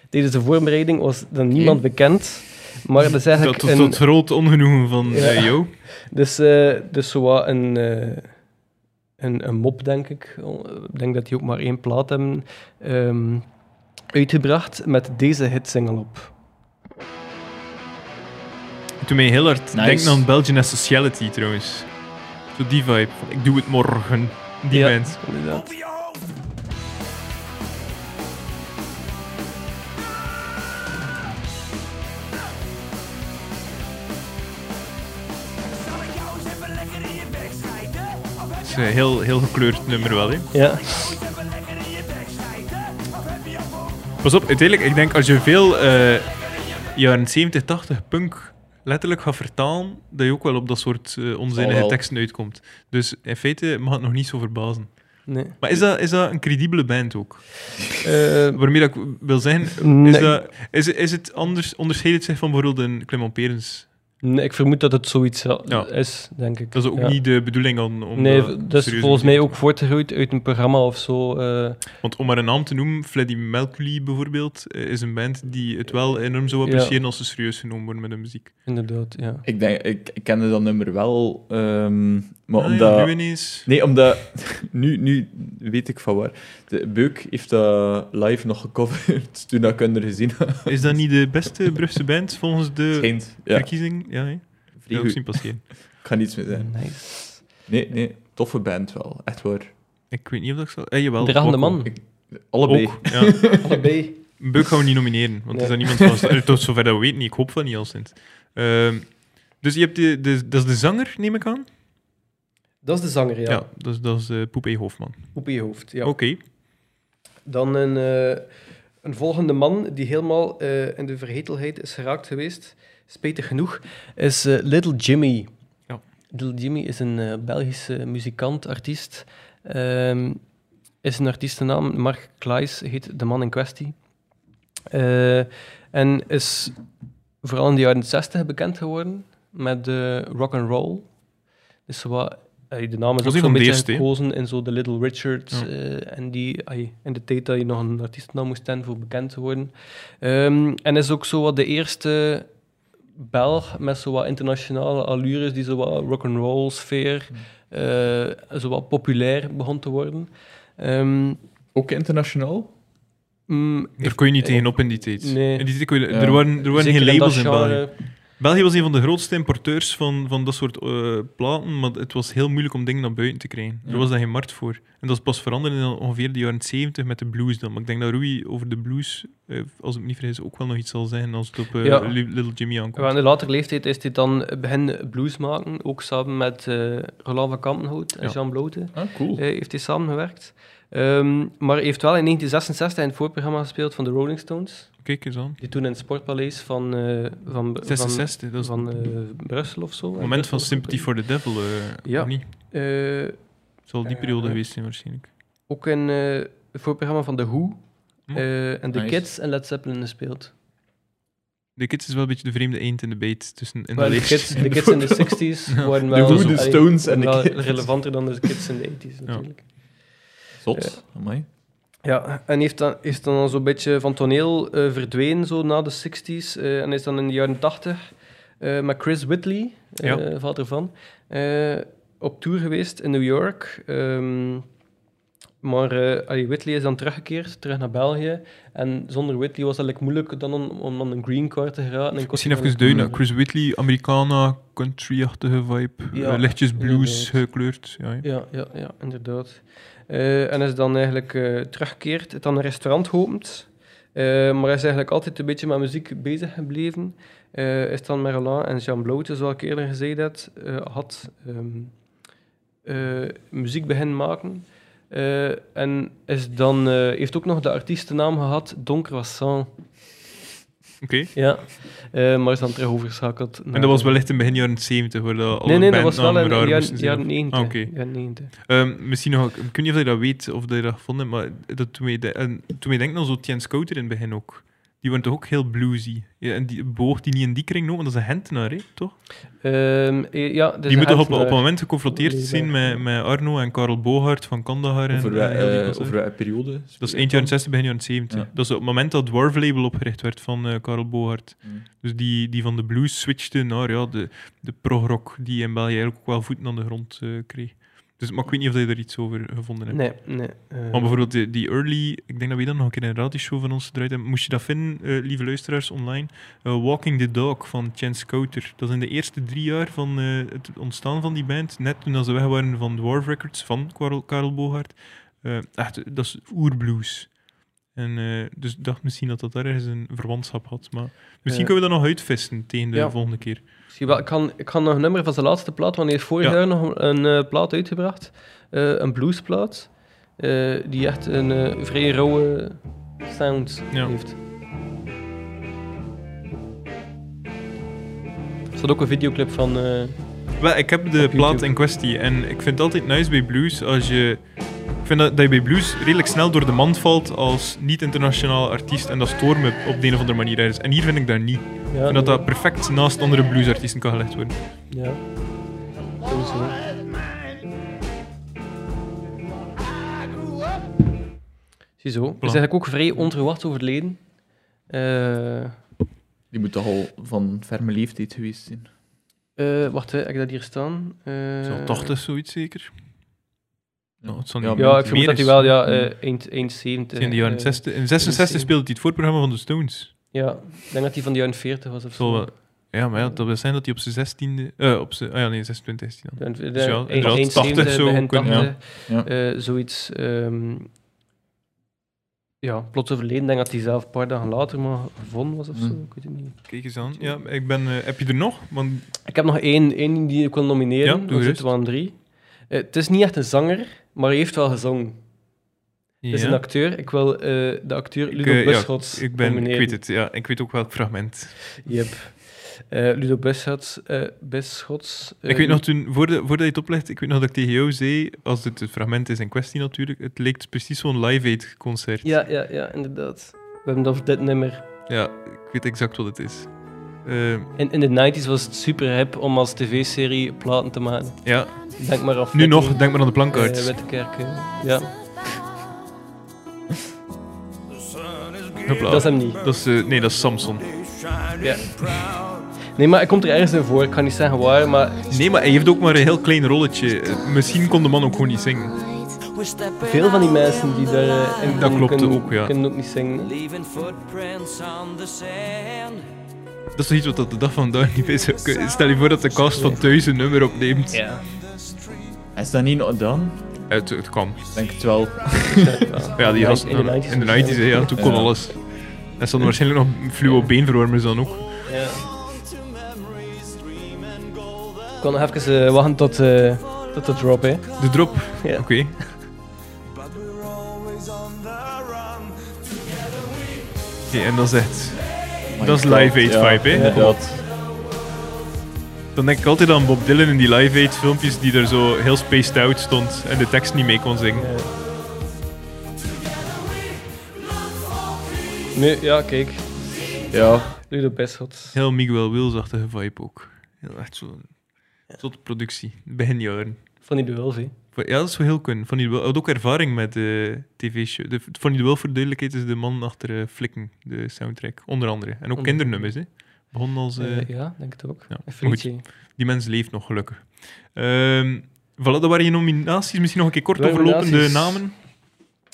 Speaker 3: Tijdens de voorbereiding was dan niemand bekend. Maar dat is
Speaker 1: Dat
Speaker 3: eigenlijk
Speaker 1: tot,
Speaker 3: een...
Speaker 1: tot groot ongenoegen van
Speaker 3: Ja.
Speaker 1: eh, Jo.
Speaker 3: Dus, eh dus zowat een, eh, een, een mop, denk ik. Oh, Ik denk dat die ook maar één plaat hebben ehm, uitgebracht met deze hitsingle op.
Speaker 1: Toen mij heel hard
Speaker 2: Nice.
Speaker 1: denken aan Belgian Asociality trouwens. Zo die vibe. van, Ik doe het morgen. Die
Speaker 3: Ja,
Speaker 1: band.
Speaker 3: Inderdaad.
Speaker 1: Het is een heel, heel gekleurd nummer wel. Hè.
Speaker 3: Ja.
Speaker 1: Pas op, uiteindelijk, ik denk als je veel eh, jaren 70, 80 punk letterlijk gaat vertalen, dat je ook wel op dat soort eh,
Speaker 2: Zal
Speaker 3: Oh,
Speaker 1: onzinnige
Speaker 2: wel.
Speaker 1: teksten uitkomt. Dus in feite mag het nog niet zo verbazen.
Speaker 3: Nee.
Speaker 1: Maar is dat, is dat een credibele band ook?
Speaker 3: Eh,
Speaker 1: Waarmee dat ik wil zeggen, is,
Speaker 3: Nee.
Speaker 1: dat, is, is het anders, onderscheidt het zich van bijvoorbeeld een Clement Perens?
Speaker 3: nee, ik vermoed dat het zoiets wel
Speaker 1: Ja.
Speaker 3: is, denk ik.
Speaker 1: Dat is ook
Speaker 3: Ja.
Speaker 1: niet de bedoeling om, om
Speaker 3: Nee,
Speaker 1: dat
Speaker 3: dat is
Speaker 1: serieus
Speaker 3: volgens mij
Speaker 1: te
Speaker 3: ook
Speaker 1: doen.
Speaker 3: voortgegroeid uit een programma of zo. eh.
Speaker 1: Want om maar een naam te noemen, Freddy Mercury bijvoorbeeld, eh, is een band die het wel enorm zou appreciëren als ze serieus genomen worden met hun muziek.
Speaker 3: inderdaad, ja.
Speaker 2: Ik, denk, ik, ik kende dat nummer wel, ehm, maar
Speaker 1: Ah ja,
Speaker 2: omdat...
Speaker 1: nu ineens...
Speaker 2: Nee, omdat... Nu, nu weet ik van waar. De Beuk heeft dat live nog gecoverd toen dat ik hun er gezien had.
Speaker 1: Is dat niet de beste Brugse band volgens de
Speaker 2: Schijnt. Ja,
Speaker 1: verkiezing? Ja, hè? Ja,
Speaker 2: vrij goed.
Speaker 1: op zien passeren.
Speaker 2: Ik ga niets meer zeggen.
Speaker 3: Nice.
Speaker 2: Nee, nee, toffe band wel. Echt waar.
Speaker 1: Ik weet niet of dat ik zal... Eh, jawel.
Speaker 3: De Rachende
Speaker 1: ook wel.
Speaker 3: Man.
Speaker 2: Allebei.
Speaker 1: Ook, ja.
Speaker 3: Allebei.
Speaker 1: Buk gaan we niet nomineren, want
Speaker 3: Nee.
Speaker 1: er is dat niemand van... eh, Tot zover dat we weten, ik hoop van niet al sinds. Ehm, dus je hebt de, de, dat is de zanger, neem ik aan?
Speaker 3: Dat is de zanger, ja.
Speaker 1: Ja, dat is, dat is eh, Poepé Hofman.
Speaker 3: Op je hoofd, ja.
Speaker 1: Oké.
Speaker 3: Dan een, eh, een volgende man die helemaal eh, in de vergetelheid is geraakt geweest, spijtig genoeg, is eh, Little Jimmy.
Speaker 1: Ja.
Speaker 3: Little Jimmy is een eh, Belgische muzikant, artiest. Ehm, is een artiestennaam, Mark Klaes heet de man in kwestie. Eh, en is vooral in de jaren 60 bekend geworden met de rock and roll. Dus wat, eh, de naam is
Speaker 1: Was
Speaker 3: ook
Speaker 1: een
Speaker 3: zo'n
Speaker 1: van de
Speaker 3: beetje
Speaker 1: eerste, hè?
Speaker 3: gekozen in zo de Little Richard.
Speaker 1: Ja.
Speaker 3: eh, en die, ai, in de tijd dat je nog een artiestennaam moest hebben voor bekend te worden. Ehm, en is ook zo wat de eerste Belg met zo wat internationale allures die zo wat rock and roll sfeer eh, zo wat populair begon te worden. Ehm,
Speaker 2: Ook internationaal?
Speaker 3: mm,
Speaker 1: Daar kon je niet
Speaker 3: eh,
Speaker 1: tegenop in die tijd.
Speaker 3: nee.
Speaker 1: In die tijd kon je-
Speaker 2: Ja.
Speaker 1: er waren, er waren
Speaker 3: zeker
Speaker 1: geen
Speaker 3: dat
Speaker 1: labels in
Speaker 3: genre-
Speaker 1: België. België was een van de grootste importeurs van, van dat soort eh, platen, maar het was heel moeilijk om dingen naar buiten te krijgen.
Speaker 2: Ja.
Speaker 1: Er was daar geen markt voor. En dat is pas veranderd in ongeveer de jaren 70 met de blues dan. Maar ik denk dat Rui over de blues, eh, als ik me niet vergis, ook wel nog iets zal zeggen als het op eh,
Speaker 3: Ja.
Speaker 1: Li- Little Jimmy aankomt.
Speaker 3: Ja, in de latere leeftijd is hij dan begin blues maken, ook samen met eh Roland van Kampenhout en
Speaker 1: Ja.
Speaker 3: Jean Blote.
Speaker 2: Ah, cool.
Speaker 3: Eh, heeft hij samengewerkt. Ehm, maar hij heeft wel in 1966 in het voorprogramma gespeeld van de Rolling Stones.
Speaker 1: Kijk eens aan.
Speaker 3: Die toen in het Sportpaleis van, eh, van, van,
Speaker 1: 66, dat is
Speaker 3: van, eh, Brussel of zo.
Speaker 1: het moment van Sympathy for the Devil, eh,
Speaker 3: Ja.
Speaker 1: of niet?
Speaker 3: Eh,
Speaker 1: Zal die
Speaker 3: Eh,
Speaker 1: periode
Speaker 3: eh.
Speaker 1: geweest zijn waarschijnlijk.
Speaker 3: ook in eh, het voorprogramma van The Who.
Speaker 1: Hm.
Speaker 3: eh, en The
Speaker 2: Nice.
Speaker 3: Kids en Led Zeppelin gespeeld.
Speaker 1: De Kids is wel een beetje de vreemde eend in de beet tussen in
Speaker 3: Maar
Speaker 1: de
Speaker 3: de
Speaker 1: leegte
Speaker 3: kids,
Speaker 1: en
Speaker 3: de
Speaker 1: de
Speaker 3: kids in de
Speaker 1: voorbeeld.
Speaker 3: 60s waren
Speaker 1: De
Speaker 3: wel,
Speaker 1: Who, de
Speaker 3: allee,
Speaker 2: Stones en de
Speaker 3: wel
Speaker 2: Kids.
Speaker 3: relevanter dan de kids in de 80s natuurlijk.
Speaker 2: Zot. Amai.
Speaker 3: Ja, en heeft dan, is dan al zo'n beetje van toneel eh, verdwenen, zo na de 60s. eh, en is dan in de jaren 80 eh, met Chris Whitley, eh
Speaker 1: Ja.
Speaker 3: vader van, eh, op tour geweest in New York. Ehm, maar eh, allee, Whitley is dan teruggekeerd, terug naar België. En zonder Whitley was het eigenlijk moeilijk dan om, om aan een green card te geraken. en
Speaker 1: Misschien
Speaker 3: kost-
Speaker 1: even duiden. Chris Whitley, Americana, country-achtige vibe.
Speaker 3: Ja,
Speaker 1: eh, lichtjes blues
Speaker 3: inderdaad.
Speaker 1: gekleurd. Ja, ja.
Speaker 3: Ja, ja, ja inderdaad. Eh, en is dan eigenlijk eh teruggekeerd, het dan een restaurant geopend. Eh, maar hij is eigenlijk altijd een beetje met muziek bezig gebleven. Eh, is dan met Roland en Jean Blote, zoals ik eerder gezegd had, eh, had ehm, eh, muziek beginnen maken. Eh, en is dan, eh, heeft ook nog de artiestennaam gehad, Don Croissant.
Speaker 1: Oké.
Speaker 3: Ja. Eh, maar is dan terug overgeschakeld.
Speaker 1: En dat was wellicht in begin jaren 70, waar dat
Speaker 3: Nee,
Speaker 1: alle
Speaker 3: nee, dat was wel
Speaker 1: bandnamen
Speaker 3: in de
Speaker 1: raar
Speaker 3: jaren,
Speaker 1: moesten zijn.
Speaker 3: jaren 90.
Speaker 1: Ah, oké.
Speaker 3: jaren 90.
Speaker 1: Ehm, misschien nog, ik weet niet of je dat weet of dat je dat gevonden hebt, maar dat toen, je de, en toen je denkt aan zo'n Tien Scouter in het begin ook. Die waren toch ook heel bluesy. Ja, en die behoort die niet in die kring nog, want dat is een Hentenaar, hè, toch?
Speaker 3: Ehm, eh, ja, dus
Speaker 1: die moeten op, op
Speaker 3: Hentenaar.
Speaker 1: het moment geconfronteerd
Speaker 3: Leesbaar.
Speaker 1: zijn met, met Arno en Karel Bogaert van Kandahar. En,
Speaker 2: Over,
Speaker 1: en heel die
Speaker 2: eh,
Speaker 1: klasse.
Speaker 2: over welke periode?
Speaker 1: dat is eind jaren 60, begin jaren 70.
Speaker 2: Ja.
Speaker 1: Dat is op het moment dat het Dwarf Label opgericht werd van eh Karel Bogaert.
Speaker 2: Hmm.
Speaker 1: Dus die, die van de blues switchte naar ja, de, de progrock, die in België eigenlijk ook wel voeten aan de grond eh, kreeg. Dus, maar ik weet niet of je er iets over gevonden hebt.
Speaker 3: Nee, nee. eh,
Speaker 1: Maar bijvoorbeeld die, die early, ik denk dat we dat nog een keer in een radioshow van ons gedraaid hebben. Moest je dat vinden, eh, lieve luisteraars online? Eh, Walking the Dog van Chance Coulter. Dat is in de eerste drie jaar van eh, het ontstaan van die band, net toen dat ze weg waren van Dwarf Records van Karel, Karel Bogaert. Eh, echt, dat is oerblues. En eh, dus ik dacht misschien dat dat daar ergens een verwantschap had. Maar misschien
Speaker 3: Eh.
Speaker 1: kunnen we dat nog uitvissen tegen de
Speaker 3: Ja.
Speaker 1: volgende keer.
Speaker 3: Misschien wel. Ik kan, ik kan nog een nummer van zijn laatste plaat, want hij heeft vorig
Speaker 1: Ja.
Speaker 3: jaar nog een eh, plaat uitgebracht. Eh, een bluesplaat. eh, die echt een eh, vrij rauwe sound
Speaker 1: Ja.
Speaker 3: heeft. Er staat ook een videoclip van... eh,
Speaker 1: Wel, ik heb de
Speaker 3: Op
Speaker 1: plaat
Speaker 3: YouTube.
Speaker 1: in kwestie en ik vind het altijd nice bij blues als je. Ik vind dat, dat je bij blues redelijk snel door de mand valt als niet-internationale artiest en dat stoort me op de een of andere manier ergens. En hier vind ik dat niet. Ik
Speaker 3: ja,
Speaker 1: vind dat dat perfect naast andere bluesartiesten kan gelegd worden.
Speaker 3: Ja. Sowieso. Ziezo. Hij is eigenlijk ook vrij onverwacht overleden. Eh...
Speaker 2: Die moet toch al van ferme leeftijd geweest zijn.
Speaker 3: Eh, wacht, hè, heb ik dat hier staan? Eh,
Speaker 1: Zo'n 80 zoiets zeker. Nou, het zal niet-
Speaker 3: Ja, ik
Speaker 1: dus meer
Speaker 3: vermoed dat hij
Speaker 1: is.
Speaker 3: wel, ja, eh, eind, eind 70.
Speaker 1: In de jaren
Speaker 3: eh,
Speaker 1: 60, in 66 speelde hij het voorprogramma van de Stones.
Speaker 3: Ja, ik denk dat hij van de jaren 40 was of
Speaker 1: Zal
Speaker 3: zo.
Speaker 1: wel- Ja, maar ja, dat wil zijn dat hij op zijn 16e. eh, op zijn, ah ja, nee, 26 is hij dan.
Speaker 3: De, de,
Speaker 1: Dus ja,
Speaker 3: eind-
Speaker 1: inderdaad,
Speaker 3: eind
Speaker 1: 80
Speaker 3: 70,
Speaker 1: zou
Speaker 3: begin
Speaker 1: kunnen,
Speaker 2: ja.
Speaker 3: 80, eh, zoiets. ehm, ja, plots overleden. Ik denk dat hij zelf een paar dagen later maar gevonden was of zo.
Speaker 2: Hmm.
Speaker 3: Ik weet het niet.
Speaker 1: Kijk eens aan. Ja, ik ben, eh, heb je er nog? Want
Speaker 3: Ik heb nog één, één die ik kon
Speaker 1: Ja,
Speaker 3: nomineren.
Speaker 1: doe
Speaker 3: Dan
Speaker 1: gerust.
Speaker 3: zitten we aan drie. Eh, het is niet echt een zanger, maar hij heeft wel gezongen. Het is
Speaker 1: Ja.
Speaker 3: een acteur. Ik wil eh, de acteur
Speaker 1: Ik,
Speaker 3: Ludo
Speaker 1: eh, ja,
Speaker 3: Buschots
Speaker 1: ik, ben, ik
Speaker 3: nomineren.
Speaker 1: weet het, ja. Ik weet ook welk fragment.
Speaker 3: Yep. Eh, Ludo Beschots. eh Beschots eh,
Speaker 1: ik weet nog toen, voordat, voordat je het oplegt, ik weet nog dat ik tegen jou zei, als dit het fragment is in kwestie natuurlijk, het leek precies zo'n Live Aid concert.
Speaker 3: Ja, ja, ja, inderdaad. We hebben dat over dit nummer.
Speaker 1: Ja, ik weet exact wat het is. Eh,
Speaker 3: In, in de 90s was het super hip om als tv-serie platen te maken.
Speaker 1: ja,
Speaker 3: Denk maar af. eh,
Speaker 1: nu nog, denk maar aan de plankaarts.
Speaker 3: Witte Kerk. eh, Ja,
Speaker 1: Hopla.
Speaker 3: dat is hem niet.
Speaker 1: Dat is, eh, nee, dat is Samson.
Speaker 3: Ja. Nee, maar hij komt er ergens in voor. Ik kan niet zeggen waar, maar
Speaker 1: Nee, maar hij heeft ook maar een heel klein rolletje. Eh, Misschien kon de man ook gewoon niet zingen.
Speaker 3: veel van die mensen die daarin
Speaker 1: Dat klopt
Speaker 3: kunnen,
Speaker 1: ook, ja.
Speaker 3: kunnen ook niet zingen.
Speaker 5: Leaving footprints on the sand.
Speaker 1: Dat is toch iets wat dat de dag van vandaag niet is. eh, Stel je voor dat de cast van thuis een nummer opneemt.
Speaker 3: Ja.
Speaker 2: Is dat niet gedaan?
Speaker 1: Het, het kan.
Speaker 2: Ik Denk het wel.
Speaker 1: Ja, die
Speaker 3: In de
Speaker 1: gast in de
Speaker 3: 90s
Speaker 1: 90's, hè, ja, toen kon
Speaker 2: Ja.
Speaker 1: alles. En stonden waarschijnlijk nog fluo beenverwarmers dan ook.
Speaker 3: Ja. Ik kon nog even eh, wachten tot, eh, tot de drop, hè.
Speaker 1: De drop.
Speaker 3: Ja.
Speaker 1: Oké. Oké, en dat is echt. Dat is Live Aid vibe, hè?
Speaker 2: Dat.
Speaker 1: Dan denk ik altijd aan Bob Dylan in die Live Aid filmpjes die er zo heel spaced out stond en de tekst niet mee kon zingen.
Speaker 3: Nu, ja, kijk.
Speaker 2: Ja.
Speaker 3: Ludo Beschots.
Speaker 1: Heel Miguel Wills-achtige vibe ook. Heel echt zo'n tot productie, begin jaren.
Speaker 3: Van die duels, hè.
Speaker 1: Ja, dat zou heel kunnen. Van die Duel had ook ervaring met de tv-show. De- Van die Duel, voor de duidelijkheid, is de man achter eh, Flikken, de soundtrack. Onder andere. En ook
Speaker 3: Onder-
Speaker 1: kindernummers, hè. Begon als... eh,
Speaker 3: Eh, ja, denk het ook.
Speaker 1: ja,
Speaker 3: Een
Speaker 1: maar goed.
Speaker 3: frietje.
Speaker 1: Die mens leeft nog, gelukkig. Ehm voilà, dat waren je nominaties. Misschien nog een keer kort
Speaker 3: Waren
Speaker 1: overlopende
Speaker 3: nominaties.
Speaker 1: namen.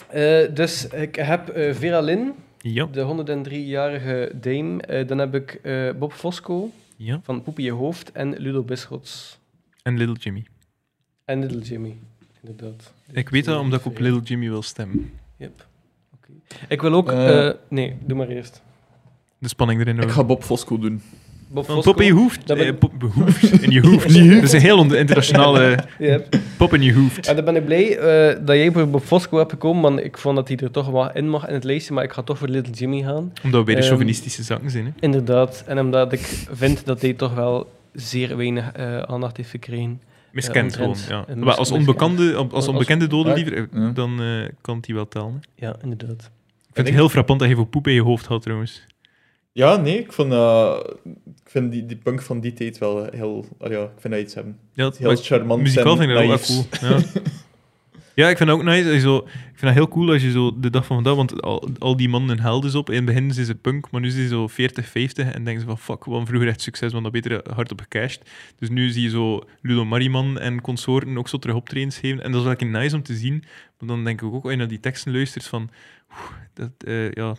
Speaker 3: Eh, dus ik heb eh, Vera Lynn,
Speaker 1: Ja,
Speaker 3: de 103-jarige dame. Eh, dan heb ik eh, Bob Fosco
Speaker 1: ja.
Speaker 3: van Poepie Je Hoofd en Ludo Bischots.
Speaker 1: En Little Jimmy.
Speaker 3: En Little Jimmy, inderdaad.
Speaker 1: Ik weet dat omdat ik op Little Jimmy wil stemmen.
Speaker 3: Yep. Oké. Ik wil ook...
Speaker 2: Eh.
Speaker 3: eh, nee, doe maar eerst.
Speaker 1: De spanning erin
Speaker 2: Ik
Speaker 1: houden.
Speaker 2: ga Bob Fosco doen.
Speaker 3: Bob
Speaker 1: Want pop in je hoeft.
Speaker 3: dat ben-
Speaker 1: eh, pop behoeft. In je hoeft. Dat is een heel on- internationale
Speaker 3: Ja.
Speaker 1: pop in je hoeft.
Speaker 3: En Ah, dan ben ik blij eh, dat jij voor Bob Fosco hebt gekomen, want ik vond dat hij er toch wel in mag in het lijstje, maar ik ga toch voor Little Jimmy gaan.
Speaker 1: Omdat we bij de
Speaker 3: Ehm,
Speaker 1: chauvinistische zaken zijn. Hè.
Speaker 3: Inderdaad, en omdat ik vind dat hij toch wel zeer weinig eh, aandacht heeft gekregen.
Speaker 1: Miskend
Speaker 3: eh,
Speaker 1: gewoon.
Speaker 3: ontrent.
Speaker 1: Ja.
Speaker 3: Eh,
Speaker 1: Maar als,
Speaker 3: miskend.
Speaker 1: onbekende, als- als
Speaker 3: Als-
Speaker 1: onbekende dode
Speaker 2: ja.
Speaker 1: liever, eh,
Speaker 2: Ja.
Speaker 1: dan eh, kan die wel tellen. hè.
Speaker 3: Ja, inderdaad.
Speaker 1: Ik vind het heel frappant dat je voor poep in je hoofd had trouwens.
Speaker 2: Ja, nee, ik, vond, eh, ik vind die, die punk van die tijd wel eh, heel... ah ja, ik vind dat iets hebben.
Speaker 1: Ja, dat-
Speaker 2: Heel charmant
Speaker 1: Muzikaal
Speaker 2: en
Speaker 1: vind ik dat wel
Speaker 2: naïefs.
Speaker 1: cool. Ja. ja, ik vind dat ook nice. dat je Zo, ik vind dat heel cool als je zo de dag van vandaag, want al, al die mannen hun helden is op. In het begin zijn ze punk, maar nu zijn ze zo 40, 50 en denken ze van fuck, we hadden vroeger echt succes, want dat beter hard op gecashed. Dus nu zie je zo Ludo Mariman en consorten ook zo terug optredens geven. En dat is wel een keer nice om te zien. Want dan denk ik ook, als je naar die teksten luistert, van oeh, dat, eh, ja,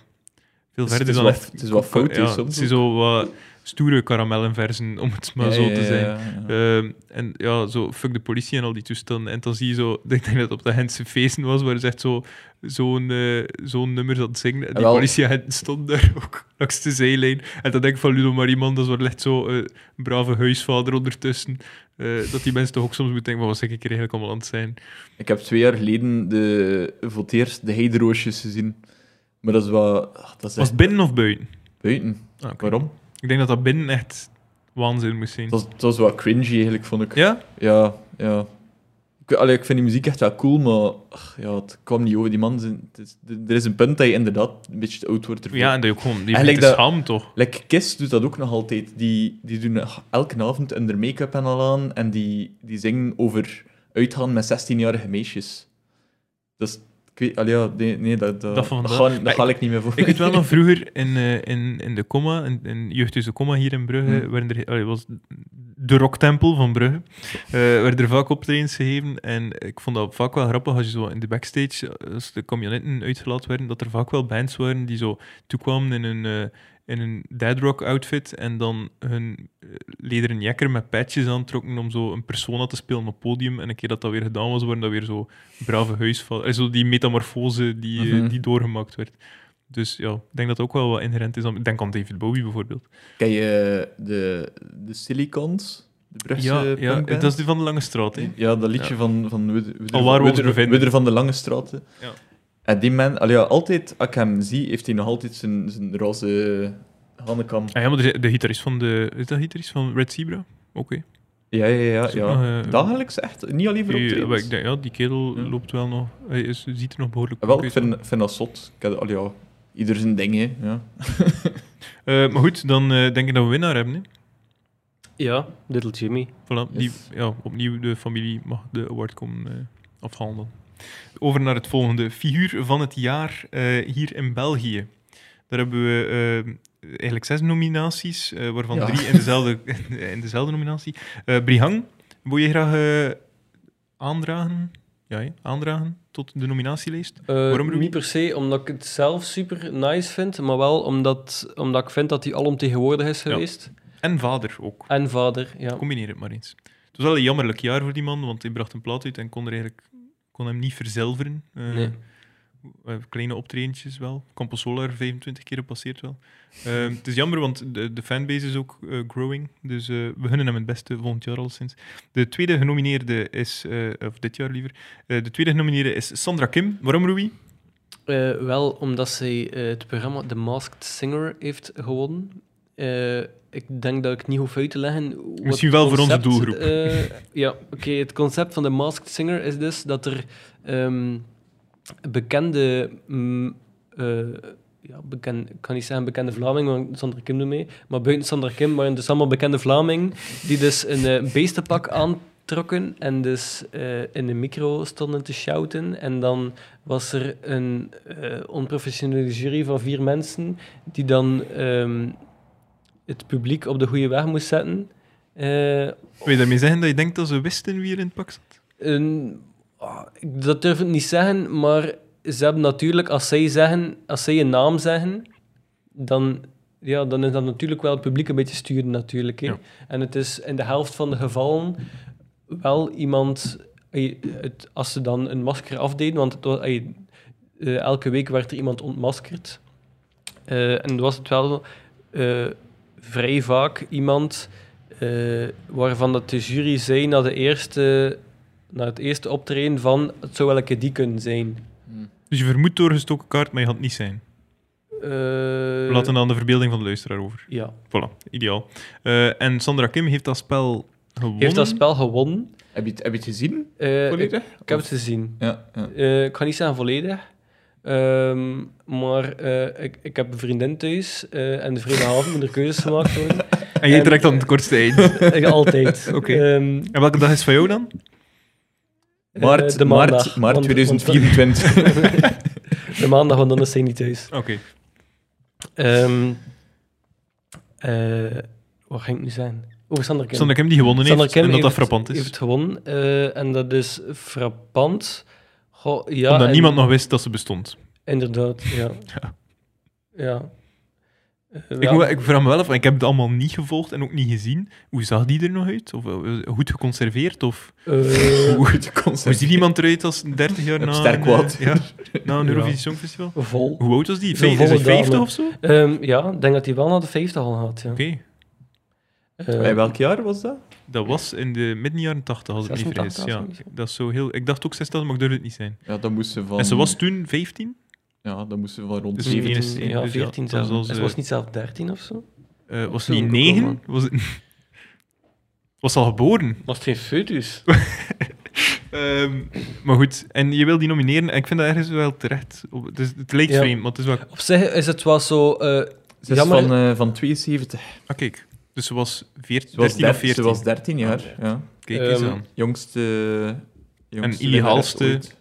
Speaker 1: veel
Speaker 2: Dus
Speaker 1: verder
Speaker 2: het is
Speaker 1: dan
Speaker 2: wel-
Speaker 1: echt
Speaker 2: het is wel fout, hè,
Speaker 1: ja,
Speaker 2: soms
Speaker 1: Het zijn
Speaker 2: ook.
Speaker 1: zo wat stoere karamellenversen, om het maar
Speaker 2: Ja,
Speaker 1: zo
Speaker 2: ja,
Speaker 1: te
Speaker 2: ja,
Speaker 1: zijn.
Speaker 2: ja, ja.
Speaker 1: Ehm, en ja, zo fuck de politie en al die toestanden. En dan zie je zo, ik denk dat het op de Gentse feesten was, waar ze echt zo- zo'n eh, zo'n nummer zat zingen. En die
Speaker 2: Wel-
Speaker 1: politieagenten stonden daar ook langs de zijlijn. En dan denk ik van Ludo Mariman, dat is wel echt zo eh, een brave huisvader ondertussen. Eh, dat die mensen toch ook soms moeten denken, van, wat zeg ik hier eigenlijk allemaal aan het zijn?
Speaker 2: Ik heb twee jaar geleden de, voor het eerst de heideroosjes gezien. Maar dat is wel... ah, dat is
Speaker 1: Was
Speaker 2: echt
Speaker 1: het binnen of buiten?
Speaker 2: buiten.
Speaker 1: Ah, oké.
Speaker 2: Waarom?
Speaker 1: Ik denk dat dat binnen echt waanzin moest zijn.
Speaker 2: Dat was, dat was wel cringy eigenlijk, vond ik.
Speaker 1: Ja?
Speaker 2: Ja, ja. Ik, allee, ik vind die muziek echt wel cool, maar ach, ja, het kwam niet over die man. zijn- het is- Er is een punt dat je inderdaad een beetje te oud wordt ervoor.
Speaker 1: Ja, en dat je ook gewoon, die
Speaker 2: Eigenlijk
Speaker 1: bent te
Speaker 2: dat-
Speaker 1: schamen, toch?
Speaker 2: Like Kiss doet dat ook nog altijd. Die, die doen elke avond onder make-up en al aan en die, die zingen over uitgaan met 16-jarige meisjes. Dus ik weet, allee, ja, nee, nee, dat, dat,
Speaker 1: Dat van
Speaker 2: dat
Speaker 1: dat-
Speaker 2: ga, dat
Speaker 1: maar
Speaker 2: ga ik niet meer voor.
Speaker 1: Ik weet wel nog vroeger in, eh, in, in de comma, in, in jeugdhuis de comma hier in Brugge,
Speaker 2: Hmm.
Speaker 1: werden er, allee, was de rocktempel van Brugge, eh, werden er vaak optredens gegeven. En ik vond dat vaak wel grappig als je zo in de backstage, eh, als de camionetten uitgelaten werden, dat er vaak wel bands waren die zo toekwamen in een, eh, in een dead rock outfit en dan hun eh, lederen jekker met patches aantrokken om zo een persona te spelen op het podium. En een keer dat dat weer gedaan was, waren dat weer zo brave huisvallen. Zo die metamorfose die, eh,
Speaker 2: Mhm.
Speaker 1: die doorgemaakt werd. Dus ja, ik denk dat ook wel wat inherent is. aan- Ik denk aan David Bowie bijvoorbeeld.
Speaker 2: Ken je de, de Silicons? De Brugse
Speaker 1: ja, ja
Speaker 2: punkband?
Speaker 1: dat is die van de Lange Straat. Hè?
Speaker 2: eh, Ja, dat liedje
Speaker 1: Ja.
Speaker 2: van, van Widder, Widder,
Speaker 1: Al waar we ons
Speaker 2: Widder-
Speaker 1: bevinden.
Speaker 2: Widder van de Lange Straten.
Speaker 1: Ja.
Speaker 2: En die man, al ja, altijd, als ik hem zie, heeft hij nog altijd zijn, zijn roze handenkam.
Speaker 1: Ah, ja, maar er is- de gitarist van, de, is dat gitarist van Red Zebra? Oké.
Speaker 2: Ja, ja, ja.
Speaker 1: Is ook nog,
Speaker 2: ja.
Speaker 1: eh,
Speaker 2: Dagelijks echt, niet alleen voor
Speaker 1: Die- eh, wel,
Speaker 2: optredens.
Speaker 1: ik denk, Ja, die kerel
Speaker 2: Ja.
Speaker 1: loopt wel nog. Hij is, ziet er nog behoorlijk
Speaker 2: Ah, Wel,
Speaker 1: goed
Speaker 2: ik
Speaker 1: uit.
Speaker 2: vind, vind dat zot. Ik heb, al ja, ieder zijn ding, hè. Ja.
Speaker 1: Eh, maar goed, dan eh, denk ik dat we winnaar hebben. Hè?
Speaker 3: Ja, Little Jimmy.
Speaker 1: Voilà, die,
Speaker 2: Yes.
Speaker 1: ja, opnieuw de familie mag de award komen eh, afhandelen. Over naar het volgende. Figuur van het jaar eh, hier in België. Daar hebben we eh, eigenlijk zes nominaties, eh, waarvan
Speaker 2: Ja.
Speaker 1: drie in dezelfde, in dezelfde nominatie. Eh Brihang, wil je graag eh, aandragen? Ja, hè, aandragen tot de nominatielijst? Waarom, Rudy?
Speaker 3: Eh, niet per se omdat ik het zelf super nice vind, maar wel omdat, omdat ik vind dat hij alomtegenwoordig is
Speaker 1: Ja.
Speaker 3: geweest.
Speaker 1: En vader ook.
Speaker 3: En vader, ja.
Speaker 1: Combineer het maar eens. Het was wel een jammerlijk jaar voor die man, want hij bracht een plaat uit en kon, er eigenlijk, kon hem niet verzilveren. Eh,
Speaker 3: Nee.
Speaker 1: eh, kleine optredentjes wel. Campo Solar 25 keer gepasseerd wel. Ehm, het is jammer, want de, de fanbase is ook eh, growing. Dus eh, we gunnen hem het beste volgend jaar al sinds. De tweede genomineerde is, eh, of dit jaar liever, eh, de tweede genomineerde is Sandra Kim. Waarom, Rui?
Speaker 3: Eh, wel omdat zij eh, het programma The Masked Singer heeft gewonnen. Eh, ik denk dat ik niet hoef uit te leggen. wat
Speaker 1: Misschien wel voor onze
Speaker 3: concept,
Speaker 1: doelgroep.
Speaker 3: eh, ja, oké. het concept van The Masked Singer is dus dat er ehm, bekende. mm, eh, ja, bekend, ik kan niet zeggen bekende Vlaming, want Sandra Kim doet mee. Maar buiten Sandra Kim waren dus allemaal bekende Vlaming. Die dus een eh, beestenpak aantrokken en dus eh, in de micro stonden te shouten. En dan was er een eh, onprofessionele jury van vier mensen die dan ehm, het publiek op de goede weg moest zetten. Eh,
Speaker 1: Wil je daarmee zeggen dat je denkt dat ze wisten wie er in het pak zat?
Speaker 3: een- ah, ik- dat durf ik niet zeggen, maar ze hebben natuurlijk, als zij, zeggen, als zij een naam zeggen, dan, ja, dan is dat natuurlijk wel het publiek een beetje sturen natuurlijk. hè.
Speaker 1: Ja.
Speaker 3: En het is in de helft van de gevallen wel iemand, ey, het, als ze dan een masker afdeden, want het was- ey, eh, elke week werd er iemand ontmaskerd. Eh, en was het wel eh, vrij vaak iemand eh, waarvan dat de jury zei na, de eerste, na het eerste optreden van het zou wel een keer die kunnen zijn.
Speaker 1: Dus je vermoedt doorgestoken kaart, maar je gaat het niet zijn.
Speaker 3: Eh,
Speaker 1: We laten dan de verbeelding van de luisteraar over.
Speaker 3: Ja.
Speaker 1: Voilà, ideaal. Eh, en Sandra Kim heeft dat spel gewonnen.
Speaker 3: Heeft dat spel gewonnen?
Speaker 2: Heb je het, heb je het gezien?
Speaker 3: Eh, ik,
Speaker 2: Volledig?
Speaker 3: ik heb het gezien.
Speaker 2: Ja, ja.
Speaker 3: Eh, ik ga niet zeggen volledig. Ehm, maar eh, ik, ik heb een vriendin thuis eh, en de vrijdagavond moet er keuzes gemaakt worden.
Speaker 1: En jij
Speaker 3: En-
Speaker 1: trekt aan het kortste eind.
Speaker 3: Ik- Altijd.
Speaker 1: Oké.
Speaker 3: Ehm,
Speaker 1: En welke dag is van jou dan?
Speaker 3: eh,
Speaker 2: Maart,
Speaker 3: de
Speaker 2: maart,
Speaker 3: maandag,
Speaker 2: maart
Speaker 3: want-
Speaker 2: 2024.
Speaker 3: want- de maandag, want anders zijn niet thuis.
Speaker 1: Oké.
Speaker 3: Ehm eh, wat ging ik nu zijn? Oh, Sander Kim.
Speaker 1: Sandra Kim die gewonnen
Speaker 3: Sander
Speaker 1: heeft,
Speaker 3: Kim
Speaker 1: en dat dat
Speaker 3: heeft-
Speaker 1: frappant is.
Speaker 3: heeft gewonnen. eh, en dat is frappant. Goh, ja,
Speaker 1: Omdat
Speaker 3: en-
Speaker 1: niemand nog wist dat ze bestond.
Speaker 3: Inderdaad, ja.
Speaker 1: Ja.
Speaker 3: Ja. Eh,
Speaker 1: Ik,
Speaker 3: ja.
Speaker 1: moet- ik vraag me wel af, want ik heb het allemaal niet gevolgd en ook niet gezien. Hoe zag die er nog uit? Of eh, goed geconserveerd? Of
Speaker 3: Eh,
Speaker 2: Goed
Speaker 1: hoe
Speaker 2: concept.
Speaker 1: ziet iemand eruit als 30 jaar na,
Speaker 2: Sterk
Speaker 1: een, eh,
Speaker 2: wat.
Speaker 1: ja, na een
Speaker 3: Ja.
Speaker 1: Eurovisie Songfestival?
Speaker 3: vol.
Speaker 1: Hoe oud was die?
Speaker 3: Zo'n
Speaker 1: Vij- Is hij
Speaker 3: volle
Speaker 1: 50
Speaker 3: dame.
Speaker 1: of zo? Oké.
Speaker 3: Ehm, ja, ik denk dat hij wel naar de 50 al had. Ja. Eh,
Speaker 2: Bij welk jaar was dat?
Speaker 1: Dat was in de midden jaren 80, als ik me niet vergis.
Speaker 3: 86
Speaker 1: Ja,
Speaker 3: of zo.
Speaker 1: dat is zo heel... Ik dacht ook 60, maar ik durfde het niet zijn.
Speaker 2: Ja, dan moest ze van...
Speaker 1: En ze was toen 15?
Speaker 2: Ja, dan moest ze van rond...
Speaker 1: Dus
Speaker 2: de-
Speaker 1: die- 14,
Speaker 3: Mm, ja,
Speaker 1: dus ja,
Speaker 3: 14
Speaker 1: dan
Speaker 3: zelfs.
Speaker 1: zal ze-
Speaker 3: Het was niet zelf 13 of zo.
Speaker 1: Eh, was
Speaker 3: Zo,
Speaker 1: het niet
Speaker 3: kom
Speaker 1: 9?
Speaker 3: maar.
Speaker 1: Was, het... was ze al geboren?
Speaker 3: Was het geen dus. foetus?
Speaker 1: Ehm, maar goed, en je wil die nomineren en ik vind dat ergens wel terecht. Op- Het, is, het lijkt
Speaker 3: Ja.
Speaker 1: vreemd, maar het is wel...
Speaker 3: Op zich is het wel zo... eh,
Speaker 2: Ze is
Speaker 3: jammer.
Speaker 2: van, eh, van 72.
Speaker 1: Ah, kijk. Dus ze was 14,
Speaker 2: Ze was,
Speaker 1: 13 of
Speaker 2: 13,
Speaker 1: 14.
Speaker 2: ze was 13 jaar. ja.
Speaker 1: Kijk eens
Speaker 3: Ehm,
Speaker 1: aan.
Speaker 2: Ah, Jongste... jongste
Speaker 1: ideaalste-
Speaker 2: winnares ooit.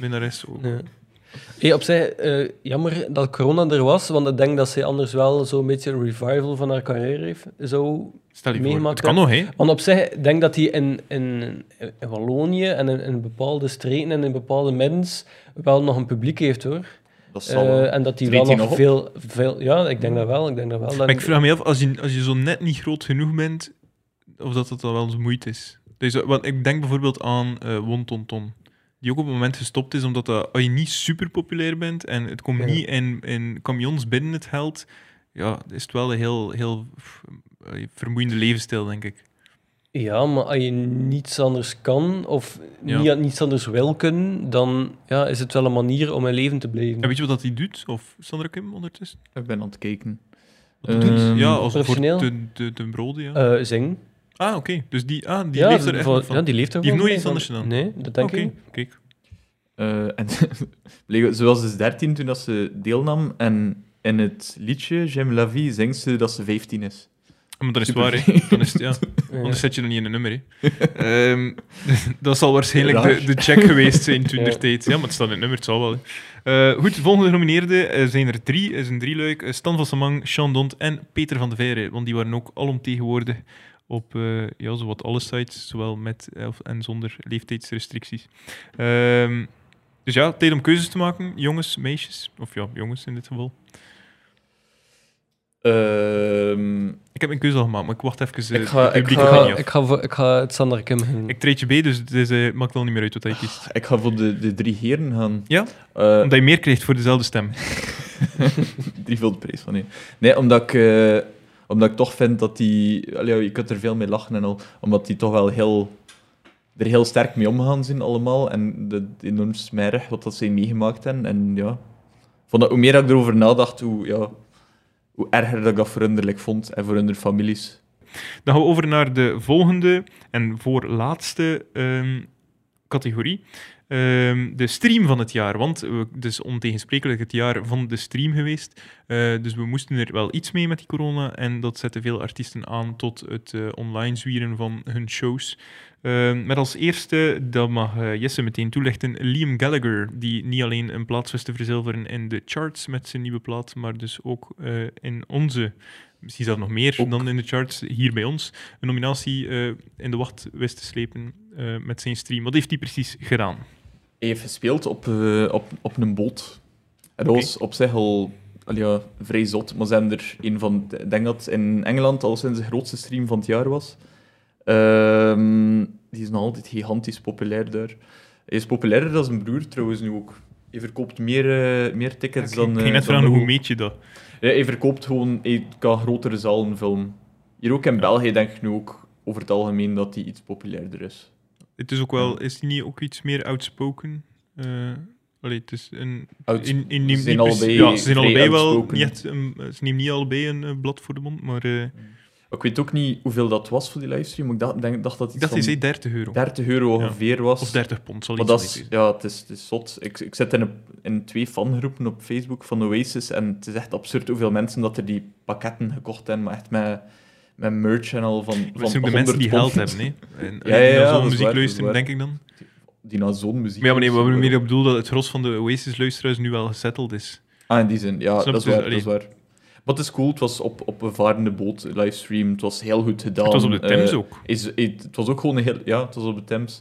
Speaker 1: Minnares ook.
Speaker 3: ja. Hey, op zich, eh, jammer dat corona er was, want ik denk dat zij anders wel zo'n beetje een revival van haar carrière heeft. Zo.
Speaker 1: Stel je voor,
Speaker 3: Meegemaakt
Speaker 1: het kan
Speaker 3: wel.
Speaker 1: nog, hè.
Speaker 3: Want op zich, ik denk dat hij in, in, in Wallonië en in, in bepaalde streken en in bepaalde middens wel nog een publiek heeft, hoor.
Speaker 2: Dat zal wel.
Speaker 3: Eh, en dat hij
Speaker 2: Treedt hij
Speaker 3: wel nog,
Speaker 2: nog op?
Speaker 3: veel, veel... Ja, ik denk dat wel. Ik denk dat wel. Dat-
Speaker 1: Maar ik vraag me af, als je, als je zo net niet groot genoeg bent, of dat dat dan wel eens moeite is. Dus, eh, want ik denk bijvoorbeeld aan eh Won Ton Ton, die ook op het moment gestopt is, omdat dat, als je niet super populair bent en het komt
Speaker 3: Ja.
Speaker 1: niet in, in camions binnen het held, ja, is het wel een heel, heel pff, eh, vermoeiende levensstijl, denk ik.
Speaker 3: Ja, maar als je niets anders kan of
Speaker 1: Ja.
Speaker 3: niet, niets anders wil kunnen, dan ja, is het wel een manier om in leven te blijven.
Speaker 1: En weet je wat dat die doet? Of Sandra Kim ondertussen?
Speaker 2: Ik ben aan het kijken.
Speaker 1: Wat dat doet?
Speaker 2: Ehm,
Speaker 1: Ja, als voor
Speaker 3: professioneel?
Speaker 1: de, de, de brode, ja.
Speaker 3: Eh, zingen.
Speaker 1: ah, oké. Dus die, ah, die
Speaker 3: ja,
Speaker 1: leeft er echt
Speaker 3: voor-
Speaker 1: nog van.
Speaker 3: ja, die leeft er
Speaker 1: Die heeft
Speaker 3: wel
Speaker 1: nooit
Speaker 3: van.
Speaker 1: iets anders gedaan?
Speaker 3: Nee, dat denk
Speaker 1: Oké,
Speaker 3: ik.
Speaker 1: kijk.
Speaker 2: Eh, en bleek- ze was dus 13 toen dat ze deelnam. En in het liedje J'aime la vie zingt ze dat ze 15 is.
Speaker 1: Ah, Maar dat is
Speaker 2: Super.
Speaker 1: waar, hè. Dan is het, ja.
Speaker 3: Ja.
Speaker 1: Anders zet je nog niet in een nummer. Hè. Ehm, dat zal waarschijnlijk de,
Speaker 2: Raar.
Speaker 1: de check geweest zijn toen
Speaker 3: Ja.
Speaker 1: der tijd. Ja, maar het staat in het nummer, het zal wel. hè. Eh, goed, volgende genomineerden eh, zijn er drie. is een drieluik. Eh, Stan van Samang, Sean Dont en Peter van de Veire. Want die waren ook alomtegenwoordig op eh ja, zowat alle sites, zowel met eh, of- en zonder leeftijdsrestricties. Ehm, dus ja, tijd om keuzes te maken. Jongens, meisjes. Of ja, jongens in dit geval.
Speaker 2: Ehm,
Speaker 1: Ik heb mijn keuze al gemaakt, maar ik wacht even. eh,
Speaker 2: Ik ga-
Speaker 1: het
Speaker 2: ik
Speaker 1: publiek
Speaker 2: ga-
Speaker 1: gaat niet
Speaker 3: ga,
Speaker 1: af.
Speaker 3: ik, ga voor, ik ga het Sander Kim gaan.
Speaker 1: Ik treed je bij, dus het is, eh, maakt wel niet meer uit wat hij kiest.
Speaker 2: ik ga voor de, de drie heren gaan.
Speaker 1: Ja?
Speaker 2: Eh,
Speaker 1: Omdat je meer krijgt voor dezelfde stem.
Speaker 2: Drieveel de prijs van nee. Nee, omdat ik, eh, omdat ik toch vind dat die. allee, ja, je kunt er veel mee lachen en al. Omdat die toch wel heel. er heel sterk mee omgaan zijn, allemaal. En dat enorm smerig wat dat ze meegemaakt hebben. En ja. ik Vond dat, hoe meer dat ik erover nadacht, hoe, ja, hoe erger dat ik dat voor hun like, vond en voor hun de families.
Speaker 1: Dan gaan we over naar de volgende en voorlaatste ehm, categorie. Ehm, de stream van het jaar. Want we, het is ontegensprekelijk het jaar van de stream geweest. Eh, dus we moesten er wel iets mee met die corona. En dat zette veel artiesten aan tot het eh, online zwieren van hun shows. Ehm, met als eerste, dat mag eh, Jesse meteen toelichten, Liam Gallagher. Die niet alleen een plaats wist te verzilveren in de charts met zijn nieuwe plaat. Maar dus ook eh, in onze, misschien zelfs nog meer
Speaker 2: Ook.
Speaker 1: dan in de charts, hier bij ons, een nominatie eh, in de wacht wist te slepen eh, met zijn stream. Wat heeft hij precies gedaan?
Speaker 2: Hij heeft gespeeld op, eh, op, op een boot. En dat
Speaker 1: Oké.
Speaker 2: was op zich al al ja, vrij zot, maar ze hebben er een van... Ik denk dat het in Engeland al sinds de grootste stream van het jaar was. Ehm, die is nog altijd gigantisch populair daar. Hij is populairder dan zijn broer trouwens nu ook. Je verkoopt meer, eh, meer tickets
Speaker 1: Ik
Speaker 2: dan...
Speaker 1: ging
Speaker 2: eh,
Speaker 1: net
Speaker 2: dan
Speaker 1: vragen,
Speaker 2: de-
Speaker 1: hoe meet je dat?
Speaker 2: Ja, je verkoopt gewoon... Je kan grotere zalen filmen. Hier ook in België denk ik nu ook over het algemeen dat die iets populairder is.
Speaker 1: Het is ook wel, is die niet ook iets meer outspoken? Eh allee, het is een,
Speaker 2: Outs-
Speaker 1: in, in,
Speaker 2: ze
Speaker 1: niet-
Speaker 2: zijn
Speaker 1: niet precies-
Speaker 2: allebei
Speaker 1: ja, ze zijn
Speaker 2: vrij
Speaker 1: allebei wel
Speaker 2: outspoken.
Speaker 1: niet, echt een- ze nemen niet allebei een eh, blad voor de mond, maar eh,
Speaker 2: Ik weet ook niet hoeveel dat was voor die livestream, maar ik dacht, denk, dacht dat
Speaker 1: ik
Speaker 2: het
Speaker 1: dacht hij
Speaker 2: iets
Speaker 1: zei
Speaker 2: van
Speaker 1: 30 euro
Speaker 2: 30 euro ongeveer was.
Speaker 1: of 30 pond. Zal
Speaker 2: Maar
Speaker 1: iets
Speaker 2: dat
Speaker 1: van die
Speaker 2: is,
Speaker 1: zijn.
Speaker 2: ja, het is, het is zot. Ik, ik zit in, een, in twee fangroepen op Facebook van Oasis en het is echt absurd hoeveel mensen dat er die pakketten gekocht hebben, maar echt met, met merch en al van,
Speaker 1: Maar
Speaker 2: van
Speaker 1: het zijn ook de mensen die geld
Speaker 2: 100
Speaker 1: hebben.
Speaker 2: pond.
Speaker 1: hè. En,
Speaker 2: Ja, ja,
Speaker 1: en dan
Speaker 2: ja, dat
Speaker 1: zo'n
Speaker 2: is
Speaker 1: muziek
Speaker 2: waar, dat is
Speaker 1: luisteren,
Speaker 2: waar.
Speaker 1: denk ik dan.
Speaker 2: Die naar zo'n muziek
Speaker 1: Maar ja, maar nee, wat we
Speaker 2: luisteren.
Speaker 1: meer op bedoel dat het gros van de Oasis luisteraars nu wel gezetteld is.
Speaker 2: Ah, in die zin, ja,
Speaker 1: Snap
Speaker 2: dat is,
Speaker 1: je? Dus,
Speaker 2: waar, dat is waar. Maar het is cool, het was op, op een varende boot livestream, het was heel goed gedaan.
Speaker 1: het was op de Thames
Speaker 2: Eh,
Speaker 1: ook.
Speaker 2: Is, het, het was ook gewoon een heel... Ja, het was op de Thames.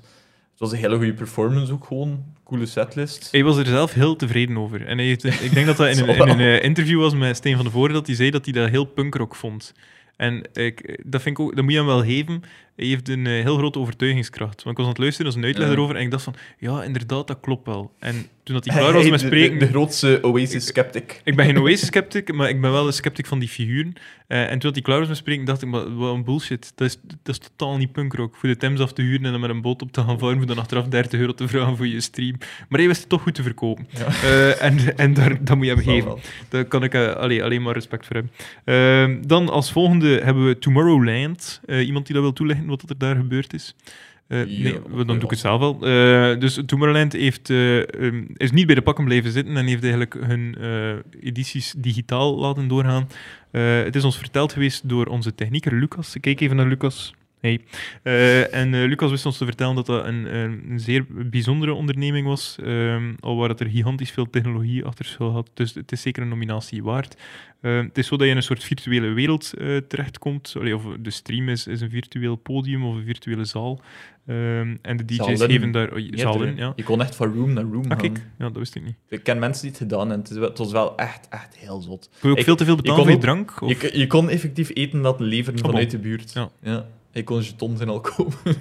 Speaker 2: Het was een hele goede performance ook gewoon. Coole setlist.
Speaker 1: Hij was er zelf heel tevreden over. En hij heeft, ik denk dat dat in een, in een eh, interview was met Steen van de Voorde, dat hij zei dat hij dat heel punkrock vond. En ik, dat, vind ik ook, dat moet je hem wel geven. Hij heeft een eh, heel grote overtuigingskracht. Want ik was aan het luisteren, dat was een uitleg
Speaker 2: Ja.
Speaker 1: erover, en ik dacht van, ja, inderdaad, dat klopt wel. En toen dat hij
Speaker 2: Hij-
Speaker 1: klaar was
Speaker 2: hij,
Speaker 1: met
Speaker 2: de-
Speaker 1: spreken...
Speaker 2: De, de grootste Oasis-sceptic.
Speaker 1: Ik ben geen Oasis-sceptic, maar ik ben wel een sceptic van die figuren. Eh, en toen dat die klaar was met spreken, dacht ik, maar wat een bullshit. Dat is, dat is totaal niet punkrock. Voor de Thames af te huren en dan met een boot op te gaan varen, voor dan achteraf 30 euro te vragen voor je stream. Maar hij wist het toch goed te verkopen.
Speaker 2: Ja.
Speaker 1: Eh, en en daar, dat moet je hem
Speaker 2: Wel,
Speaker 1: geven.
Speaker 2: wel.
Speaker 1: Daar kan ik eh, allee, alleen maar respect voor hebben. Ehm, dan als volgende hebben we Tomorrowland. Eh, iemand die dat wil toelichten, wat er daar gebeurd is? Eh,
Speaker 2: Ja,
Speaker 1: nee,
Speaker 2: oké,
Speaker 1: dan doe ik
Speaker 2: ja.
Speaker 1: het zelf wel. Eh, dus Tomorrowland heeft, eh, ehm, is niet bij de pakken blijven zitten en heeft eigenlijk hun eh, edities digitaal laten doorgaan. Eh, het is ons verteld geweest door onze technieker Lucas. Ik kijk even naar Lucas. Hey. Eh, en eh, Lucas wist ons te vertellen dat dat een, een een zeer bijzondere onderneming was, ehm, al waar dat er gigantisch veel technologie achter schuil had. Dus het is zeker een nominatie waard. Eh, het is zo dat je in een soort virtuele wereld eh, terechtkomt. Allee, of de stream is, is een virtueel podium of een virtuele zaal. Ehm, en de DJ's
Speaker 2: Zalen. Ah,
Speaker 1: geven daar oh,
Speaker 2: Meerdere.
Speaker 1: zalen. Ja.
Speaker 2: Je kon echt van room naar room
Speaker 1: Ah,
Speaker 2: gaan.
Speaker 1: kijk, ja, dat wist ik niet.
Speaker 2: Ik ken mensen die het gedaan en het, is wel- het was wel echt, echt heel zot.
Speaker 1: Kun je ook
Speaker 2: Ik-
Speaker 1: veel te veel betalen
Speaker 2: kon
Speaker 1: voor je
Speaker 2: ook-
Speaker 1: drank? Of?
Speaker 2: Je, k- je kon effectief eten laten leveren
Speaker 1: bon.
Speaker 2: vanuit de buurt.
Speaker 1: Ja.
Speaker 2: Je kon jetons en al kopen.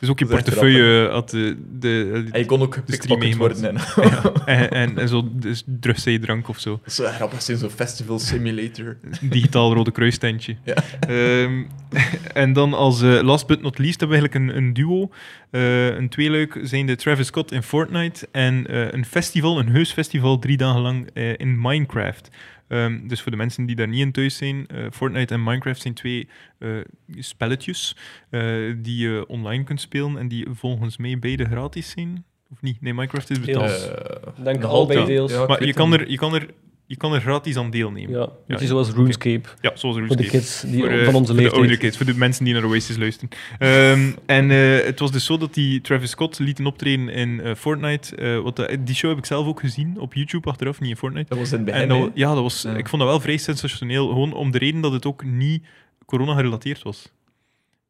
Speaker 1: dus ook je
Speaker 2: dat is echt
Speaker 1: portefeuille had eh, de, de,
Speaker 2: En je kon ook
Speaker 1: stream
Speaker 2: gepikpakkerd worden. En, dat
Speaker 1: en, en, en zo dus drugs drank of zo.
Speaker 2: is zo grappig, sinds zo'n festival simulator.
Speaker 1: Een digitaal Rode Kruistentje.
Speaker 2: Ja.
Speaker 1: Ehm, en dan als eh, last but not least hebben we eigenlijk een, een duo. eh, een tweeluik zijn de Travis Scott in Fortnite en eh, een festival, een heus festival, drie dagen lang eh, in Minecraft. Ehm, dus voor de mensen die daar niet in thuis zijn, eh, Fortnite en Minecraft zijn twee eh, spelletjes eh, die je online kunt spelen en die volgens mij beide gratis zijn. Of niet? Nee, Minecraft is betaald.
Speaker 3: Deels.
Speaker 2: Eh,
Speaker 3: Denk
Speaker 2: nog
Speaker 3: al bij
Speaker 2: altijd.
Speaker 3: deels.
Speaker 2: Ja, ik
Speaker 1: maar
Speaker 2: weet
Speaker 1: je
Speaker 2: het
Speaker 1: kan,
Speaker 2: niet.
Speaker 1: er, je, kan er, je kan er gratis aan deelnemen.
Speaker 3: Ja, een beetje
Speaker 1: ja.
Speaker 3: zoals RuneScape.
Speaker 1: Ja, zoals
Speaker 3: Voor de
Speaker 1: Runescape.
Speaker 3: kids die
Speaker 1: Voor, eh,
Speaker 3: van onze
Speaker 1: voor de oudere
Speaker 3: leeftijd.
Speaker 1: kids, voor de mensen die naar Oasis luisteren. Ehm, en eh, het was dus zo dat die Travis Scott lieten optreden in eh, Fortnite. eh, wat de- die show heb ik zelf ook gezien op YouTube achteraf, niet in Fortnite.
Speaker 2: Dat was in het begin.
Speaker 1: En nou- dat,
Speaker 2: hè.
Speaker 1: wa- ja, dat was,
Speaker 2: Ja.
Speaker 1: ik vond dat wel vrij sensationeel. Gewoon om de reden dat het ook niet corona-gerelateerd was.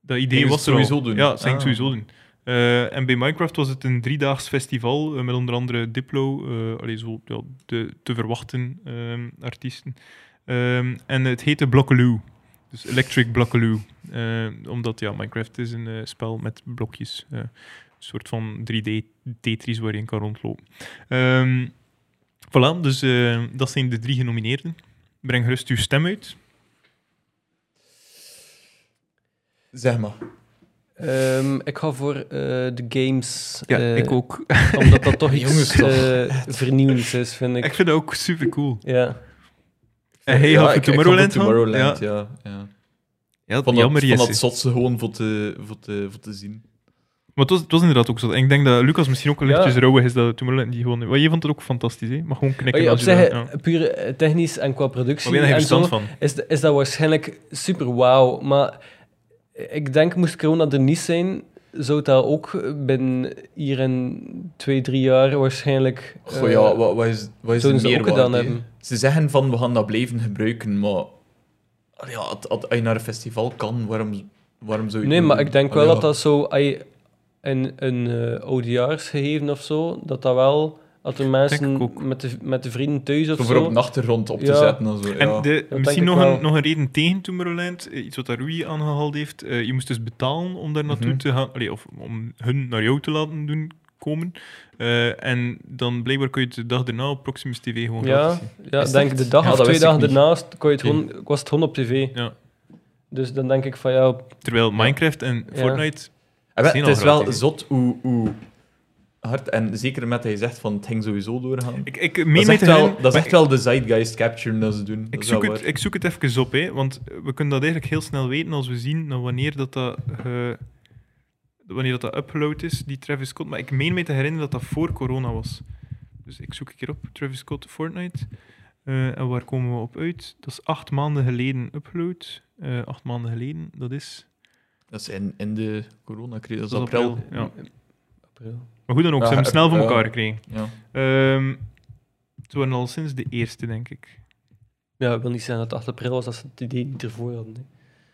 Speaker 1: Dat idee
Speaker 2: Gingen
Speaker 1: was
Speaker 2: ze
Speaker 1: er
Speaker 2: het
Speaker 1: al.
Speaker 2: sowieso doen?
Speaker 1: Ja, dat zijn
Speaker 2: Ah.
Speaker 1: sowieso doen. Eh, en bij Minecraft was het een driedaags festival eh, met onder andere Diplo, eh allee, zo, ja, de te verwachten ehm, artiesten. Ehm, en het heette Blockaloo. Dus Electric Blockaloo. Eh, omdat ja, Minecraft is een eh, spel met blokjes. eh, een soort van 3D-Tetris waarin je kan rondlopen. Ehm voilà, dus eh, dat zijn de drie genomineerden. Breng gerust uw stem uit.
Speaker 2: Zeg maar.
Speaker 3: Ehm, ik ga voor eh, de games. eh,
Speaker 1: ook.
Speaker 3: Omdat dat toch
Speaker 2: Jongens,
Speaker 3: iets
Speaker 2: toch.
Speaker 3: eh, vernieuwends is, vind ik.
Speaker 1: Ik vind dat ook super cool.
Speaker 3: Ja.
Speaker 1: En hij
Speaker 2: Ja,
Speaker 1: gaat
Speaker 2: ik-
Speaker 1: voor
Speaker 2: ik ga voor
Speaker 1: Tomorrowland gaan?
Speaker 2: Tomorrowland,
Speaker 1: Ja.
Speaker 2: ja. ja.
Speaker 1: Ja,
Speaker 2: Van dat,
Speaker 1: jammer,
Speaker 2: van
Speaker 1: Jesse.
Speaker 2: dat zotse gewoon voor te, voor te, voor te zien.
Speaker 1: Maar het was, het was inderdaad ook zo. En ik denk dat Lucas misschien ook een
Speaker 3: Ja.
Speaker 1: lichtjes rouwig is dat Tomorrowland die gewoon... Want je vond het ook fantastisch, hè? Maar gewoon knikken
Speaker 3: Oh ja, op
Speaker 1: als je
Speaker 3: zich,
Speaker 1: dat- ja.
Speaker 3: puur eh, technisch en qua
Speaker 1: Maar
Speaker 3: productie
Speaker 1: ben je
Speaker 3: en
Speaker 1: verstand
Speaker 3: zo,
Speaker 1: van?
Speaker 3: is, de- is dat waarschijnlijk super wauw. Maar ik denk, moest corona er niet zijn, zou dat ook binnen hier in twee, drie jaar waarschijnlijk...
Speaker 2: Goh
Speaker 3: eh,
Speaker 2: ja, wat, wat is, wat is de
Speaker 3: zouden ze ook
Speaker 2: meerwaarde?
Speaker 3: gedaan
Speaker 2: hè?
Speaker 3: hebben.
Speaker 2: Ze zeggen van, we gaan dat blijven gebruiken, maar... Allee, Ja, het- het- als je naar een festival kan, waarom, waarom zou je...
Speaker 3: Nee,
Speaker 2: het
Speaker 3: maar
Speaker 2: doen?
Speaker 3: ik denk wel
Speaker 2: Allee,
Speaker 3: dat dat zo... als je een een eh, oudejaarsgegeven of zo, dat dat wel... Dat er
Speaker 1: ik
Speaker 3: mensen
Speaker 1: ook.
Speaker 3: met de, met de vrienden thuis of
Speaker 2: Zo
Speaker 3: zo...
Speaker 2: voor op de achtergrond op te
Speaker 3: Ja.
Speaker 2: zetten en zo, ja.
Speaker 1: En de,
Speaker 3: denk
Speaker 1: misschien
Speaker 3: ik
Speaker 1: nog een,
Speaker 3: wel.
Speaker 1: nog een reden tegen Tomorrowland, eh, iets wat daar Rui aangehaald heeft. Eh, je moest dus betalen om daar naartoe
Speaker 2: Mhm.
Speaker 1: te gaan, allee, of om hun naar jou te laten doen komen. Eh, en dan blijkbaar kun je het de dag daarna op Proximus TV gewoon
Speaker 6: Ja,
Speaker 1: gratis zien.
Speaker 6: ja
Speaker 2: Is
Speaker 6: denk
Speaker 2: dat-
Speaker 6: de dag
Speaker 2: Ja,
Speaker 6: of
Speaker 2: dat
Speaker 6: twee
Speaker 2: wist ik
Speaker 6: dagen
Speaker 2: niet.
Speaker 6: daarnaast kon je het gewoon, ik was het gewoon op tv.
Speaker 1: Ja.
Speaker 6: Dus dan denk ik van ja,
Speaker 1: Terwijl Minecraft en
Speaker 6: Ja.
Speaker 1: Fortnite...
Speaker 2: En Ah, wel,
Speaker 1: Zien al
Speaker 2: het is wel
Speaker 1: gratis, hè.
Speaker 2: zot hoe, hoe hard, en zeker met dat je zegt van het ging sowieso doorgaan.
Speaker 1: Ik, ik
Speaker 2: dat
Speaker 1: meen
Speaker 2: is
Speaker 1: mij te
Speaker 2: echt
Speaker 1: herinneren-
Speaker 2: wel, dat is
Speaker 1: maar
Speaker 2: echt wel de zeitgeist capturen dat ze doen. Dat
Speaker 1: Ik
Speaker 2: is wel
Speaker 1: zoek, het,
Speaker 2: waar.
Speaker 1: ik zoek het even op, hè, want we kunnen dat eigenlijk heel snel weten als we zien naar wanneer dat, dat, eh, wanneer dat, dat upload is, die Travis Scott. Maar ik meen me te herinneren dat dat voor corona was. Dus ik zoek een keer op Travis Scott Fortnite. Eh, en waar komen we op uit? Dat is acht maanden geleden upload. Eh, acht maanden geleden, dat is.
Speaker 2: Dat is in, in de coronacrisis, dat is
Speaker 1: dat is
Speaker 2: april.
Speaker 1: Ja.
Speaker 6: april.
Speaker 1: Maar goed dan ook,
Speaker 2: Ja,
Speaker 1: ze hebben het snel voor
Speaker 2: ja.
Speaker 1: elkaar gekregen.
Speaker 2: Ja.
Speaker 1: Ehm het waren al sinds de eerste, denk ik.
Speaker 6: Ja, ik wil niet zeggen dat het 8 april was, dat ze het idee niet ervoor hadden. hè.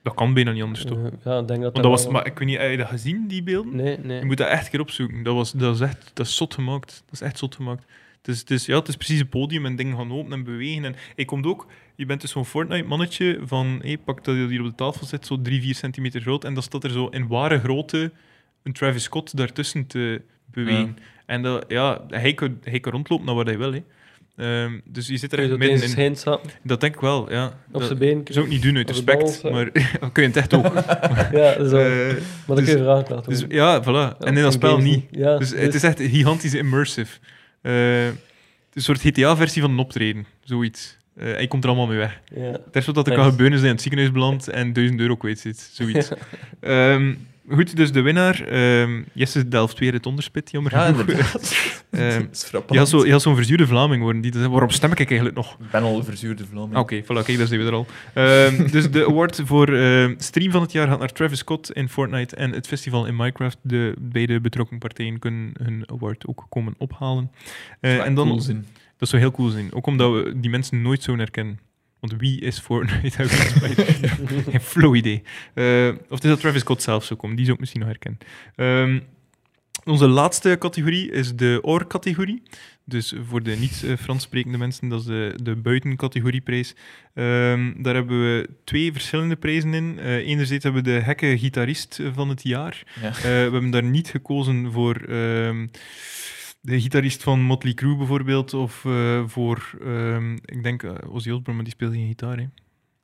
Speaker 1: Dat kan bijna niet anders, toch?
Speaker 6: Eh, Ja, ik denk dat
Speaker 1: Want dat was,
Speaker 6: wel-
Speaker 1: maar ik weet niet, heb je dat gezien, die beelden?
Speaker 6: Nee, nee.
Speaker 1: Je moet dat echt een keer opzoeken. Dat, was, dat, is echt, dat is zot gemaakt. Dat is echt zot gemaakt. Het is, het is, ja, het is precies een podium en dingen gaan open en bewegen. En je komt ook, je bent dus zo'n Fortnite-mannetje van, hé, pak dat je hier op de tafel zit, zo 3, 4 centimeter groot. En dan staat er zo in ware grootte een Travis Scott daartussen te bewegen. En dat, ja, hij kan, hij kan rondlopen naar waar hij wil. Hè. Ehm, dus je zit er
Speaker 6: Kun je
Speaker 1: echt
Speaker 6: dat in
Speaker 1: midden
Speaker 6: zijn schijn
Speaker 1: in.
Speaker 6: zappen,
Speaker 1: Dat denk ik wel, ja.
Speaker 6: op
Speaker 1: dat
Speaker 6: zijn been.
Speaker 1: zou ik niet doen uit
Speaker 6: Op de bal
Speaker 1: respect,
Speaker 6: zetten.
Speaker 1: maar dan kun je het echt ook.
Speaker 6: Ja, zo.
Speaker 1: Eh,
Speaker 6: maar dan kun je vragen laten.
Speaker 1: dus,
Speaker 6: hoor.
Speaker 1: ja, voilà.
Speaker 6: Ja,
Speaker 1: en in dat
Speaker 6: zo'n
Speaker 1: spel
Speaker 6: games
Speaker 1: niet.
Speaker 6: Ja,
Speaker 1: Dus het is echt gigantisch immersive. Eh, het is een soort GTA-versie van een optreden, zoiets. Eh en je komt er allemaal mee weg.
Speaker 6: ja.
Speaker 1: Het is wat dat er kan
Speaker 6: Nice.
Speaker 1: gebeuren is dat je in het ziekenhuis belandt en 1000 euro kwijt zit, zoiets. Ehm, goed, dus de winnaar, ehm Jesse Delft weer het onderspit, jammer
Speaker 2: Ja,
Speaker 1: genoeg.
Speaker 2: inderdaad.
Speaker 1: Ehm,
Speaker 2: dat is
Speaker 1: je
Speaker 2: frappant.
Speaker 1: had zo- je had zo'n verzuurde Vlaming worden. Die, zei, waarom stem ik eigenlijk nog?
Speaker 2: Ik ben al een verzuurde Vlaming.
Speaker 1: Ah, Oké, voilà, kijk, daar zijn we er al. Ehm, dus de award voor ehm, stream van het jaar gaat naar Travis Scott in Fortnite en het festival in Minecraft. De beide betrokken partijen kunnen hun award ook komen ophalen. Eh,
Speaker 2: Dat zou
Speaker 1: en dan,
Speaker 2: cool zijn.
Speaker 1: Dat zou heel cool zijn. Ook omdat we die mensen nooit zo herkennen. Want wie is Fortnite? en wie is Minecraft? Geen flow idee. Eh, of het is dat Travis Scott zelf zou komen. Die zou ik misschien nog herkennen. Ehm, onze laatste categorie is de oor-categorie. Dus voor de niet-Frans sprekende mensen, dat is de, de buitencategorieprijs. Ehm daar hebben we twee verschillende prijzen in. Eh, enerzijds hebben we de gekke gitarist van het jaar.
Speaker 2: Ja.
Speaker 1: Eh, we hebben daar niet gekozen voor ehm, de gitarist van Motley Crue bijvoorbeeld, of eh, voor, ehm, ik denk eh, Ozzy Osbourne, maar die speelt geen gitaar. Hè.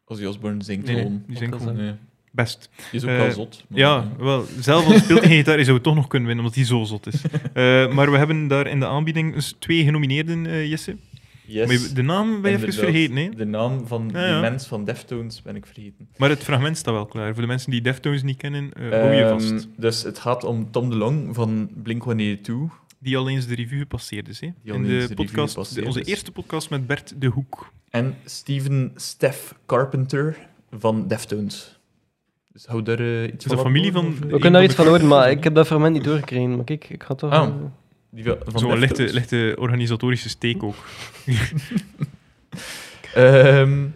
Speaker 2: Ozzy Osbourne zingt
Speaker 1: Nee, nee,
Speaker 2: gewoon.
Speaker 1: die zingt
Speaker 2: Ook
Speaker 1: gewoon.
Speaker 2: wel, nee.
Speaker 1: Best.
Speaker 2: Die is ook
Speaker 1: Eh,
Speaker 2: wel zot. maar-
Speaker 1: Ja, wel, zelf al speelt hij geen gitaar, hij zou het toch nog kunnen winnen, omdat hij zo zot is. Eh, maar we hebben daar in de aanbieding dus twee genomineerden, eh, Jesse.
Speaker 2: Yes.
Speaker 1: Maar je- de naam ben je even
Speaker 2: Inderdaad.
Speaker 1: vergeten, hè?
Speaker 2: De naam van
Speaker 1: Ja,
Speaker 2: die
Speaker 1: ja.
Speaker 2: mens van Deftones ben ik vergeten.
Speaker 1: Maar het fragment staat wel klaar. Voor de mensen die Deftones niet kennen, eh, hou je
Speaker 2: Ehm,
Speaker 1: vast.
Speaker 2: Dus het gaat om Tom DeLong van Blink-182.
Speaker 1: Die al eens de review gepasseerd is, hè?
Speaker 2: Die al
Speaker 1: in
Speaker 2: eens de
Speaker 1: de
Speaker 2: review
Speaker 1: podcast,
Speaker 2: gepasseerd
Speaker 1: de- onze
Speaker 2: is.
Speaker 1: eerste podcast met Bert de Hoek.
Speaker 2: En Steven Steph Carpenter van Deftones. Dus hou daar eh, iets
Speaker 1: de
Speaker 2: van
Speaker 1: familie
Speaker 2: op,
Speaker 1: van-
Speaker 2: of, eh,
Speaker 6: We kunnen daar iets van horen, maar ik heb dat fragment niet doorgekregen. Maar kijk, ik ga toch...
Speaker 2: Ah.
Speaker 6: eh,
Speaker 2: die van van
Speaker 1: Zo'n lichte,
Speaker 2: Deftones.
Speaker 1: lichte organisatorische steek ook.
Speaker 2: Ehm,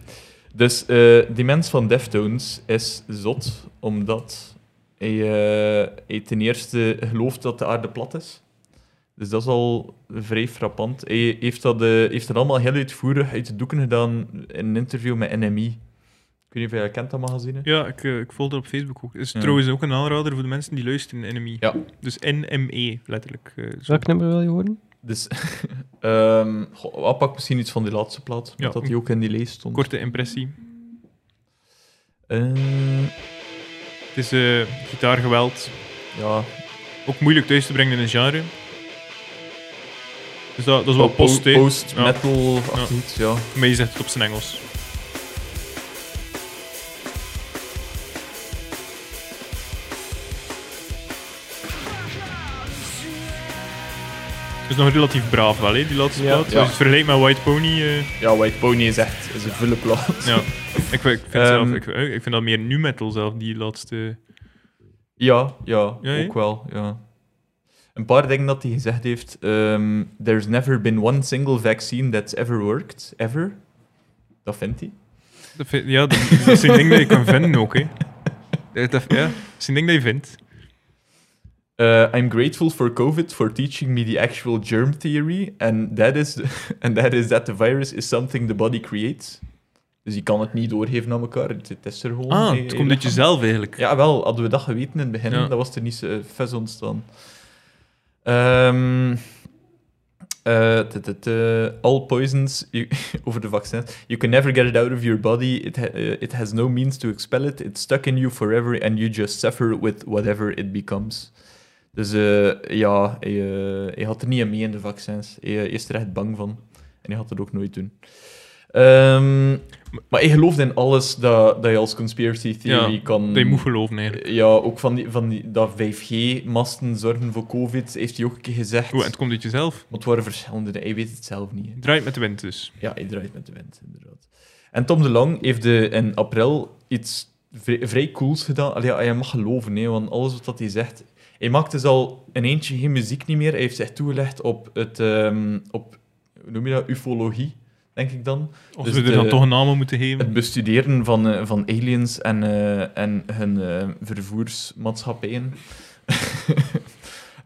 Speaker 2: dus eh, die mens van Deftones is zot, omdat hij, eh, hij ten eerste gelooft dat de aarde plat is. Dus dat is al vrij frappant. Hij heeft dat, eh, heeft dat allemaal heel uitvoerig uit de doeken gedaan in een interview met NMI. Ik weet niet of jij kent dat magazine.
Speaker 1: Ja, ik, eh, ik volg dat op Facebook ook. Is
Speaker 2: Ja.
Speaker 1: trouwens ook een aanrader voor de mensen die luisteren, NME.
Speaker 2: Ja.
Speaker 1: Dus NME, letterlijk. eh, zo.
Speaker 6: Welk nummer wil je horen?
Speaker 2: Dus ehm goh, pak misschien iets van die laatste plaat,
Speaker 1: Ja.
Speaker 2: dat die ook in die lijst stond.
Speaker 1: Korte impressie.
Speaker 2: Ehm,
Speaker 1: Het is eh, gitaargeweld.
Speaker 2: ja,
Speaker 1: Ook moeilijk thuis te brengen in een genre. Dus dat, dat is wel
Speaker 2: po-
Speaker 1: post, hè. Ja.
Speaker 2: post-metal, ach,
Speaker 1: Ja.
Speaker 2: iets, ja.
Speaker 1: Maar je zegt het op zijn Engels. Het is nog relatief braaf wel, hè, die laatste
Speaker 2: Ja.
Speaker 1: plaat. Als
Speaker 2: Ja.
Speaker 1: je het vergelijkt met White Pony... eh,
Speaker 2: Ja, White Pony is echt is een vulle plaat.
Speaker 1: Ja, ik, vind- ik, vind zelf,
Speaker 2: Ehm.
Speaker 1: ik, ik vind dat meer nu metal zelf, die laatste.
Speaker 2: Ja, ja,
Speaker 1: Ja, ja.
Speaker 2: ook wel. Ja. Een paar dingen dat hij gezegd heeft. ehm, There's never been one single vaccine that's ever worked, ever. Dat vindt hij.
Speaker 1: Dat vind- ja, dat, dat is een ding dat je kan vinden ook. Hè. Dat, Eh, dat- ja, dat is een ding dat je vindt.
Speaker 2: Eh, I'm grateful for COVID for teaching me the actual germ theory. And that is, and that, is that the virus is something the body creates. Dus je kan het niet doorgeven aan elkaar. Het, het is er gewoon.
Speaker 1: Ah,
Speaker 2: in-
Speaker 1: het komt
Speaker 2: in je
Speaker 1: uit
Speaker 2: lichaam.
Speaker 1: jezelf eigenlijk.
Speaker 2: Ja, wel. Hadden we dat geweten in het begin,
Speaker 1: Ja.
Speaker 2: dan was er niet zo fes ontstaan. eh, Ehm, eh, t- t- t- eh, all poisons you- over de vaccins. You can never get it out of your body. It, ha- eh, it has no means to expel it. It's stuck in you forever and you just suffer with whatever it becomes. Dus eh, ja, hij, eh, hij had er niet aan mee in de vaccins. Hij eh, is er echt bang van. En hij had het ook nooit doen. Ehm, maar hij gelooft in alles dat, dat je als conspiracy theory
Speaker 1: Ja,
Speaker 2: kan...
Speaker 1: Dat je moet geloven eigenlijk.
Speaker 2: Ja, ook van, die, van die, dat 5G-masten zorgen voor COVID, heeft hij ook een keer gezegd.
Speaker 1: Goed, en het komt uit jezelf.
Speaker 2: Want het waren verschillende, hij weet het zelf niet. hè.
Speaker 1: Draait met de wind dus.
Speaker 2: Ja, hij draait met de wind, inderdaad. En Tom de Lang heeft de, in april iets vri- vrij cools gedaan. Allee, ja, je mag geloven, hè, want alles wat dat hij zegt... Hij maakt dus al in eentje geen muziek niet meer. Hij heeft zich toegelegd op, het, ehm, op hoe noem je dat, ufologie, denk ik dan.
Speaker 1: Of
Speaker 2: Dus
Speaker 1: we er
Speaker 2: de-
Speaker 1: dan toch een naam aan moeten
Speaker 2: Het
Speaker 1: geven.
Speaker 2: bestuderen van, eh, van aliens en, eh, en hun eh, vervoersmaatschappijen.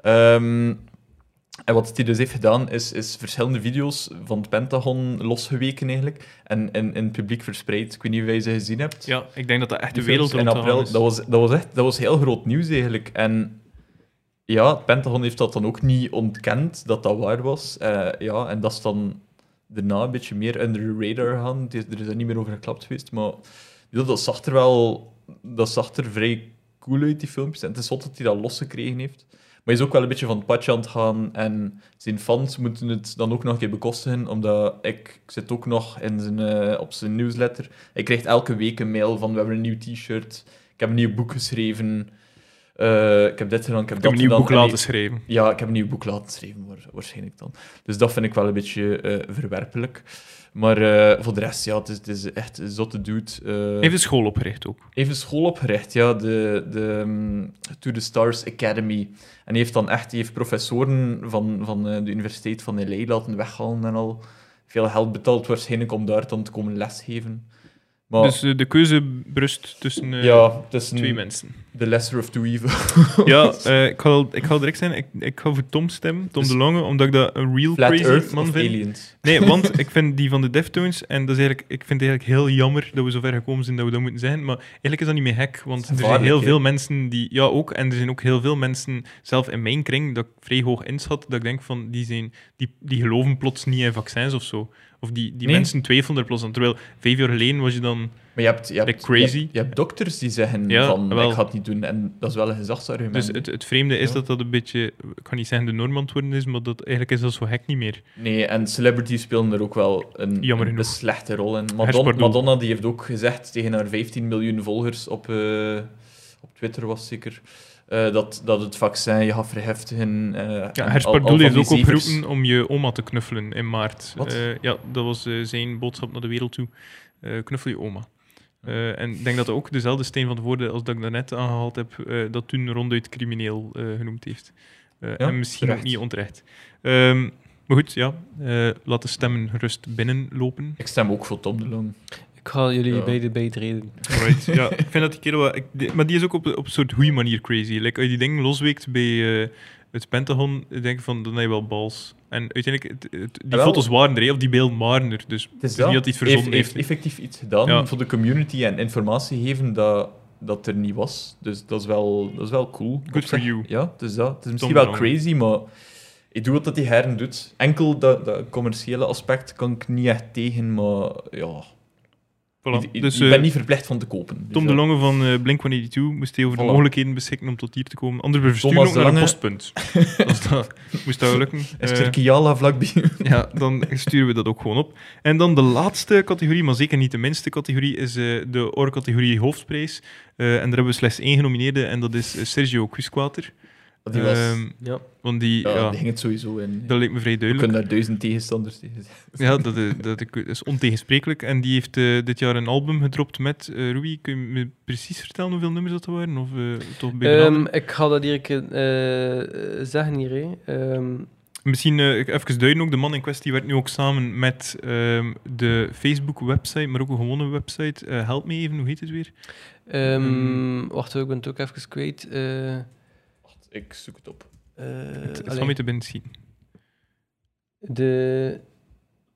Speaker 2: Ehm, en wat hij dus heeft gedaan, is, is verschillende video's van het Pentagon losgeweken eigenlijk. En in, in het publiek verspreid. Ik weet niet of jij ze gezien hebt.
Speaker 1: Ja, ik denk dat dat echt de
Speaker 2: Die
Speaker 1: wereld
Speaker 2: films in
Speaker 1: rond te gaan
Speaker 2: april.
Speaker 1: is.
Speaker 2: Dat was, dat, was echt, dat was heel groot nieuws eigenlijk. En ja, het Pentagon heeft dat dan ook niet ontkend dat dat waar was. Eh, ja, en dat is dan daarna een beetje meer under the radar gaan. Het is- Er is er niet meer over geklapt geweest. Maar ja, dat zag er wel dat zag er vrij cool uit, die filmpjes. En het is zot dat hij dat losgekregen heeft. Maar hij is ook wel een beetje van het padje aan het gaan. En zijn fans moeten het dan ook nog een keer bekostigen. Omdat ik, ik zit ook nog in zijn, eh, op zijn newsletter. Ik krijg elke week een mail van we hebben een nieuw t-shirt. Ik heb een nieuw boek geschreven. eh, ik heb dit gedaan, ik heb
Speaker 1: Ik
Speaker 2: dat
Speaker 1: heb een nieuw
Speaker 2: gedaan.
Speaker 1: boek
Speaker 2: En
Speaker 1: laten
Speaker 2: hij-
Speaker 1: schrijven.
Speaker 2: ja, ik heb een nieuw boek laten schrijven, waar- waarschijnlijk dan. Dus dat vind ik wel een beetje eh, verwerpelijk. Maar eh, voor de rest, ja, het is, het is echt een zotte dude. eh.
Speaker 1: Even school opgericht ook.
Speaker 2: Hij heeft een school opgericht, ja, de, de mm, To The Stars Academy. En die heeft dan echt die heeft professoren van, van eh, de Universiteit van L.A. laten weghalen en al. Veel geld betaald waarschijnlijk om daar dan te komen lesgeven. Maar
Speaker 1: Dus eh, de keuze berust tussen eh,
Speaker 2: ja, het is
Speaker 1: twee
Speaker 2: een,
Speaker 1: mensen.
Speaker 2: The Lesser of Two Evils.
Speaker 1: Ja, eh, ik, ga, ik ga direct zijn. Ik, ik ga voor Tom stemmen, Tom
Speaker 2: Dus-
Speaker 1: de Lange, omdat ik dat een real
Speaker 2: Flat
Speaker 1: crazy
Speaker 2: Earth
Speaker 1: man
Speaker 2: of
Speaker 1: vind.
Speaker 2: Aliens.
Speaker 1: Nee, want ik vind die van de Deftones, en dat is eigenlijk, ik vind het eigenlijk heel jammer dat we zover gekomen zijn dat we dat moeten zeggen, maar eigenlijk is dat niet meer gek, want
Speaker 2: is
Speaker 1: er zijn
Speaker 2: gevaarlijk,
Speaker 1: heel
Speaker 2: hè?
Speaker 1: veel mensen die, ja ook, en er zijn ook heel veel mensen, zelf in mijn kring, dat ik vrij hoog inschat, dat ik denk van, die, zijn, die, die geloven plots niet in vaccins of zo. Of die, die
Speaker 2: Nee.
Speaker 1: mensen twijfelen er plots aan. Terwijl vijf jaar geleden was je dan...
Speaker 2: Maar je hebt, je hebt,
Speaker 1: Like crazy.
Speaker 2: Je hebt, je hebt dokters die zeggen
Speaker 1: Ja,
Speaker 2: van,
Speaker 1: wel.
Speaker 2: ik ga het niet doen. En dat is wel een gezagsargument.
Speaker 1: Dus het, het vreemde is
Speaker 2: Ja.
Speaker 1: dat dat een beetje, ik kan niet zeggen de norm aan het worden is, maar dat, eigenlijk is dat zo gek niet meer.
Speaker 2: Nee, en celebrities spelen er ook wel een,
Speaker 1: Jammer
Speaker 2: een
Speaker 1: genoeg.
Speaker 2: slechte rol in. Madonna,
Speaker 1: Herspardon.
Speaker 2: Madonna die heeft ook gezegd tegen haar 15 miljoen volgers op, eh, op Twitter, was zeker, eh, dat, dat het vaccin je gaat verheftigen. eh, en
Speaker 1: Ja,
Speaker 2: al-
Speaker 1: Hers
Speaker 2: al
Speaker 1: Pardoel
Speaker 2: van
Speaker 1: heeft
Speaker 2: die
Speaker 1: ook
Speaker 2: zevers.
Speaker 1: opgeroepen om je oma te knuffelen in maart.
Speaker 2: Wat?
Speaker 1: Eh, ja, dat was eh, zijn boodschap naar de wereld toe. Eh, knuffel je oma. Eh, en ik denk dat dat ook dezelfde steen van de woorden als dat ik daarnet aangehaald heb, eh, dat toen ronduit crimineel eh, genoemd heeft. Eh, en misschien
Speaker 2: terecht.
Speaker 1: ook niet onterecht. Ehm, maar goed, ja, eh, laat de stemmen gerust binnenlopen.
Speaker 2: Ik stem ook voor Tom de Long.
Speaker 6: Ik ga jullie
Speaker 2: Ja.
Speaker 6: beide bijtreden.
Speaker 1: Right. ja, ik vind dat die kerel wel... ik- die- maar die is ook op, op een soort goede manier crazy. Like, als je die dingen losweekt bij eh, het Pentagon, ik denk ik van, dan heb je wel bals. En uiteindelijk, het- het- die
Speaker 2: Wel-
Speaker 1: foto's waren er, hè, of die beelden waren er. Dus
Speaker 2: Het is
Speaker 1: niet dat hij het verzonnen
Speaker 2: heeft,
Speaker 1: heeft.
Speaker 2: heeft effectief iets gedaan
Speaker 1: Ja.
Speaker 2: voor de community en informatie geven dat, dat er niet was. Dus dat is wel, dat is wel cool.
Speaker 1: Good for you.
Speaker 2: Ja, dus dat. Het is misschien
Speaker 1: Tom
Speaker 2: wel
Speaker 1: Brown.
Speaker 2: crazy, maar ik doe wat dat die heren doet. Enkel dat, dat commerciële aspect kan ik niet echt tegen, maar ja.
Speaker 1: Voilà.
Speaker 2: Ik, ik-
Speaker 1: dus
Speaker 2: ik
Speaker 1: eh,
Speaker 2: ben niet verplicht van te kopen. Dus
Speaker 1: Tom de
Speaker 2: dat-
Speaker 1: Longe van eh Blink-182 moest hij over de
Speaker 2: Voilà.
Speaker 1: mogelijkheden beschikken om tot hier te komen. Anders we versturen
Speaker 2: Thomas
Speaker 1: ook
Speaker 2: de
Speaker 1: naar een
Speaker 2: Lange.
Speaker 1: postpunt. Als dat, moest dat lukken.
Speaker 2: Is
Speaker 1: Eh,
Speaker 2: er Kiala vlakbij?
Speaker 1: Ja, dan sturen we dat ook gewoon op. En dan de laatste categorie, maar zeker niet de minste categorie, is eh, de OR-categorie hoofdprijs. Eh, en daar hebben we slechts één genomineerde, en dat is eh, Sergio Quisquater.
Speaker 2: Die was...
Speaker 1: Ehm,
Speaker 6: Ja.
Speaker 1: want die,
Speaker 2: ja,
Speaker 1: ja,
Speaker 2: die ging het sowieso in.
Speaker 1: dat leek me vrij
Speaker 2: We
Speaker 1: duidelijk.
Speaker 2: kunnen daar duizend tegenstanders tegen zijn.
Speaker 1: Ja, dat, is- dat ik- is ontegensprekelijk. En die heeft eh, dit jaar een album gedropt met eh Rui. Kun je me precies vertellen hoeveel nummers dat er waren? Of eh, toch bij benadering?
Speaker 6: Ehm, ik ga dat hier een keer eh, zeggen hier. hè. Ehm,
Speaker 1: Misschien eh, ik even duiden ook, de man in kwestie werkt nu ook samen met ehm, de Facebook-website, maar ook een gewone website. Eh, help me even, hoe heet het weer?
Speaker 6: ehm,
Speaker 1: Mm.
Speaker 6: Wacht, hoor, ik ben het ook even kwijt. Eh, eh,
Speaker 2: Wacht, Ik zoek het op.
Speaker 1: Het
Speaker 6: allee,
Speaker 1: zal mee te binnen zien.
Speaker 6: de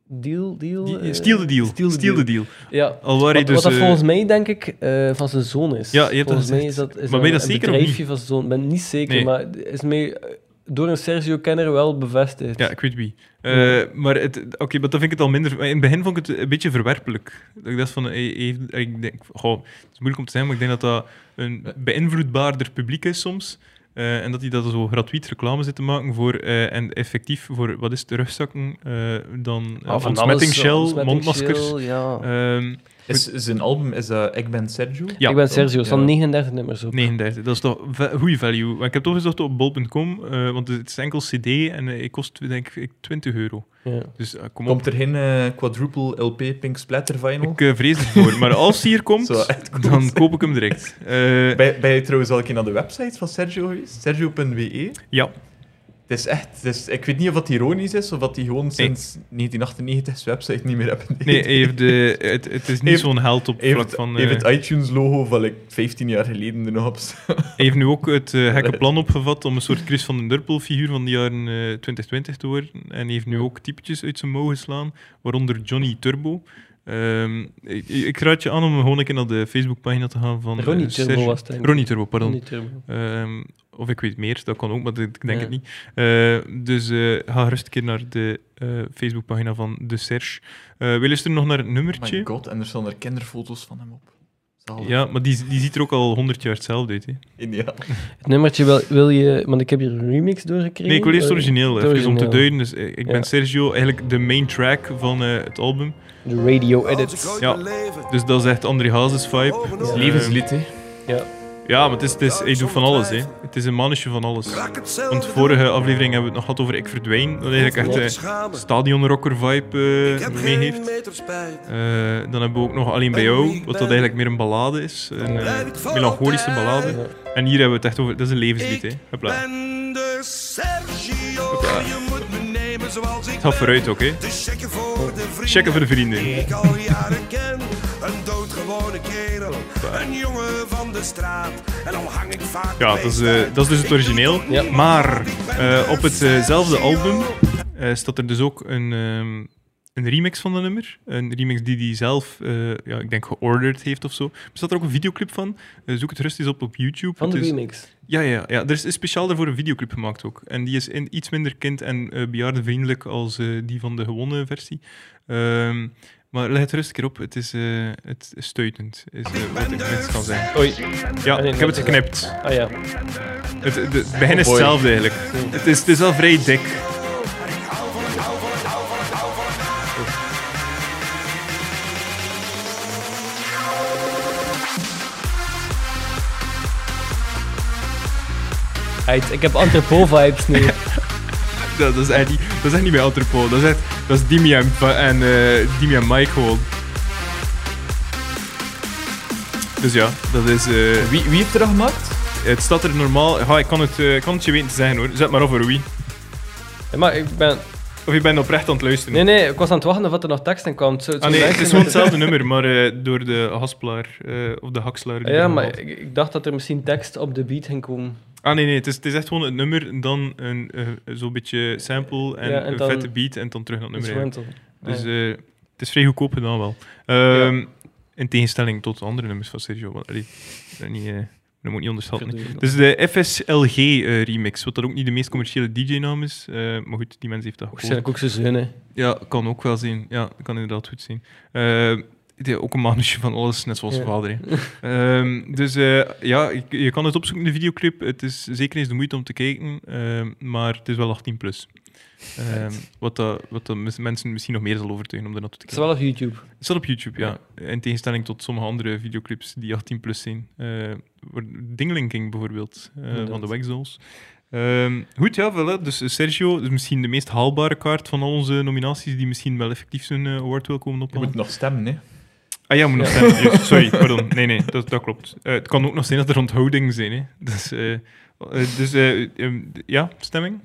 Speaker 6: deal, deal.
Speaker 1: Die-
Speaker 6: eh,
Speaker 1: Steal the deal.
Speaker 6: Steal the deal.
Speaker 1: deal.
Speaker 6: Ja,
Speaker 1: Al waar hij
Speaker 6: Wat,
Speaker 1: dus...
Speaker 6: wat dat
Speaker 1: eh,
Speaker 6: volgens mij, denk ik, eh, van zijn zoon is.
Speaker 1: Ja, je hebt dat
Speaker 6: volgens mij is
Speaker 1: gezegd.
Speaker 6: dat, is
Speaker 1: Maar ben je dat
Speaker 6: een
Speaker 1: zeker of
Speaker 6: bedrijfje
Speaker 1: niet?
Speaker 6: van zijn zoon. Ik ben niet zeker,
Speaker 1: Nee.
Speaker 6: maar is mij eh, door een Sergio-kenner wel bevestigd.
Speaker 1: Ja, ik weet wie. Eh, Maar het- oké, maar dan vind ik het al minder. In het begin vond ik het een beetje verwerpelijk. Dat Ik dacht van, eh, heeft- ik denk, goh, het is moeilijk om te zeggen, maar ik denk dat dat een beïnvloedbaarder publiek is soms. Eh, en dat die dat zo gratuit reclame zit te maken voor, eh, en effectief voor, wat is het, rugzakken, eh, dan
Speaker 6: Ah,
Speaker 1: uh,
Speaker 6: van alles,
Speaker 1: ontsmettingsgel,
Speaker 6: ontsmettingsgel,
Speaker 1: mondmaskers.
Speaker 6: Ja.
Speaker 1: Ehm,
Speaker 2: Is zijn album is dat Ik ben Sergio?
Speaker 1: ja,
Speaker 6: ik ben Sergio, er staan
Speaker 2: Ja.
Speaker 6: 39 nummers op.
Speaker 1: 39, dat is toch ve- goede value. Maar ik heb toch gezocht op bol.com, eh, want het is enkel cd en eh, het kost denk ik 20 euro.
Speaker 6: Ja.
Speaker 1: Dus eh, kom op.
Speaker 2: Komt er geen eh, quadruple LP Pink Splatter Vinyl?
Speaker 1: Ik eh, vrees het voor, maar als hij hier komt,
Speaker 2: Zo,
Speaker 1: dan koop ik hem direct. Eh,
Speaker 2: Ben, ben je trouwens al een keer naar de website van Sergio geweest? Sergio.be?
Speaker 1: ja,
Speaker 2: Het is echt... Het is, ik weet niet of dat ironisch is, of dat hij gewoon sinds 1998 zijn website niet meer heeft.
Speaker 1: nee, hij heeft de, het, het is niet
Speaker 2: Heeft-
Speaker 1: zo'n held op
Speaker 2: Hij heeft,
Speaker 1: vlak van. eh,
Speaker 2: hij heeft het iTunes-logo van like, 15 jaar geleden er nog op staan.
Speaker 1: hij heeft nu ook het eh gekke plan opgevat om een soort Chris van den Durpel figuur van de jaren eh, 2020 te worden. En hij heeft nu ook typetjes uit zijn mouw geslaan, waaronder Johnny Turbo. Ehm, ik, ik raad je aan om gewoon een keer naar de Facebookpagina te gaan van. eh,
Speaker 6: Ronnie Turbo
Speaker 1: Serge-
Speaker 6: was het eigenlijk.
Speaker 1: Ronnie Turbo, pardon.
Speaker 6: Niet Turbo.
Speaker 1: Ehm, of ik weet meer, dat kan ook, maar ik denk
Speaker 6: Ja.
Speaker 1: het niet. Eh, dus eh, ga gerust een keer naar de eh, Facebookpagina van De Serge. Eh we luisteren nog naar het nummertje.
Speaker 2: My god, en er staan er kinderfoto's van hem op. Zalig.
Speaker 1: ja, maar die, die ziet er ook al honderd jaar hetzelfde uit. Hè.
Speaker 2: Ideaal.
Speaker 6: Het nummertje wil, wil je... Want ik heb hier een remix doorgekregen.
Speaker 1: Nee, ik wil eerst het
Speaker 6: Eh,
Speaker 1: origineel,
Speaker 6: het
Speaker 1: even om te
Speaker 6: origineel.
Speaker 1: duiden. Dus, eh, ik ben
Speaker 6: Ja.
Speaker 1: Sergio, eigenlijk de main track van eh, het album.
Speaker 6: De radio edits.
Speaker 1: Ja. Dus dat is echt André Hazes vibe.
Speaker 2: Het
Speaker 1: Eh,
Speaker 2: levenslied, hè.
Speaker 1: ja, maar het is, het is, hij doet van alles. Hè. Het is een mannetje van alles. Want vorige aflevering hebben we het nog gehad over Ik Verdwijn. Dat eigenlijk echt... eh, stadionrocker vibe eh, mee heeft. Eh, dan hebben we ook nog Alleen bij jou, wat dat eigenlijk meer een ballade is. Een eh, melancholische ballade. En hier hebben we het echt over, dat is een levenslied. Hè. Hopla.
Speaker 4: ben de Sergio.
Speaker 1: Hopla.
Speaker 4: Je moet me nemen zoals ik
Speaker 1: Het gaat vooruit ook, hè?
Speaker 4: ben. Dus checken voor de vrienden.
Speaker 1: Checken voor de vrienden.
Speaker 4: Die ik al jaren ken. Een doodgewone kerel. Een jongen van de straat. En al hang ik vaak
Speaker 1: Ja, dat is, eh, dat is dus het origineel. Maar eh, op hetzelfde album eh, staat er dus ook een, ehm, een remix van dat nummer. Een remix die hij zelf, eh, ja, ik denk, georderd heeft of zo. Er staat er ook een videoclip van. Eh, zoek het rustig op op YouTube.
Speaker 6: Van de
Speaker 1: Het is-
Speaker 6: remix.
Speaker 1: Ja, ja, ja, er is is speciaal daarvoor een videoclip gemaakt ook. En die is in, iets minder kind- en eh bejaardenvriendelijk als eh, die van de gewone versie. Ehm, maar let rustig keer op, het is, eh, het is stuitend, is eh, wat ik net kan zeggen.
Speaker 6: Oei.
Speaker 1: Ja,
Speaker 6: nee,
Speaker 1: ik heb het
Speaker 6: dat is-
Speaker 1: geknipt.
Speaker 6: Ah ja.
Speaker 1: Het, het, het begin is
Speaker 2: Oh boy.
Speaker 1: hetzelfde eigenlijk. Het is, het is al vrij dik.
Speaker 6: Uit, ik heb antropo-vibes nu.
Speaker 1: Dat, dat, is echt niet, dat is echt niet bij Antropo. Dat is, echt, dat is Dimi en, Pa- en, eh, Dimi en Mike gewoon. Dus ja, dat is... eh,
Speaker 2: Wie, wie heeft er dat gemaakt?
Speaker 1: Het staat er normaal. Ja, ik kan het, eh, ik kan het je weten te zeggen hoor. Zet maar over wie.
Speaker 6: Ja, maar ik ben...
Speaker 1: Of je bent oprecht aan het luisteren.
Speaker 6: Nee, nee, ik was aan het wachten of er nog tekst in kwam. Het zou- het
Speaker 1: Ah,
Speaker 6: zou
Speaker 1: nee, het
Speaker 6: leuk
Speaker 1: is
Speaker 6: zijn
Speaker 1: gewoon
Speaker 6: dat er-
Speaker 1: hetzelfde nummer, maar eh, door de haspelaar eh, of de hakselaar. die
Speaker 6: Ja,
Speaker 1: erin
Speaker 6: maar
Speaker 1: valt.
Speaker 6: ik, ik dacht dat er misschien tekst op de beat ging komen.
Speaker 1: Ah nee, nee, het is, het is echt gewoon het nummer, en dan een eh, zo'n beetje sample en,
Speaker 6: Ja, en
Speaker 1: een
Speaker 6: dan-
Speaker 1: vette beat en dan terug naar het nummer. eigenlijk.
Speaker 6: Instrumental.
Speaker 1: Dus
Speaker 6: Ja.
Speaker 1: eh, het is vrij goedkoop gedaan wel. Ehm, In tegenstelling tot andere nummers van Sergio. Want, allee, dat, niet, eh, dat moet niet onderschatten. hè.
Speaker 6: Verdorie.
Speaker 1: Het is de FSLG eh, remix, wat dat ook niet de meest commerciële DJ-naam is. eh, maar goed, die mens heeft dat gekozen.
Speaker 6: Waarschijnlijk ook zijn zin, hè.
Speaker 1: Ja, kan ook wel zien. Ja, kan inderdaad goed zien. Eh, die- ook een mannetje van alles, net zoals
Speaker 6: Ja.
Speaker 1: vader. hè. Ehm, dus eh, ja, je, je kan het opzoeken in de videoclip. Het is zeker eens de moeite om te kijken, ehm, maar het is wel 18 plus. Ehm, wat dat, wat dat mis- mensen misschien nog meer zal overtuigen om er naartoe te
Speaker 6: Het is
Speaker 1: kijken.
Speaker 6: wel op YouTube.
Speaker 1: Het staat op YouTube, ja. In tegenstelling tot sommige andere videoclips die 18 plus zijn. Eh, waar- Dingeling King bijvoorbeeld, eh, van de
Speaker 6: Inderdaad.
Speaker 1: Waxdolls. Ehm, goed, ja, voilà. Dus eh, Sergio is misschien de meest haalbare kaart van al onze nominaties, die misschien wel effectief zijn eh, award wil komen
Speaker 2: Je moet
Speaker 1: ophalen.
Speaker 2: nog stemmen, hè.
Speaker 1: Ah ja, moet nog stemmen. Juist, Sorry, pardon. Nee, nee, dat, dat klopt. Eh, het kan ook nog zijn dat er onthoudingen zijn. Hè. Dus, eh, eh, dus eh, ehm, d- ja, stemming?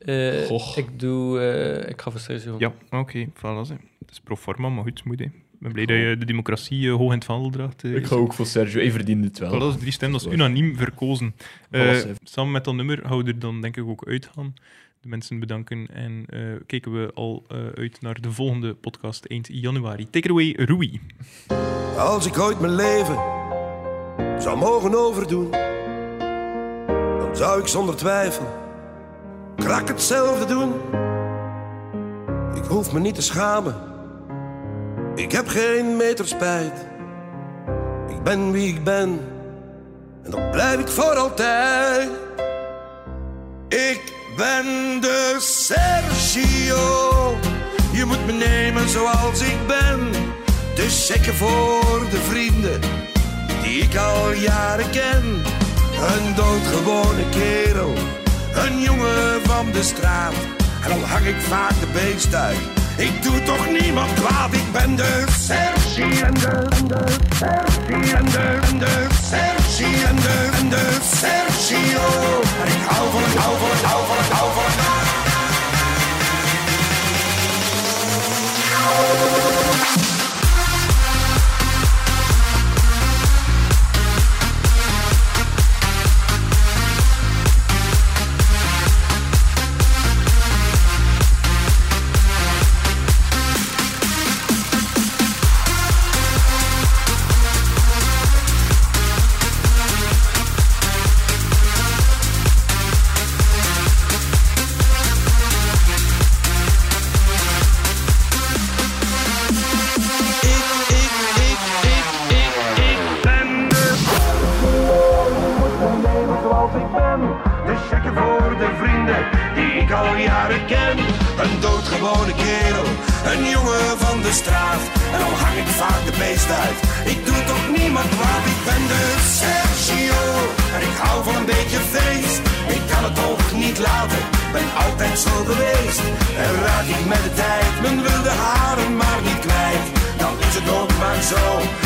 Speaker 6: Eh,
Speaker 2: Goh.
Speaker 6: ik doe... eh, ik ga voor Sergio.
Speaker 1: Ja, oké. voilà, zeg. Het is pro forma, maar goed, het moet. hè. Ik ben blij dat je de democratie eh, hoog in het vaandel draagt. eh,
Speaker 2: Ik ga ook voor Sergio. Hij verdient het wel.
Speaker 1: Voilà, dat is drie stemmen, dat is
Speaker 2: Waar.
Speaker 1: unaniem verkozen.
Speaker 2: Voilà,
Speaker 1: Eh,
Speaker 2: Sev.
Speaker 1: samen met dat nummer houden we er dan denk ik ook uit gaan. De mensen bedanken en eh, kijken we al eh, uit naar de volgende podcast eind januari. Take it away, Rui.
Speaker 4: Als ik ooit mijn leven zou mogen overdoen, dan zou ik zonder twijfel krak hetzelfde doen. Ik hoef me niet te schamen. Ik heb geen meter spijt. Ik ben wie ik ben. En dat blijf ik voor altijd. Ik ben de Sergio. Je moet me nemen zoals ik ben. Dus zeker voor de vrienden die ik al jaren ken. Een doodgewone kerel, een jongen van de straat. En dan hang ik vaak de beest uit. Ik doe toch niemand kwaad, ik ben de Sergi en de, en de Sergi en de, en de Sergi en de, en de Sergio. En ik hou van het, hou van het, hou van het, hou van het. zoals ik ben. De checken voor de vrienden die ik al jaren ken. Een doodgewone kerel, een jongen van de straat. En al hang ik vaak de beest uit. Ik doe toch niemand kwaad, ik ben de Sergio. En ik hou van een beetje feest. Ik kan het ook niet laten, ben altijd zo geweest. En raak ik met de tijd mijn wilde haren maar niet kwijt. Dan is het ook maar zo.